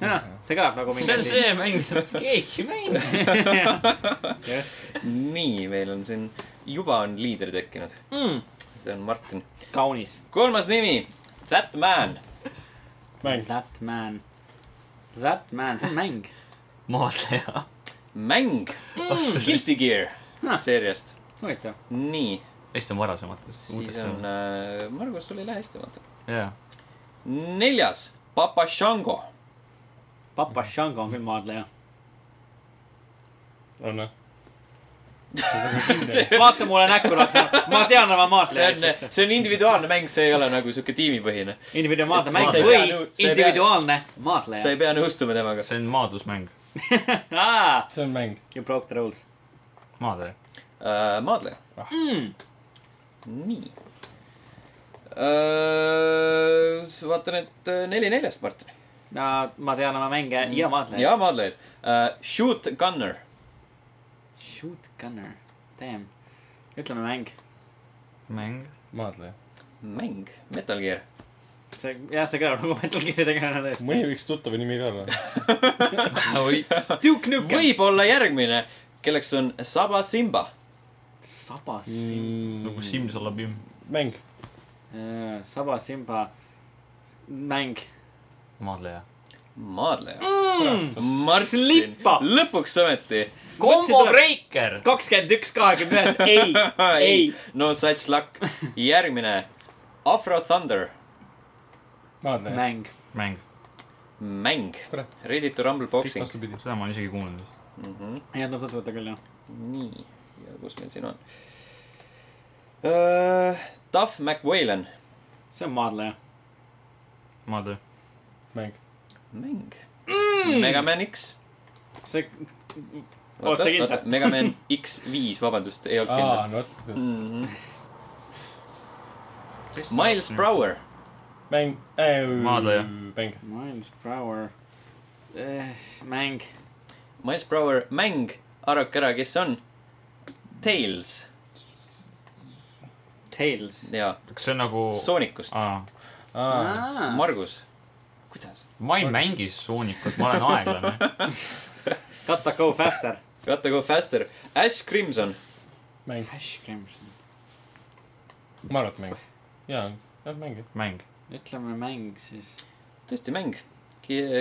noh , see kõlab nagu mingi
see on . see mäng , mida keegi ei mängi .
nii , meil on siin , juba on liider tekkinud . see on Martin .
kaunis ,
kolmas nimi , That Man .
mäng .
That Man , That Man , see on mäng ,
maadleja .
mäng .
Mm,
Guilty Gear
Ah.
seeriast .
huvitav .
nii ,
hästi on varasemates .
siis on , Margus , sul ei lähe hästi , vaata .
jaa .
neljas , Papa Shango
Papa Shango on küll maadleja .
on või ?
vaata mulle näkku , ma tean oma
see on
maadlejaid .,
see on individuaalne mäng , see ei ole nagu sihuke tiimipõhine .
individuaalne
et
mäng
sa ei
või
pea nõu- sa ei pea-
individuaalne
sa
maadleja
ei . pea nõustuma temaga .
see on maadlusmäng .
see on mäng .
You broke the rules .
maadleja .
maadleja
Ah. .
Äh, Mm. nii . vaatan , et äh, neli neljast , Martin .
no ma tean oma mänge ja maadleja .
Mm. ja maadlejaid . Äh, Shoot Gunner .
Shoot Gunner , damn , ütleme mäng
mäng .
maadleja .
mäng , Metal Gear .
see , jah , see kõlab nagu Metal Gear'i tegelane tõesti .
mõni võiks tuttava nimi ka olla .
Duke Nukem .
võib-olla järgmine , kelleks on Saba Simba .
sabas mm. .
nagu
mäng .
Simsalabim .
sabas Simba mäng .
maadleja .
maadleja mm, . Martin
Slippa. ,
lõpuks ometi .
kombo breiker .
kakskümmend üks , kahekümne ühest , ei , ei .
no such luck . järgmine , Afro Thunder ,
maadleja .
mäng .
mäng .
mäng
Kurat. .
Ready to rumble
kõik
boxing .
vastupidi .
seda ma olen isegi kuulnud .
mm . -hmm.
jah , tuleb tutvuda küll jah .
nii , ja kus meil siin on uh, ? Duff McWhalen ,
see on maadleja .
maadleja .
mäng .
mäng mm. . Megaman X .
see , Olete kindel?
Megaman X5 , vabandust , ei olnud
aa ,
kindel
no vot .
mm . -hmm. Miles . Brower ,
mäng .
Maadleja.
mäng .
Miles Brower eh, . mäng .
Miles Brower mäng , arvake ära , kes see on ? Tales ,
Tales .
jaa ,
kas see on nagu ?
Oh.
Soonikust .
aa ,
ma
Margus , kuidas ?
ma ei mängi Soonicut , ma olen aeglane .
Tata Go Faster .
Gotta go faster , Ash Crimson ,
mäng .
Ash Crimson .
ma arvan , et mäng . jaa , jah , mäng .
mäng .
ütleme mäng siis
tõesti mäng .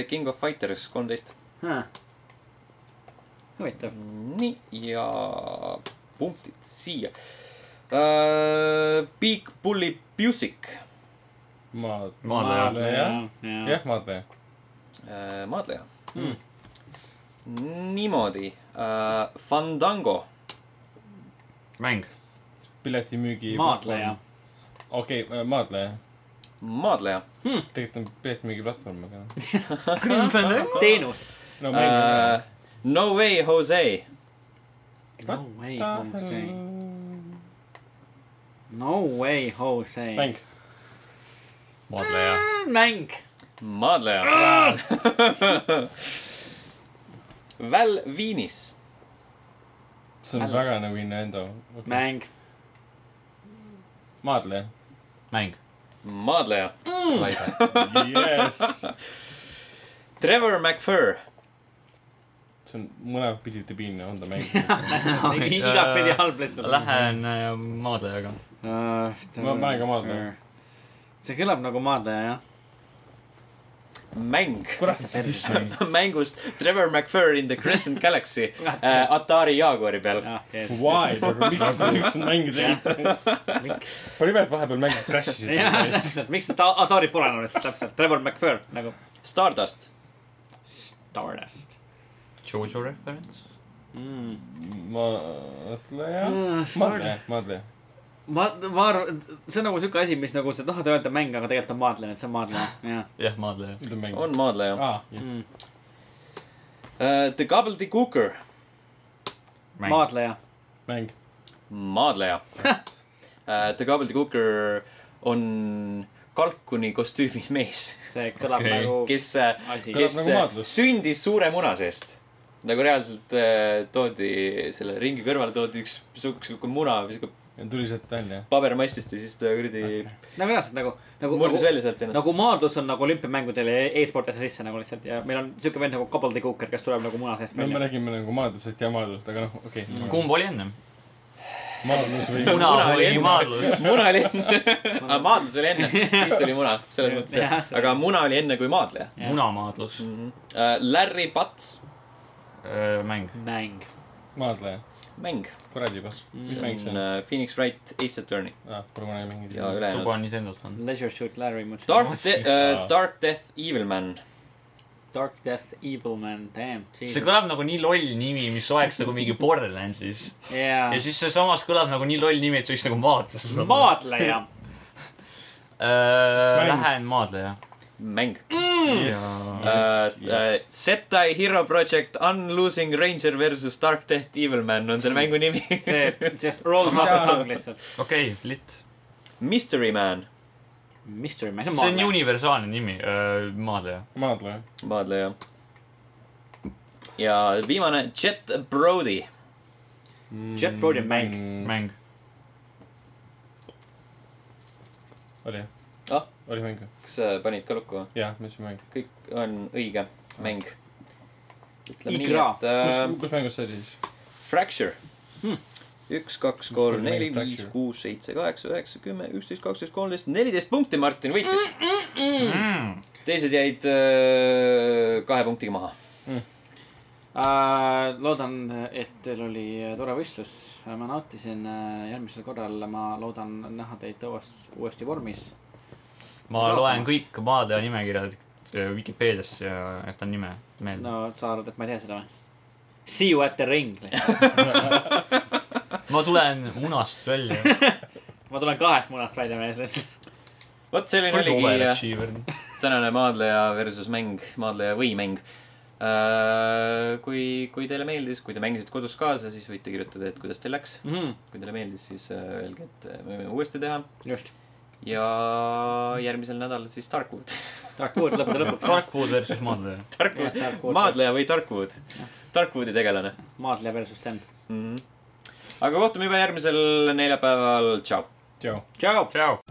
King of Fighters kolmteist .
huh. . huvitav .
nii , ja punktid siia uh, . Big Bully Pusik
maad- .
maadleja .
jah , maadleja .
uh, , maadleja
Mm.
mm. . niimoodi uh, , Fandango ,
mäng .
piletimüügi .
maadleja .
okei okay, , maadleja .
maadleja
tegelikult on piletimüügi platvorm , aga noh .
teenus .
no mäng on
uh, . No way Jose ,
No way Jose . No way Jose .
mäng .
maadleja .
mäng .
maadleja . Val Venis ,
see on
Mäng.
väga nagu Innuendo okay. .
mäng .
maadleja .
mäng .
maadleja mm. .
Yes .
Trevor McFur ,
see on mõlemat pidi debiilne on ta mäng . äh,
igatpidi halb lihtsalt .
Lähen äh, maadlejaga .
Ma- ma olen ka maadleja. .
see kõlab nagu maadleja jah .
mäng .
kurat ,
mängust Trevor McFur in the Crescent Galaxy uh, Atari Jaguari peal .
jah , yes .
why , aga miks te siukseid mänge tegite ?
miks ?
palju pealt vahepeal mängid nagu crash
jah ,
isid .
täpselt , miks seda Atari pole enam lihtsalt täpselt , Trevor McFur nagu .
Stardust ,
Stardust
Jojo referents .
mm. .
maadleja .
ma ,
maadleja , maadleja .
ma arvan , see on nagu siuke asi , mis nagu sa tahad öelda mäng , aga tegelikult on maadleja , et see on maadleja , jah .
jah , maadleja .
nüüd on mäng . Ah,
on maadleja uh, .
aa ,
Mm.
jess .
The Gobbledy Cooker ,
mäng .
maadleja ,
mäng .
maadleja uh, . The Gobbledy Cooker on kalkuni kostüümis mees ,
see kõlab
Okei.
okay. nagu Kes...
kes uh, ,
asi
kes
nagu
uh,
maadlus.
sündis suure muna seest nagu reaalselt uh, toodi selle ringi kõrvale toodi üks sihuke , sihuke muna või sihuke
tuli sealt välja .
pabermassist ja siis ta kuradi
nagu reaalselt nagu , nagu ,
murdis
nagu,
välja sealt ennast .
nagu maadlus on nagu olümpiamängudele ja e-sportlasele sisse nagu lihtsalt ja meil on siuke vend nagu Gobbledy Cooker , kes tuleb nagu muna seest
no me
välja .
räägime nagu maadlusest ja maadlust , aga noh , okei okay. .
kumb oli ennem ?
maadlus või
muna
muna oli
või
enne.
maadlus ?
muna oli enne , maadlus oli enne , siis tuli muna , selles mõttes
Jah. ,
aga muna oli enne kui maadleja .
munamaadlus .
Larry Pats ,
Äh, mäng .
mäng ,
maadleja .
mäng ,
kuradi juba . mis
see
mäng see
on
on ?
äh, Phoenix Wright Ace Attorney
aa , pole kunagi mänginud .
ja
tuba
ülejäänud .
on Nintendolt on .
Leisure Shoot Larry , ma ütlesin .
Dark Death uh, , Dark Death Evil Man ,
Dark Death Evil Man , damn .
see kõlab nagu nii loll nimi , mis oleks nagu mingi Borderlandsis .
jaa
ja , siis sealsamas kõlab nagu nii loll nimi , et see võiks nagu maadlus olla .
maadleja ,
Äh,
Mäng.
Lähen maadleja .
mäng
Mm. ja
uh, . Uh,
Yes.
Setai Hero Project Unlosing Ranger versus Dark Death Evil Man on selle mängu nimi .
see just rolls off the tongue lihtsalt .
okei , lit .
Mystery Man ,
Mystery Man , see on
see on
maadleja .
universaalne nimi , äh, maadleja .
maadleja .
maadleja . ja viimane Jet Brody ,
Jet Brody on mäng. .
Mm.
Mm. mäng .
oli jah ?
ah ,
oli mäng või ?
kas sa panid ka lukku või ?
jah , ma ütlesin mäng .
kõik on õige mäng . ütleme nii ,
Igra.
et äh,
kus , kus mängus see oli siis ?
Fracture
Hmm. .
üks , kaks , kolm ,
Kolm
neli ,
mängib
viis
Fracture. ,
kuus , seitse , kaheksa , üheksa , kümme , üksteist , kaksteist , kolmteist , neliteist punkti Martin võitis .
mm. .
teised jäid äh, kahe punktiga maha .
Äh, loodan , et teil oli äh, tore võistlus , ma nautisin äh, järgmisel korral , ma loodan näha teid õues- uuesti vormis .
ma loen kõik maade nimekirjad eh, Vikipeediasse ja jätan nime meelde no. .
no sa arvad , et ma ei tee seda või ? See you at the ring .
ma tulen munast välja .
ma tulen kahest munast välja mees .
vot selline oligi äh,
overachiever .
tänane maadleja versus mäng , maadleja või mäng . kui , kui teile meeldis , kui te mängisite kodus kaasa , siis võite kirjutada , et kuidas teil läks .
Mhm.
kui teile meeldis , siis äh, öelge , et äh, me võime uuesti teha
just ,
ja järgmisel nädalal siis Darkwood .
tark kuulda lõppude lõpuks .
tarkvood versus maadleja .
Darkwood , maadleja või Darkwood , Darkwoodi tegelane
maadleja versus Sten .
Mhm. mm . -hmm. aga kohtume juba järgmisel neljapäeval , tšau .
tšau .
tšau .
tšau .